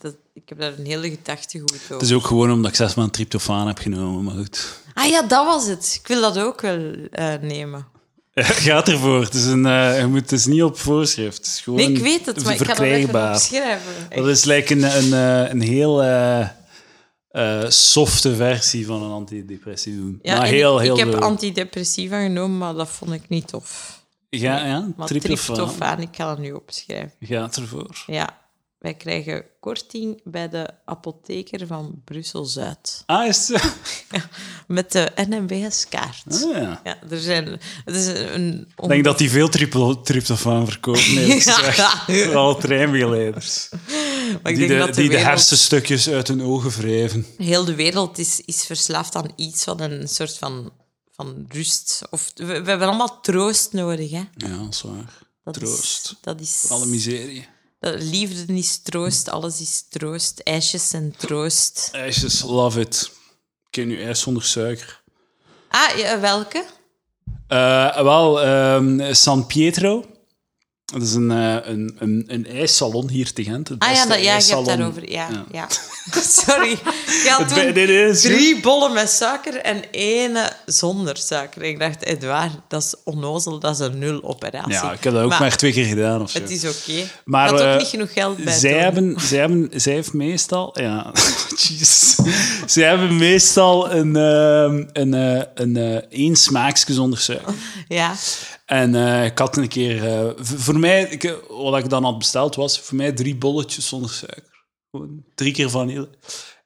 A: dat, ik heb daar een hele gedachtegoed over.
B: Het is ook gewoon omdat ik zes maanden tryptofaan heb genomen, maar goed. <laughs>
A: Ah ja, dat was het. Ik wil dat ook wel eh, nemen.
B: Gaat ervoor. Het is, een, eh, je moet, het is niet op voorschrift. Het is gewoon
A: Nee, ik weet het, maar ik ga dat even
B: verkrijgbaar.
A: opschrijven.
B: Dat is lijkt een, een, eh, een heel eh, eh, softe versie van een antidepressie doen.
A: Ja,
B: maar
A: en
B: heel,
A: ik,
B: heel
A: ik heb
B: leuk.
A: antidepressiva genomen, maar dat vond ik niet tof.
B: Ja, ja,
A: Maar
B: triptofaan.
A: tryptofaan, ik ga dat nu opschrijven.
B: Gaat ervoor.
A: Ja, wij krijgen korting bij de apotheker van Brussel-Zuid.
B: Ah, is het <laughs> zo?
A: Met de NMBS-kaart.
B: Ah, ja.
A: Ja, er zijn... Het is een...
B: Ik denk dat die veel triple, tryptofaan verkoopt,
A: <laughs>
B: nee,
A: Ja.
B: gezegd. Vooral treinbegeleiders.
A: maar
B: die
A: ik denk
B: de,
A: dat
B: die de
A: wereld-
B: hersenstukjes uit hun ogen wrijven.
A: heel de wereld is, is verslaafd aan iets wat een soort van, van rust... Of, we, we hebben allemaal troost nodig, hè.
B: Ja, dat is waar.
A: Dat
B: Troost.
A: Is, dat is...
B: Alle miserie.
A: dat- liefde is troost, alles is troost. IJsjes zijn troost.
B: IJsjes, love it. Ik ken nu ijs zonder suiker.
A: Ah, ja, welke?
B: Eh, wel, ehm, San Pietro. Dat is een, eh, een, een, een ijssalon hier te Gent. Het
A: Ah ja,
B: beste
A: dat, ja je
B: ijssalon.
A: hebt daarover. Ja, ja. <laughs> Sorry. Je had
B: Het bij-
A: toen
B: nee, nee, is goed.
A: drie bollen met suiker en één eh, zonder suiker. Ik dacht, Edouard, dat is onnozel, dat is een nul operatie.
B: Ja, ik heb dat ook maar, twee keer gedaan of zo.
A: Het is oké.
B: Maar,
A: Maar had
B: eh,
A: ook niet genoeg geld bij.
B: Zij
A: toen.
B: hebben, zij hebben, zij heeft meestal, ja, <laughs> jeez. Zij hebben meestal een, ehm een, eh, een eh, één smaakje zonder suiker.
A: Ja.
B: En eh, ik had een keer, eh, v- voor mij, ik, wat ik dan had besteld was, voor mij drie bolletjes zonder suiker. Gewoon drie keer vanille.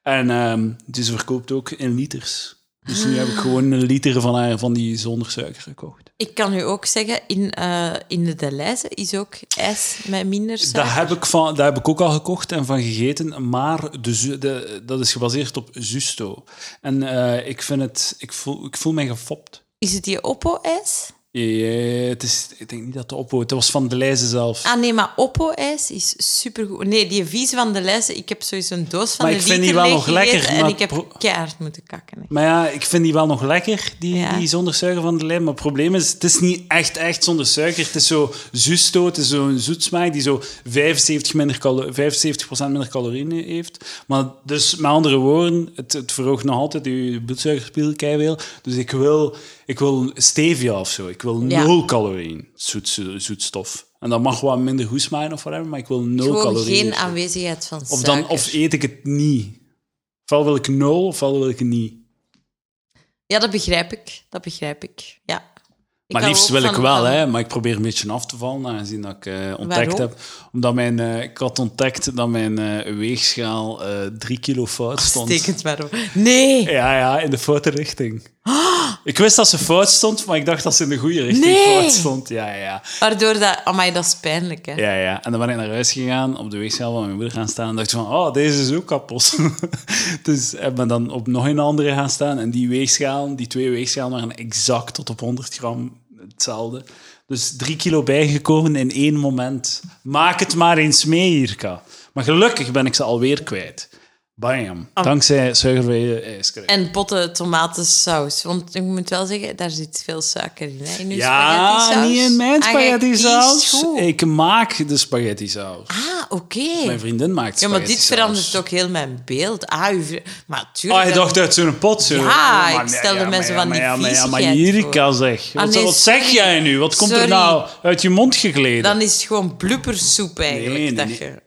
B: En ehm die ze verkoopt ook in liters. Dus nu heb ik gewoon een liter van haar van die zonder suiker gekocht.
A: Ik kan u ook zeggen, in, eh, in de Deleuze is ook ijs met minder suiker.
B: Dat heb, ik van, dat heb ik ook al gekocht en van gegeten, maar de, zu- de, dat is gebaseerd op Zusto. En eh, ik, vind het, ik, voel, ik voel mij gefopt.
A: Is het die Oppo-ijs?
B: Eh, het is, ik denk niet dat de opwoord. Het was van de lijzen zelf.
A: Ah nee, maar Oppo-ijs is supergoed. Nee, die vieze van de lijst, ik heb sowieso een doos van
B: Maar
A: de
B: ik vind
A: liter
B: die wel
A: leeg
B: nog lekker,
A: gegeten En
B: maar
A: ik heb
B: pro-
A: keihard moeten kakken. hè.
B: Maar ja, ik vind die wel nog lekker, die,
A: Ja.
B: die zonder suiker van de lijm. Maar het probleem is, het is niet echt, echt zonder suiker. Het is zo zusto, het is zo'n zoetsmaak die zo 75, minder calo- 75% minder calorieën heeft. Maar dus, met andere woorden, het, het verhoogt nog altijd je bloedsuikerspiegel keiveel. Dus ik wil, ik wil stevia of zo. Ik wil
A: Ja.
B: nul calorieën, zoet, zo- zoetstof. En dat mag wat minder goed smaken of whatever, maar ik wil nul
A: Gewoon
B: calorieën.
A: geen aanwezigheid van
B: of,
A: suiker.
B: dan, of eet ik het niet. Ofwel wil ik nul, ofwel wil ik het niet.
A: Ja, dat begrijp ik. Dat begrijp ik, ja. Ik
B: Maar
A: hou
B: liefst
A: ook
B: wil
A: van-
B: ik wel,
A: van-
B: hè, maar ik probeer een beetje af te vallen, aangezien dat ik eh, ontdekt
A: Waarom?
B: heb. Omdat mijn, eh, ik had ontdekt dat mijn eh, weegschaal eh, drie kilo
A: Ah,
B: fout stond.
A: Steek het maar op. Nee!
B: Ja, ja, in de foute richting. Ik wist dat ze fout stond, maar ik dacht dat ze in de goede richting
A: Ah! Nee.
B: fout stond. Ja, ja,
A: Waardoor dat... Amai, dat is pijnlijk, hè.
B: ja, ja. En dan ben ik naar huis gegaan, op de weegschaal van mijn moeder gaan staan. En dacht ik van, oh, deze is ook kapot. <laughs> dus ik ben dan op nog een andere gaan staan. En die weegschaal, die twee weegschalen waren exact tot op 100 gram hetzelfde. Dus drie kilo bijgekomen in één moment. Maak het maar eens mee, Irka. Maar gelukkig ben ik ze alweer kwijt. Bam. Dankzij suikervrije ijskruim.
A: En potten tomatensaus. Want ik moet wel zeggen, daar zit veel suiker in, hè. In uw
B: Ja,
A: spaghettisaus.
B: niet in mijn
A: Ah,
B: spaghetti
A: kiest
B: saus.
A: goed.
B: Ik maak de spaghetti saus.
A: Ah, oké.
B: Mijn vriendin maakt
A: Ja, maar
B: spaghetti
A: dit
B: saus.
A: verandert ook heel mijn beeld. Ah, uw vri- Maar tuurlijk...
B: Ah, je
A: dat-
B: dacht uit zo'n pot, zo.
A: Ja,
B: Oh, Maar
A: ik
B: nee,
A: stelde
B: ja,
A: mensen
B: maar
A: van
B: ja,
A: die
B: maar ja, Maar
A: viezigheid
B: Jirka, zeg.
A: Ah,
B: Wat,
A: nee,
B: wat zeg
A: sorry.
B: jij nu? Wat komt er
A: Sorry.
B: nou uit je mond gegleden?
A: Dan is het gewoon blubbersoep eigenlijk
B: Nee, nee,
A: dat
B: nee.
A: je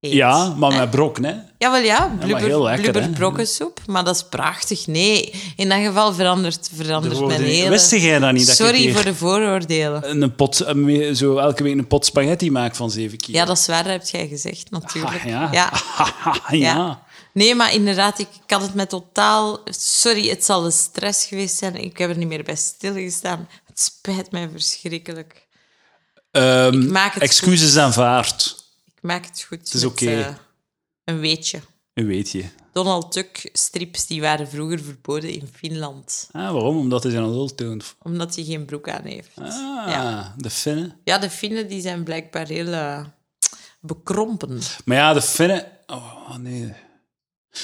A: eet.
B: ja, maar met brok, hè?
A: Jawel, ja, blubber,
B: heel lekker, hè?
A: blubberbrokkensoep. Maar dat is prachtig. Nee, in dat geval verandert, verandert mijn hele...
B: Wist jij dat niet? Dat ik
A: Sorry
B: hier
A: voor de vooroordelen.
B: een pot, een me- zo elke week een pot spaghetti maak van zeven kilo.
A: Ja, dat is waar, dat heb jij gezegd, natuurlijk.
B: Ah, ja.
A: Ja,
B: <laughs> ja.
A: ja. Nee, maar inderdaad, ik, ik had het met totaal... Sorry, het zal de stress geweest zijn. Ik heb er niet meer bij stilgestaan. Het spijt mij verschrikkelijk.
B: Ehm,
A: Ik maak het
B: excuses aanvaard.
A: Ik maak het goed. Het
B: is oké.
A: een weetje.
B: Weet je.
A: Donald Duck-strips die waren vroeger verboden in Finland.
B: Ah, waarom? Omdat hij zijn adult toont.
A: Omdat hij geen broek aan heeft.
B: Ah,
A: Ja.
B: de Finnen.
A: Ja, de Finnen die zijn blijkbaar heel eh, bekrompen.
B: Maar ja, de Finnen... Oh, nee.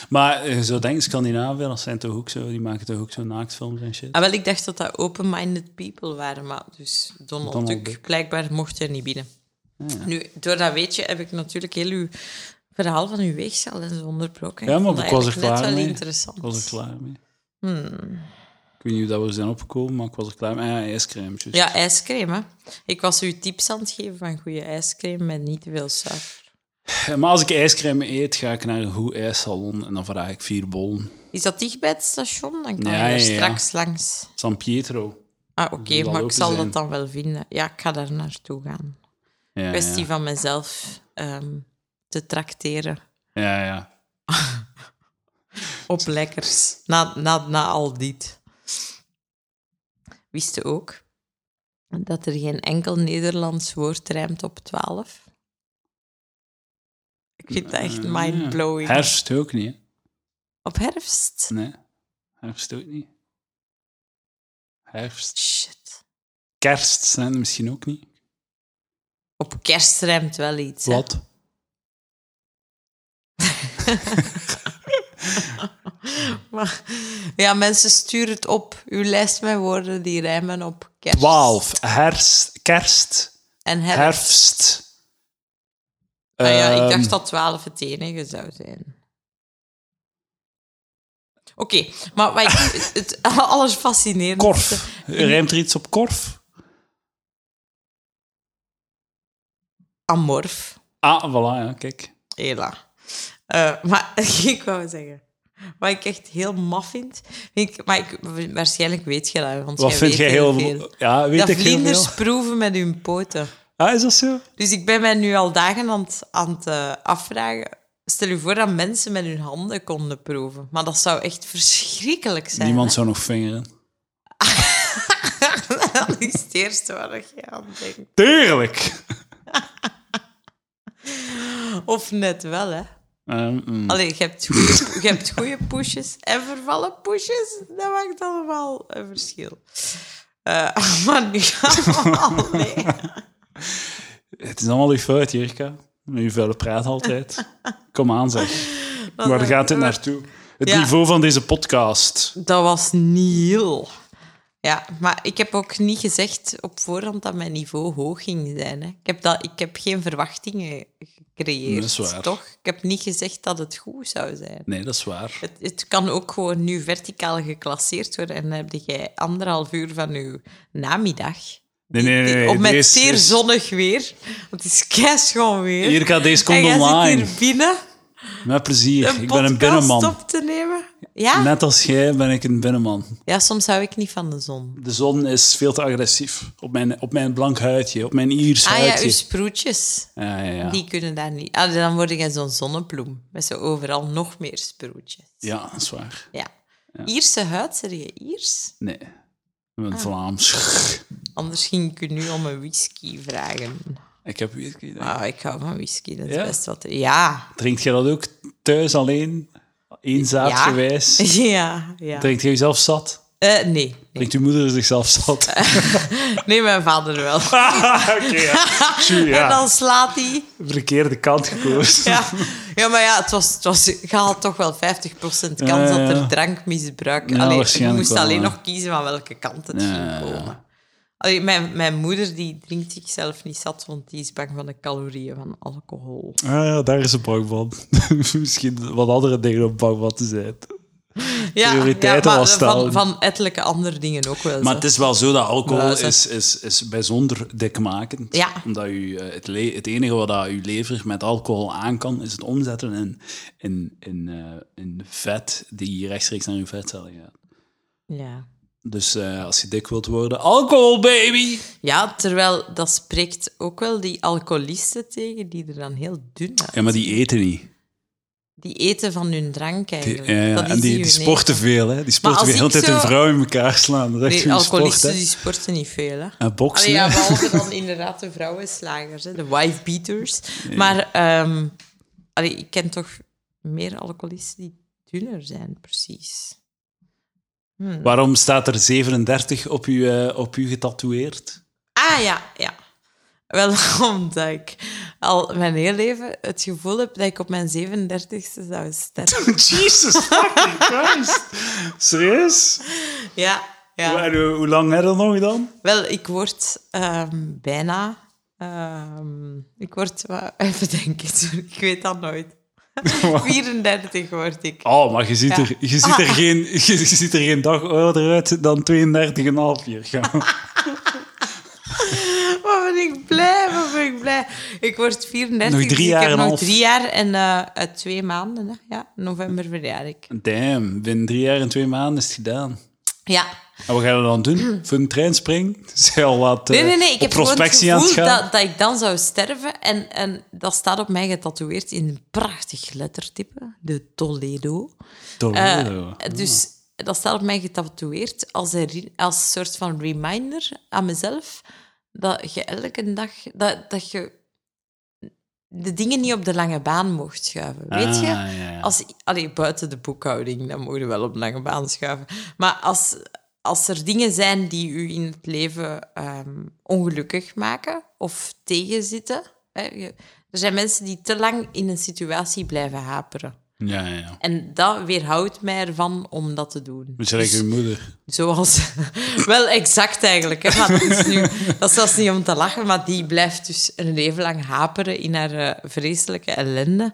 B: Maar eh, zo denk ik, Scandinavië, dat zijn toch ook zo... Die maken toch ook zo naaktfilms en shit?
A: Ah, wel, ik dacht dat dat open-minded people waren, maar dus Donald,
B: Donald
A: Duck,
B: Duck. Ah,
A: blijkbaar mocht er niet binnen. Nu, door dat weetje heb ik natuurlijk heel uw verhaal van uw weegschaal en zo onderbroken.
B: Ja, maar
A: vond
B: ik
A: dat
B: was er
A: eigenlijk net
B: klaar
A: wel
B: mee.
A: interessant. Hmm.
B: Ik was er klaar mee. Ik weet niet hoe dat we zijn opgekomen, maar ik was er klaar mee. Ah, ja, ijscrème. juist.
A: Ja, ijscreme, hè. Ik was u tips aan het geven van goede ijscreme met niet te veel suiker.
B: Maar als ik ijscrème eet, ga ik naar een goed ijssalon en dan vraag ik vier bollen.
A: Is dat dicht bij het station? Dan kan
B: Ja,
A: je er
B: ja, ja.
A: straks langs.
B: San Pietro.
A: Ah, oké,
B: zal
A: maar ik
B: open
A: zal
B: zijn.
A: dat dan wel vinden. Ja, ik ga daar naartoe gaan.
B: Ja,
A: Kwestie
B: ja.
A: van mezelf ehm, te trakteren
B: ja, ja.
A: op lekkers. Na, na, na al dit. Wist je ook dat er geen enkel Nederlands woord rijmt op 12? Ik vind dat echt
B: Eh,
A: mindblowing.
B: Herfst ook niet, hè?
A: Op herfst?
B: Nee. Herfst ook niet. Herfst.
A: Shit.
B: Kerst zijn er misschien ook niet.
A: Op kerst rijmt wel iets. hè.
B: Wat?
A: <laughs> Maar, ja, mensen sturen het op. Uw lijst met woorden die rijmen op kerst.
B: Twaalf. Herfst. Kerst.
A: En herfst.
C: herfst.
A: Ah ja, ik
C: Ehm,
A: dacht dat 12 het enige zou zijn. Oké, maar wat
C: <laughs>
A: ik, het, alles fascinerend.
C: Korf. Rijmt er iets op korf?
A: Amorf.
C: Ah, voilà, ja, kijk.
A: Hela. Eh, maar <laughs> ik wou zeggen, wat ik echt heel maf vind, vind ik, maar ik, waarschijnlijk weet je dat, want
C: Wat
A: jij
C: vind
A: weet
C: jij
A: heel
C: heel...
A: veel.
C: Ja, weet
A: dat
C: ik heel
A: vlinders
C: veel.
A: proeven met hun poten.
C: Ah, is dat zo?
A: Dus ik ben mij nu al dagen aan het, aan het eh, afvragen. Stel je voor dat mensen met hun handen konden proeven. Maar dat zou echt verschrikkelijk zijn.
C: Niemand zou nog vingeren.
A: <laughs> Dat is het eerste waar je aan denkt.
C: Tuurlijk!
A: Of net wel, hè.
C: Ehm, mm.
A: Hm. Allee, je hebt goeie- je hebt goede pushes en vervallen pushes. Dat maakt allemaal een verschil. Eh, <laughs> maar nu <laughs> allemaal... Nee.
C: Het is allemaal uw fout, Jirka. Uw vuile praat altijd. Kom aan, zeg. Waar gaat dit naartoe? Het
A: Ja.
C: niveau van deze podcast.
A: Dat was Niel. Ja, maar ik heb ook niet gezegd op voorhand dat mijn niveau hoog ging zijn. Hè. Ik, heb dat, ik heb geen verwachtingen gecreëerd,
C: Dat is waar.
A: toch? Ik heb niet gezegd dat het goed zou zijn.
C: Nee, dat is waar.
A: Het, het kan ook gewoon nu verticaal geclasseerd worden en dan heb jij anderhalf uur van je namiddag.
C: Nee, nee, nee. nee.
A: Op met
C: Deze-
A: zeer zonnig weer. Want het is keischoon weer.
C: Jirka, deze
A: en
C: komt
A: jij zit
C: online.
A: hier binnen
C: Met plezier.
A: een
C: ik ben
A: podcast
C: een binnenman.
A: op Ah. te nemen. Ja?
C: Net als jij ben ik een binnenman.
A: ja, soms hou ik niet van de zon.
C: De zon is veel te agressief. Op mijn, op mijn blank huidje, op mijn Iers
A: Ah ja,
C: huidje.
A: uw sproetjes.
C: ja, ja, ja.
A: Die kunnen daar niet. Ah, dan word jij zo'n zonnebloem. Met zo overal nog meer sproetjes.
C: Ja, dat is waar.
A: Ja. Ierse huid, zeg je Iers?
C: Nee. Ik
A: Ah.
C: ben Vlaams.
A: Anders ging ik u nu om een whisky vragen.
C: Ik heb whisky. denk ik.
A: Ah, ik hou van whisky, dat is
C: Ja?
A: best wat. Ja. <laughs>
C: Drinkt jij dat ook thuis alleen? Eenzaadgewijs? gewijs?
A: <laughs> Ja, ja.
C: Drinkt jij jezelf zat?
A: Eh, nee. nee.
C: Drinkt uw moeder zichzelf
A: <laughs>
C: zat?
A: Nee, mijn vader
C: <laughs>
A: wel.
C: Oké, ja. Tjoe, ja.
A: En dan slaat hij.
C: Verkeerde kant
A: <laughs>
C: gekozen.
A: Ja. ja, maar ja, het was, het was, je had toch wel 50% kans
C: Ja, ja.
A: dat er drankmisbruik...
C: Ja,
A: Allee, je
C: waarschijnlijk
A: moest
C: wel,
A: alleen
C: ja.
A: nog kiezen van welke kant het
C: Ja, ja,
A: ging
C: ja.
A: komen. Allee, mijn, mijn moeder die drinkt zichzelf niet zat, want die is bang van de calorieën van alcohol.
C: Ah, ja, daar is ze bang van. <laughs> Misschien wat andere dingen om bang van te zijn.
A: Ja,
C: Prioriteiten wel
A: ja, maar
C: stellen.
A: van, van ettelijke andere dingen ook wel.
B: Maar
A: zo.
B: het is wel zo dat alcohol
A: Luizen.
B: is, is, is bijzonder dikmakend.
A: Ja.
B: Omdat u, eh, het, le- het enige wat dat uw lever met alcohol aan kan, is het omzetten in, in, in, eh, in vet die rechtstreeks naar uw vetcellen gaat.
A: ja.
B: Dus eh, als je dik wilt worden, alcohol baby!
A: ja, terwijl dat spreekt ook wel die alcoholisten tegen, die er dan heel dun uit.
B: Ja, maar die eten niet.
A: Die eten van hun drank eigenlijk.
B: Ja, ja,
A: Dat is
B: En die,
A: hun
B: die sporten veel, hè? Die sporten
A: als
B: weer de hele
A: ik
B: tijd hun
A: zo-
B: vrouw in elkaar slaan. Dat is echt <laughs>
A: Nee,
B: hun sport,
A: alcoholisten
B: hè?
A: die sporten niet veel. Hè?
B: En boksen,
A: Allee, ja,
B: hè? <laughs>
A: behalve dan inderdaad de vrouwenslagers, hè, de wife beaters. Maar ehm, allee, ik ken toch meer alcoholisten die dunner zijn, precies.
B: Waarom staat er 37 op u, eh, op u getatoeëerd?
A: Ah ja, ja. Wel <laughs> omdat ik al mijn hele leven het gevoel heb dat ik op mijn 37ste zou sterven.
C: <laughs> Jesus fucking Christ. Serieus?
A: Ja, ja.
C: En hoe, hoe lang heb je dat nog dan?
A: Wel, ik word ehm, bijna. ehm, ik word. wa- <laughs> Even denken, sorry, ik weet dat nooit. <laughs> 34 word ik.
B: Ah,
C: Oh, maar je ziet,
A: Ja. Ah.
C: er, je, ziet er
B: <laughs>
C: geen, je, je ziet er geen dag ouder uit dan 32,5 jaar. <laughs>
A: Wat ben ik blij, wat ben ik blij. Ik word 34.
C: Nog drie
A: dus
C: jaar
A: Ik
C: en
A: heb
C: half.
A: nog drie jaar en eh, eh, twee maanden. Hè? Ja, november verjaar ik.
B: Damn, binnen drie jaar en twee maanden is het gedaan.
A: Ja.
B: En wat gaan we dan doen? Voor een trein springen? <laughs> Is hij al wat eh,
A: Hmm. Nee, nee, nee. Ik
B: op
A: heb gewoon het
B: prospectie aan het
A: gevoel
B: gaan?
A: dat, dat ik dan zou sterven. En, en dat staat op mij getatoeëerd in een prachtig lettertype. De Toledo. Eh,
B: Toledo.
A: dus dat staat op mij getatoeëerd als een re- als soort van reminder aan mezelf. Dat je elke dag... Dat, dat je de dingen niet op de lange baan mocht schuiven. Weet je?
B: Ah, ja.
A: Als, allee, buiten de boekhouding, dan mogen we wel op de lange baan schuiven. Maar als, als er dingen zijn die u in het leven ehm, ongelukkig maken of tegenzitten. Hè, je- er zijn mensen die te lang in een situatie blijven haperen.
B: Ja, ja, ja.
A: En dat weerhoudt mij ervan om dat te doen.
B: Moet je zeggen, je moeder.
A: Zoals... <laughs> Wel, exact eigenlijk. Hè? Maar dat is, nu, dat is zelfs niet om te lachen, maar die blijft dus een leven lang haperen in haar eh, vreselijke ellende.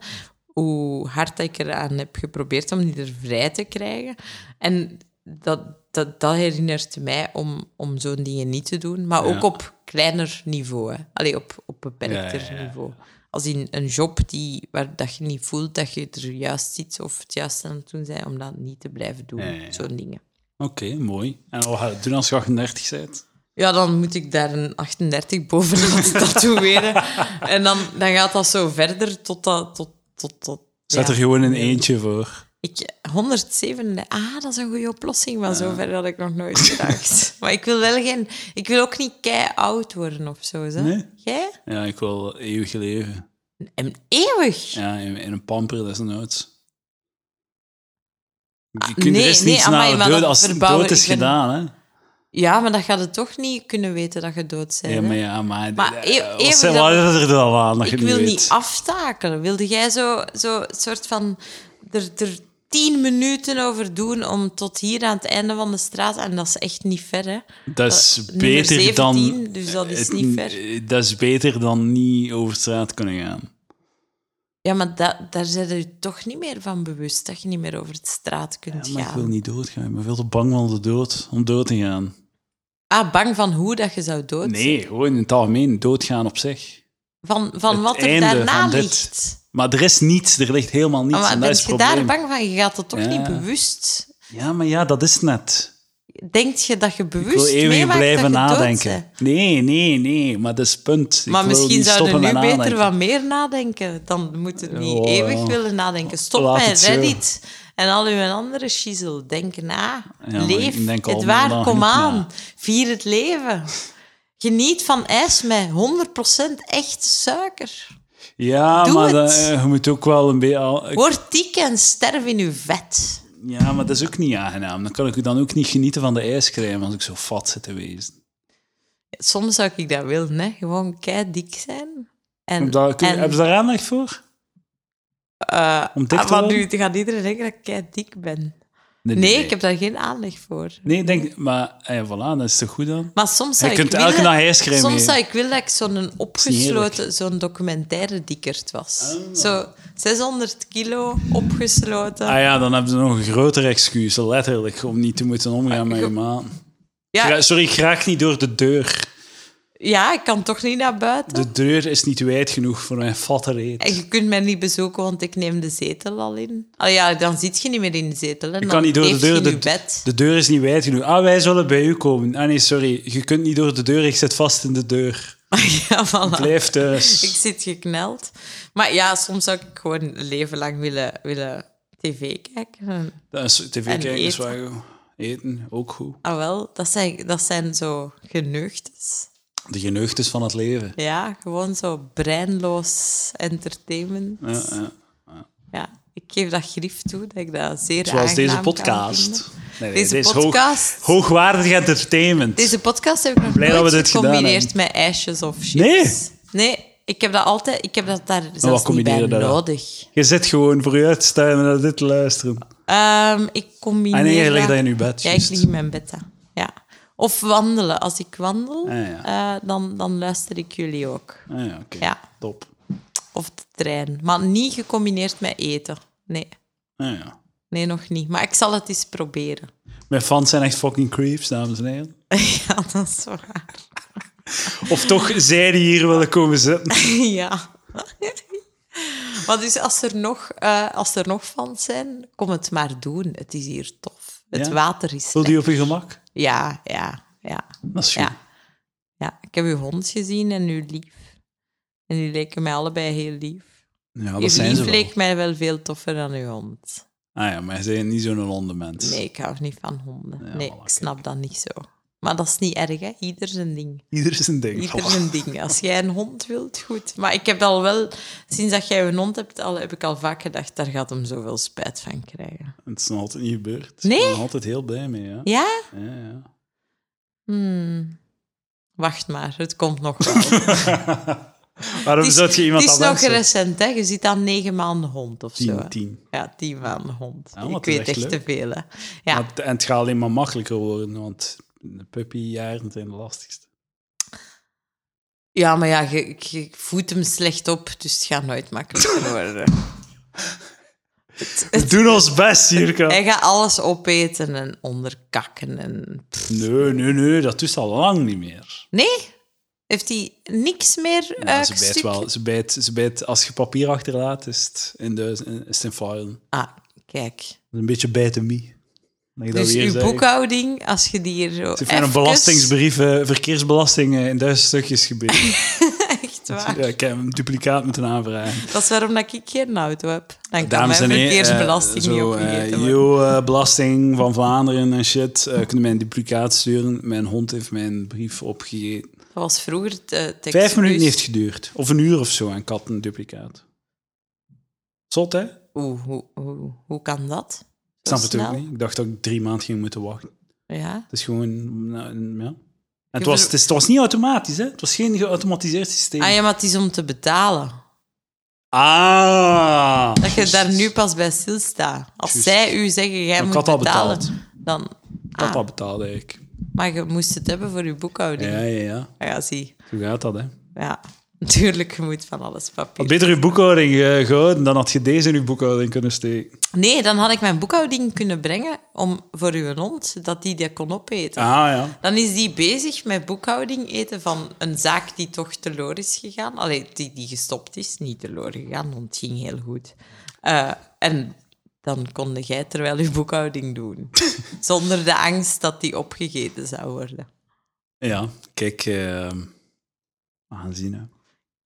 A: Hoe hard ik eraan heb geprobeerd om die er vrij te krijgen. En dat, dat, dat herinnert mij om, om zo'n dingen niet te doen. Maar ook
B: Ja.
A: op kleiner niveau. Hè? Allee, op, op beperkter
B: Ja, ja, ja.
A: niveau. Als in een job die, waar dat je niet voelt dat je er juist zit of het juist aan het doen bent, om dat niet te blijven doen.
B: Ja, ja, ja.
A: Zo'n dingen.
B: Oké, mooi. En wat ga je doen als je 38 bent?
A: Ja, dan moet ik daar een 38 boven <laughs> laten tatoeëren. en dan, dan gaat dat zo verder tot dat... Tot, tot, tot,
B: Zet
A: ja.
B: er gewoon een eentje voor.
A: Ik, 107... Ah, dat is een goede oplossing, maar zover had ik nog nooit
B: <laughs>
A: gedacht. maar ik wil wel geen... Ik wil ook niet kei-oud worden of zo, hè?
B: Nee?
A: Jij?
B: Ja, ik wil eeuwig leven.
A: En eeuwig?
B: Ja, in, in een pamper, dat is een oud. Je
A: Ah,
B: kunt
A: nee,
B: er is
A: nee,
B: niets
A: amai,
B: naar
A: maar
B: dood
A: dat
B: als het
A: verbouwen-
B: dood is
A: ik ben-
B: gedaan, hè?
A: Ja, maar dat gaat het toch niet kunnen weten dat je dood bent.
B: Ja,
A: hè?
B: maar ja, maar...
A: Maar
B: eh,
A: eeuw-
B: wat
A: eeuwig
B: zijn-
A: dat-
B: wat is er dan aan dat je
A: Ik
B: het
A: wil
B: niet
A: niet
B: weet?
A: aftakelen. Wilde jij zo, zo soort van er, er tien minuten over doen om tot hier aan het einde van de straat en dat is echt niet ver, hè?
B: Dat is
A: eh, nummer
B: beter
A: 17,
B: dan...
A: dus dat is
B: het-
A: niet ver.
B: eh, Dat is beter dan niet over straat kunnen gaan.
A: Ja, maar da- daar zijn je toch niet meer van bewust dat je niet meer over de straat kunt
B: Ja, maar ik
A: gaan.
B: wil niet doodgaan. Ik ben veel te bang van de dood, om dood te gaan.
A: Ah, bang van hoe dat je zou dood zijn?
B: Nee, gewoon in het algemeen, doodgaan op zich.
A: Van, van
B: Het
A: wat er
B: einde
A: daarna
B: van dit.
A: ligt.
B: Maar er is niets, er ligt helemaal niets.
A: Ah, maar
B: en
A: ben
B: dat is
A: je
B: het probleem.
A: daar bang van? Je gaat dat toch
B: Ja.
A: niet bewust...
B: Ja, maar ja, dat is het net.
A: Denkt je dat je bewust
B: Ik wil eeuwig
A: meemaakt
B: blijven
A: dat je dood bent?
B: nadenken. Nee, nee, nee, maar dat is het punt.
A: Maar
B: ik wil
A: misschien
B: niet
A: zou je
B: stoppen
A: nu
B: met
A: beter
B: nadenken.
A: wat meer nadenken. Dan moet het niet
B: Ja.
A: eeuwig willen nadenken. Stop
B: Laat
A: met
B: het zo.
A: Reddit en al uw andere shizzle. Denk na.
B: maar
A: Leef.
B: ik denk al
A: het
B: meer
A: waar,
B: dan
A: kom
B: genoeg
A: aan.
B: na.
A: Vier het leven. Geniet van ijs met 100% echt suiker.
B: Ja,
A: Doe
B: maar
A: het.
B: dat, eh, je moet ook wel een beetje... al- ik-
A: Word dik en sterf in uw vet.
B: Ja, maar dat is ook niet aangenaam. Dan kan ik dan ook niet genieten van de ijscrème als ik zo fat zit te wezen.
A: Soms zou ik dat willen, hè. Gewoon kei dik zijn. En,
B: Daar, kun-
A: en-
B: Hebben ze daar aandacht voor? Om dik
A: Ah,
B: te
A: maar
B: worden?
A: nu gaat iedereen denken dat ik kei dik ben.
B: Nee,
A: Nee,
B: nee,
A: ik heb daar geen aanleg voor.
B: Nee, denk... Maar eh, voilà, dat is toch goed dan?
A: Maar soms zou
B: Je
A: ik
B: kunt elke
A: willen-
B: dag ijscrème
A: Soms
B: eten.
A: zou ik willen dat ik zo'n
B: niet
A: opgesloten, zo'n documentaire dikkerd was. Zo 600 kilo opgesloten.
B: Ah ja, dan hebben ze nog een groter excuus, letterlijk, om niet te moeten omgaan met je maat.
A: ja,
B: Gra- Sorry, ik raak niet door de deur.
A: ja, ik kan toch niet naar buiten.
B: De deur is niet wijd genoeg voor mijn fatte reet.
A: En je kunt mij niet bezoeken, want ik neem de zetel al in. Ah ja, dan zit je niet meer in de zetel. En
B: Ik
A: dan
B: kan niet door de
A: leef je
B: deur.
A: in
B: De,
A: je bed. <laughs>
B: de deur is niet wijd genoeg. Ah, wij zullen bij u komen. Ah nee, sorry. Je kunt niet door de deur. Ik zit vast in de deur.
A: Ah, ja, voilà.
B: Blijf thuis.
A: <laughs> Ik zit gekneld. Maar ja, soms zou ik gewoon een leven lang willen, willen tv kijken. En-
B: Dat is- TV kijken is
A: eten.
B: wel goed. Eten, ook goed.
A: Ah wel, dat zijn, dat zijn zo geneugtes.
B: De geneugtes van het leven.
A: Ja, gewoon zo breinloos entertainment.
B: Ja, ja.
A: Ja, ik geef dat grief toe, dat ik dat zeer
B: Zoals deze
A: aangenaam kan
B: podcast.
A: vinden.
B: Nee, nee,
A: Deze
B: dit is hoog-
A: podcast.
B: hoogwaardig entertainment.
A: Deze podcast heb ik nog
B: Blij dat
A: nooit
B: we dit gedaan
A: gecombineerd met ijsjes of chips. Nee, ik heb dat altijd... Ik heb dat daar zelfs niet
B: combineer
A: bij
B: je daar dan?
A: nodig.
B: Je zit gewoon voor je uit te staan en naar dit te luisteren.
A: Ehm, ik combineer
B: Ah nee, je
A: dat-
B: ligt daar in je bed.
A: Ja, ik
B: juist.
A: lig in mijn bed, hè. ja. Of wandelen. Als ik wandel,
B: Ah, ja.
A: eh, dan, dan luister ik jullie ook.
B: Ah, ja, oké.
A: Ja.
B: Top.
A: Of de trein. Maar niet gecombineerd met eten. Nee.
B: Ah, ja.
A: Nee, nog niet. Maar ik zal het eens proberen.
B: Mijn fans zijn echt fucking creeps, dames en heren.
A: <laughs> ja, dat
B: <laughs>
A: is waar.
B: Of toch <laughs> zij die hier willen komen zitten.
A: ja. <laughs> maar dus als er, nog, eh, als er nog fans zijn, kom het maar doen. Het is hier tof. Het
B: Ja?
A: water is
B: Voel
A: lekker.
B: die op je gemak?
A: Ja, ja, ja.
B: Dat is goed.
A: ja. Ja, ik heb uw hond gezien en uw lief. En die leken mij allebei heel lief.
B: Ja, dat
A: uw
B: zijn
A: lief
B: ze wel.
A: leek mij wel veel toffer dan uw hond.
B: Ah ja, maar ze zijn niet zo'n hondenmens.
A: Nee, ik hou niet van honden.
B: Ja,
A: nee,
B: voilà,
A: ik snap dat niet zo. Maar dat is niet erg, hè. Ieder zijn ding.
B: Ieder is een ding.
A: Ieder zijn ding. Als jij een hond wilt, goed. Maar ik heb al wel... Sinds dat jij een hond hebt, al, heb ik al vaak gedacht... daar gaat hem zoveel spijt van krijgen.
B: Het is nog altijd niet gebeurd.
A: Nee?
B: Ik ben er altijd heel blij mee, ja.
A: Ja?
B: Ja, ja. <laughs>
A: Hmm. Wacht maar, het komt nog wel.
B: Waarom
A: Het is-
B: zou je iemand
A: Het is
B: dat
A: nog
B: wensen?
A: recent, hè. Je zit aan negen maanden hond of zo.
B: Tien,
A: hè.
B: tien.
A: Ja, tien maanden hond.
B: Ja, wat
A: ik
B: is
A: weet
B: echt
A: echt te
B: leuk.
A: veel, hè. Ja.
B: Want- En het gaat alleen maar makkelijker worden, want de puppyjaren zijn de lastigste.
A: ja, maar ja, je, je voedt hem slecht op, dus het gaat
B: <laughs>
A: nooit makkelijker worden.
B: We doen ons best, Jirka.
A: Hij gaat alles opeten en onderkakken. En... pff.
B: Nee, nee, nee, dat is al lang niet meer.
A: Nee? Heeft hij niks meer
B: Ja,
A: eh,
B: ze bijt
A: gestukje?
B: wel. Ze bijt, ze bijt, als je papier achterlaat, is het in, de, is het in file.
A: Ah, kijk.
B: Een beetje bijten me. Dat ik dat
A: Dus
B: weer
A: uw
B: zei.
A: boekhouding, als je die hier zo
B: Ze heeft met een
A: even-
B: belastingsbrief, eh, verkeersbelasting eh, in duizend stukjes gebeten.
A: <laughs> Echt waar.
B: ja, ik heb een duplicaat moeten aanvragen.
A: Dat is waarom dat ik geen auto heb. Dan kan
B: Dames en
A: mijn
B: heren, eh,
A: verkeersbelasting niet
B: zo,
A: opgegeten
B: eh,
A: worden.
B: yo, eh, belasting van Vlaanderen en shit. eh, kunnen mij een duplicaat sturen? Mijn hond heeft mijn brief opgegeten.
A: Dat was vroeger het eh, het
B: Vijf minuten
A: excuus.
B: heeft geduurd. Of een uur of zo aan katten duplicaat. Zot, hè? Ik
A: Oeh, hoe, hoe, hoe kan dat? Zo
B: snap het
A: snel?
B: ook niet. Ik dacht dat ik drie maanden ging moeten wachten.
A: Ja.
B: Het is gewoon... nou, ja. En het,
A: wil-
B: was, het, is- het was niet automatisch, hè? Het was geen geautomatiseerd systeem.
A: Ah ja, maar het is om te betalen.
B: Ah!
A: Dat je
B: Juist.
A: daar nu pas bij stilstaat. Als
B: Juist.
A: zij u zeggen, jij
B: ik
A: moet
B: had al
A: betalen,
B: betaald.
A: dan...
B: Ik had
A: Ah,
B: al betaald, eigenlijk.
A: maar je moest het hebben voor je boekhouding. Ah,
B: Ja,
A: Ja,
B: ja, ja.
A: zie.
B: Zo gaat dat, hè?
A: Ja, <laughs> natuurlijk, je moet van alles
B: Had
A: papier.
B: beter uw boekhouding eh, gehouden, dan had je deze in uw boekhouding kunnen steken.
A: Nee, dan had ik mijn boekhouding kunnen brengen om, voor uw hond, dat die dat kon opeten.
B: Ah, ja.
A: Dan is die bezig met boekhouding eten van een zaak die toch teloor is gegaan. Allee, die, die gestopt is, niet teloor gegaan, want het ging heel goed. Eh, en dan konde jij terwijl je boekhouding doen. Zonder de angst dat die opgegeten zou worden.
B: Ja, kijk... eh, we gaan zien, hè.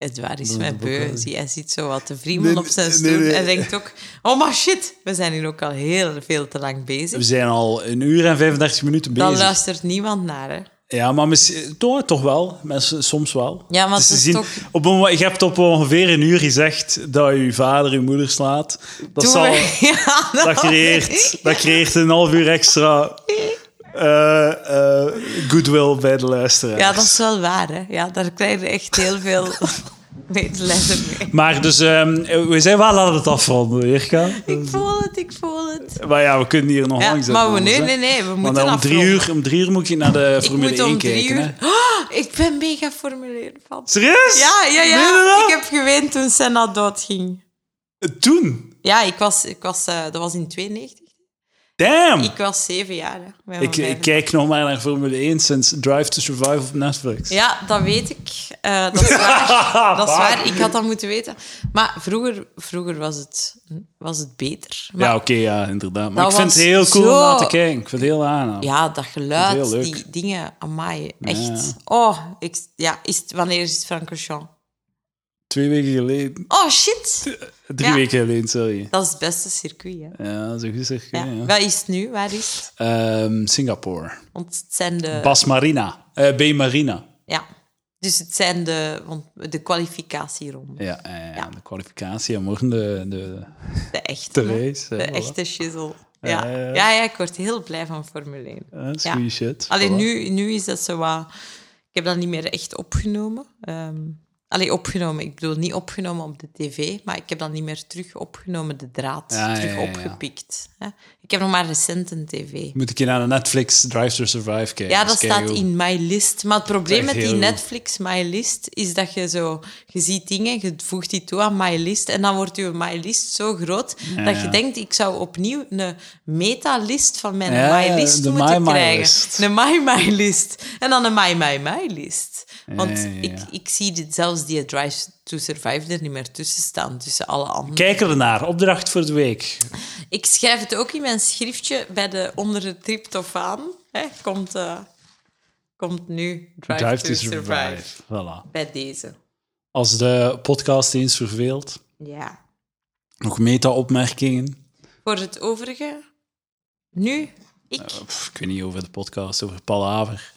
A: Het waar is
B: Dat is
A: mijn
B: de
A: beu.
B: boekhouding.
A: Zie, Hij ziet zo wat te vrienden
B: Nee,
A: op zijn
B: nee,
A: stoel
B: nee.
A: en denkt ook... Oh, maar shit, we zijn hier ook al heel veel te lang bezig.
B: We zijn al een uur en 35 minuten bezig.
A: Dan luistert niemand naar, hè.
B: Ja, maar misschien- toch, toch wel. Mensen, soms wel.
A: Ja, want
B: Dus
A: het
B: ze
A: is
B: zien,
A: toch-
B: op een, mo- je hebt op ongeveer een uur gezegd dat je vader je moeder slaat. Dat,
A: Toen
B: zal,
A: we- <laughs>
B: <laughs>
A: Ja,
B: dat, creëert, dat creëert een half uur extra eh, eh, goodwill bij de luisteraars.
A: <laughs> Ja, dat is wel waar, hè. Ja, daar krijg je echt heel veel <laughs> medelijden mee.
B: Maar dus, ehm, we zijn wel aan het afronden, Jirka.
A: Ik voel het, ik voel het.
B: Maar ja, we kunnen hier nog
A: Ja,
B: lang zijn.
A: maar we,
B: trouwens,
A: nee,
B: hè.
A: nee, nee, we
B: Want
A: moeten
B: dan om drie,
A: afronden.
B: uur, om drie uur moet je naar de
A: Ik
B: Formule
A: moet om
B: 1
A: drie
B: kijken.
A: uur...
B: Hè?
A: Ah, ik ben mega Formule 1 fan.
B: Serieus?
A: Ja, ja,
B: Meen je dat?
A: ja.
B: Eh,
A: Ik heb geweend toen Senna doodging.
B: Toen?
A: Ja, ik was... Ik was eh, dat was in 92.
B: Damn!
A: Ik Oh, was zeven jaar, hè. bij
B: Ik,
A: mijn
B: ik kijk nog maar naar Formule 1 sinds Drive to Survive op Netflix.
A: Ja, dat weet ik. Eh, dat is
B: <laughs>
A: waar. dat is waar. Ik had dat moeten weten. Maar vroeger, vroeger was, het, was het beter. Maar
B: Ja, oké, ja, inderdaad. Maar
A: Dat
B: ik vind het
A: was
B: heel cool om
A: zo-
B: naar te kijken. Ik vind het heel aan.
A: Ja, dat
B: Dat
A: geluid,
B: is heel leuk.
A: die dingen, amai, echt.
B: Ja.
A: Oh, ik, ja, is het, wanneer is het Francorchamps?
B: Twee weken geleden.
A: Oh, shit!
B: Drie
A: Ja.
B: weken geleden, sorry.
A: Dat is het beste circuit, hè.
B: Ja, zo goed zeg.
A: Ja.
B: Ja. Ja.
A: Wat is het nu? Waar is het?
B: Ehm, Singapore.
A: Want het zijn de...
B: Bas Marina. Eh, B Marina.
A: ja. Dus het zijn de, want de kwalificatieronde.
B: Ja, eh, de kwalificatie en morgen de, de,
A: De echte.
B: de
A: hè.
B: race.
A: De
B: eh, voilà.
A: echte shizzle. Ja.
B: Ja, ja, ja.
A: ja, ja, ik word heel blij van Formule 1.
B: Eh, dat is
A: Ja.
B: goede shit.
A: Alleen
B: Voilà.
A: nu, nu is dat zo wat... Ik heb dat niet meer echt opgenomen. Ehm Allee, opgenomen. Ik bedoel, niet opgenomen op de tv, maar ik heb dat niet meer terug opgenomen, de draad.
B: Ja,
A: terug
B: ja, ja, ja.
A: opgepikt. Hè? Ik heb nog maar recent een tv.
B: Moet ik je naar de Netflix Drive to Survive kijken?
A: Ja, dat
B: is keigoed.
A: staat in My List. Maar het probleem
B: Echt
A: met die
B: heel-
A: Netflix My List is dat je zo... Je ziet dingen, je voegt die toe aan My List en dan wordt je My List zo groot dat je
B: ja.
A: denkt, ik zou opnieuw een meta-list van mijn
B: Ja,
A: My List
B: de
A: moeten
B: My My
A: krijgen.
B: List.
A: Een My My List. En dan een My My My List. Want
B: Ja, ja, ja.
A: Ik, ik zie dit, zelfs die Drive to Survive er niet meer tussen staan, tussen alle anderen.
B: Kijk ernaar. Opdracht voor de week.
A: Ik schrijf het ook in mijn schriftje bij de onder de triptofaan. Hè, komt, eh, komt nu Drive, to, survive.
B: Voilà.
A: Bij deze.
B: Als de podcast eens verveelt,
A: Ja.
B: nog meta-opmerkingen.
A: Voor het overige, nu ik.
B: Eh, Pff, Ik weet niet over de podcast, over Palaver.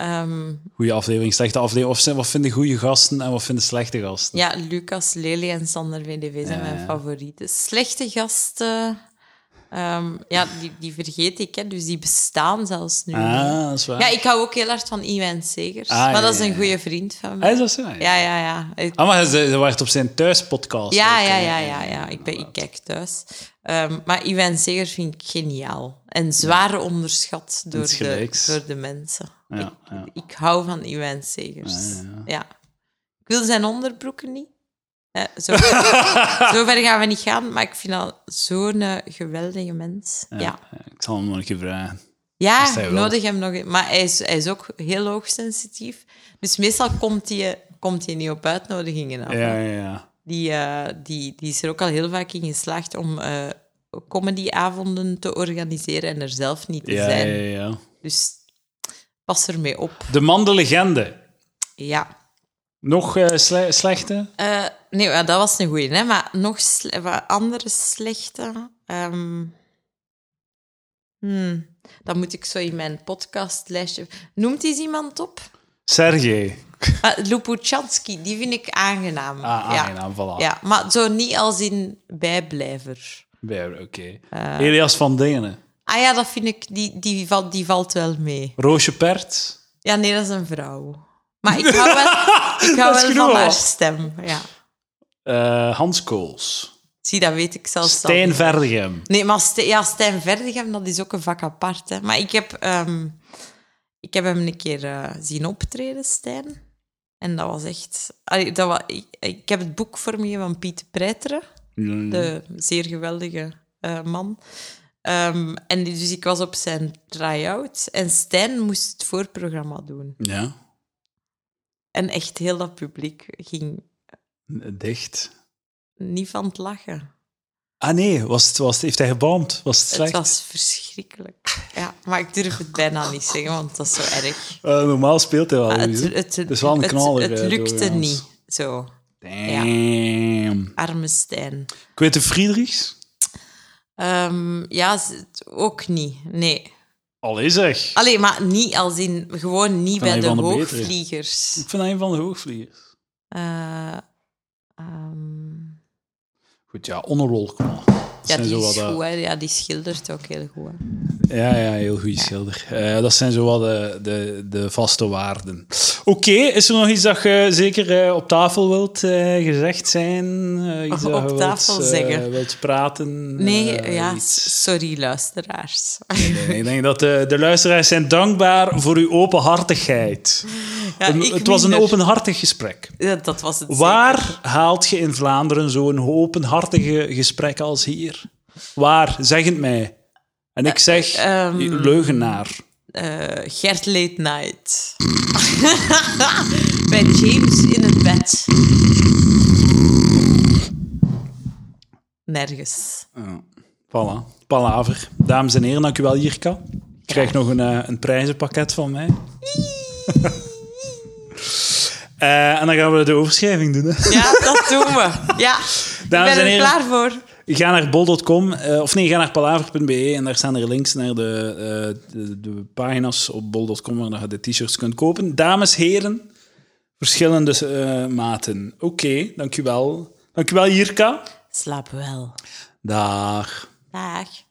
A: Ehm,
B: Goede aflevering, slechte aflevering. Of zijn- wat vinden goede gasten en wat vinden slechte gasten?
A: ja, Lucas, Lely en Sander VDV zijn
B: Ja,
A: mijn
B: ja.
A: favorieten. Slechte gasten. Ehm, ja, die, die vergeet ik, hè, dus die bestaan zelfs nu. niet.
B: Ah, dat is waar.
A: Ja, ik hou ook heel hard van Iwan Segers,
B: Ah,
A: maar
B: ja,
A: dat is
B: ja,
A: een
B: ja.
A: goede vriend van
B: Hij
A: mij.
B: is dat zo?
A: Ja, ja, ja. Ik-
B: Ah, maar ze, ze werd op zijn thuispodcast.
A: Ja,
B: ook,
A: ja,
B: hè.
A: ja, ja, ja. Ik, ben, ik kijk thuis. Ehm, maar Iwan Segers vind ik geniaal. En zwaar onderschat door
B: Iets
A: de,
B: gelijks.
A: door de mensen.
B: Ja, ja. Ah,
A: Ik hou van Iwan Segers.
B: Ja,
A: Ja,
B: ja, ja.
A: Ik wil zijn onderbroeken niet. Eh, zo,
B: <laughs>
A: zover gaan we niet gaan, maar ik vind al zo'n eh, geweldige mens. Ja, ja.
B: Ik zal hem nog een keer vragen. hij wel.
A: nodig hem nog. een- Maar hij is, hij is ook heel hoogsensitief. Dus meestal komt hij, komt hij niet op uitnodigingen af.
B: Ja, ja, ja.
A: Die, eh, die, die is er ook al heel vaak in geslaagd om eh comedyavonden te organiseren en er zelf niet te
B: Ja, ja,
A: zijn.
B: ja, ja.
A: Dus pas ermee op.
B: De man de legende.
A: Ja.
B: Nog eh, sle- slechte?
A: Eh, nee, ja, dat was een goeie, hè? maar nog sle- wat andere slechte. ehm, hmm, dat moet ik zo in mijn podcastlijstje. Noemt eens iemand op?
B: Sergej.
A: Ah, Lupuschansky, die vind ik aangenaam.
B: Ah, aangenaam, voilà.
A: Ja. ja, maar zo niet als in bijblijver.
B: Ja, Oké.
A: Eh.
B: Elias van Dingen.
A: Ah ja, dat vind ik, die, die, valt, die valt wel mee.
B: Roosje Pert.
A: Ja, nee, dat is een vrouw. Maar ik hou wel,
B: <laughs>
A: ik hou
B: Dat is
A: wel
B: genoeg al.
A: van haar stem. Ja.
B: eh, Hans Kools.
A: Zie, dat weet ik zelfs al.
B: Stijn Vergem.
A: Nee, maar Ste- ja, Stijn Verdegem, dat is ook een vak apart. Hè. Maar ik heb, ehm, ik heb hem een keer eh, zien optreden, Stijn. En dat was echt... allee, dat wa- ik, ik heb het boek voor me van Piet Preiteren. de zeer geweldige eh, man. Ehm, en die- dus ik was op zijn try-out en Stijn moest het voorprogramma doen.
B: Ja.
A: En echt heel dat publiek ging
B: Dicht.
A: niet van het lachen.
B: Ah nee, was het, was het- heeft hij gebaamd? Was het slecht?
A: Het was verschrikkelijk. Ja, maar ik durf het bijna niet zeggen, want dat is zo erg.
B: Eh, normaal speelt hij wel.
A: Maar
B: goed,
A: Ah, het,
B: hè?
A: het, het,
B: is wel een
A: het-
B: knaller,
A: het,
B: eh,
A: lukte
B: doorgaans.
A: niet. Zo,
B: Damn.
A: arme Stijn.
B: Quinten Friedrichs?
A: Ehm, ja, z- ook niet. Nee.
B: Allee zeg.
A: Alleen maar niet als in gewoon niet bij
B: een
A: de
B: van de betere.
A: hoogvliegers.
B: Ik vind hij een van de hoogvliegers.
A: Eh, ehm,
B: Goed, ja, Honorable Kwal. Dat
A: ja,
B: zijn zo
A: die
B: wat,
A: is
B: eh,
A: goed, hè. Ja, die schildert ook heel goed. hè.
B: Ja, ja, heel goed schilder. Eh, dat zijn zo wat de, de, de vaste waarden. Oké, is er nog iets dat je zeker eh, op tafel wilt eh, gezegd zijn? Eh, iets dat
A: Op
B: je wilt,
A: tafel
B: eh,
A: zeggen.
B: wilt praten?
A: Nee,
B: eh,
A: ja,
B: iets?
A: s- sorry luisteraars. <laughs>
B: Nee, ik denk dat de, de luisteraars zijn dankbaar voor uw openhartigheid.
A: Ja,
B: Een-
A: ik
B: het was een
A: minder.
B: openhartig gesprek.
A: Ja, dat was het.
B: Waar haalt je in Vlaanderen zo'n openhartige gesprek als hier? Waar? Zeg het mij. En ik zeg,
A: ehm,
B: leugenaar.
A: zeker. Eh, Gert Late Night. <laughs> Bij James in het bed. Nergens.
B: Voilà, palaver. Dames en heren, dank u wel, Jirka. Ik krijg nog een, eh, een prijzenpakket van mij. <laughs> Eh, en dan gaan we de overschrijving doen. Hè.
A: Ja, dat doen we. Ja, ik ben
B: Dames en
A: er
B: heren.
A: klaar voor.
B: Ga naar bol.com, eh, of nee, ga naar palaver.be en daar staan er links naar de, eh, de, de pagina's op bol.com waar je de t-shirts kunt kopen. Dames, heren, verschillende eh, maten. Oké, dank u wel. Dank u wel, Jirka.
A: Slaap wel.
B: Dag.
A: Dag.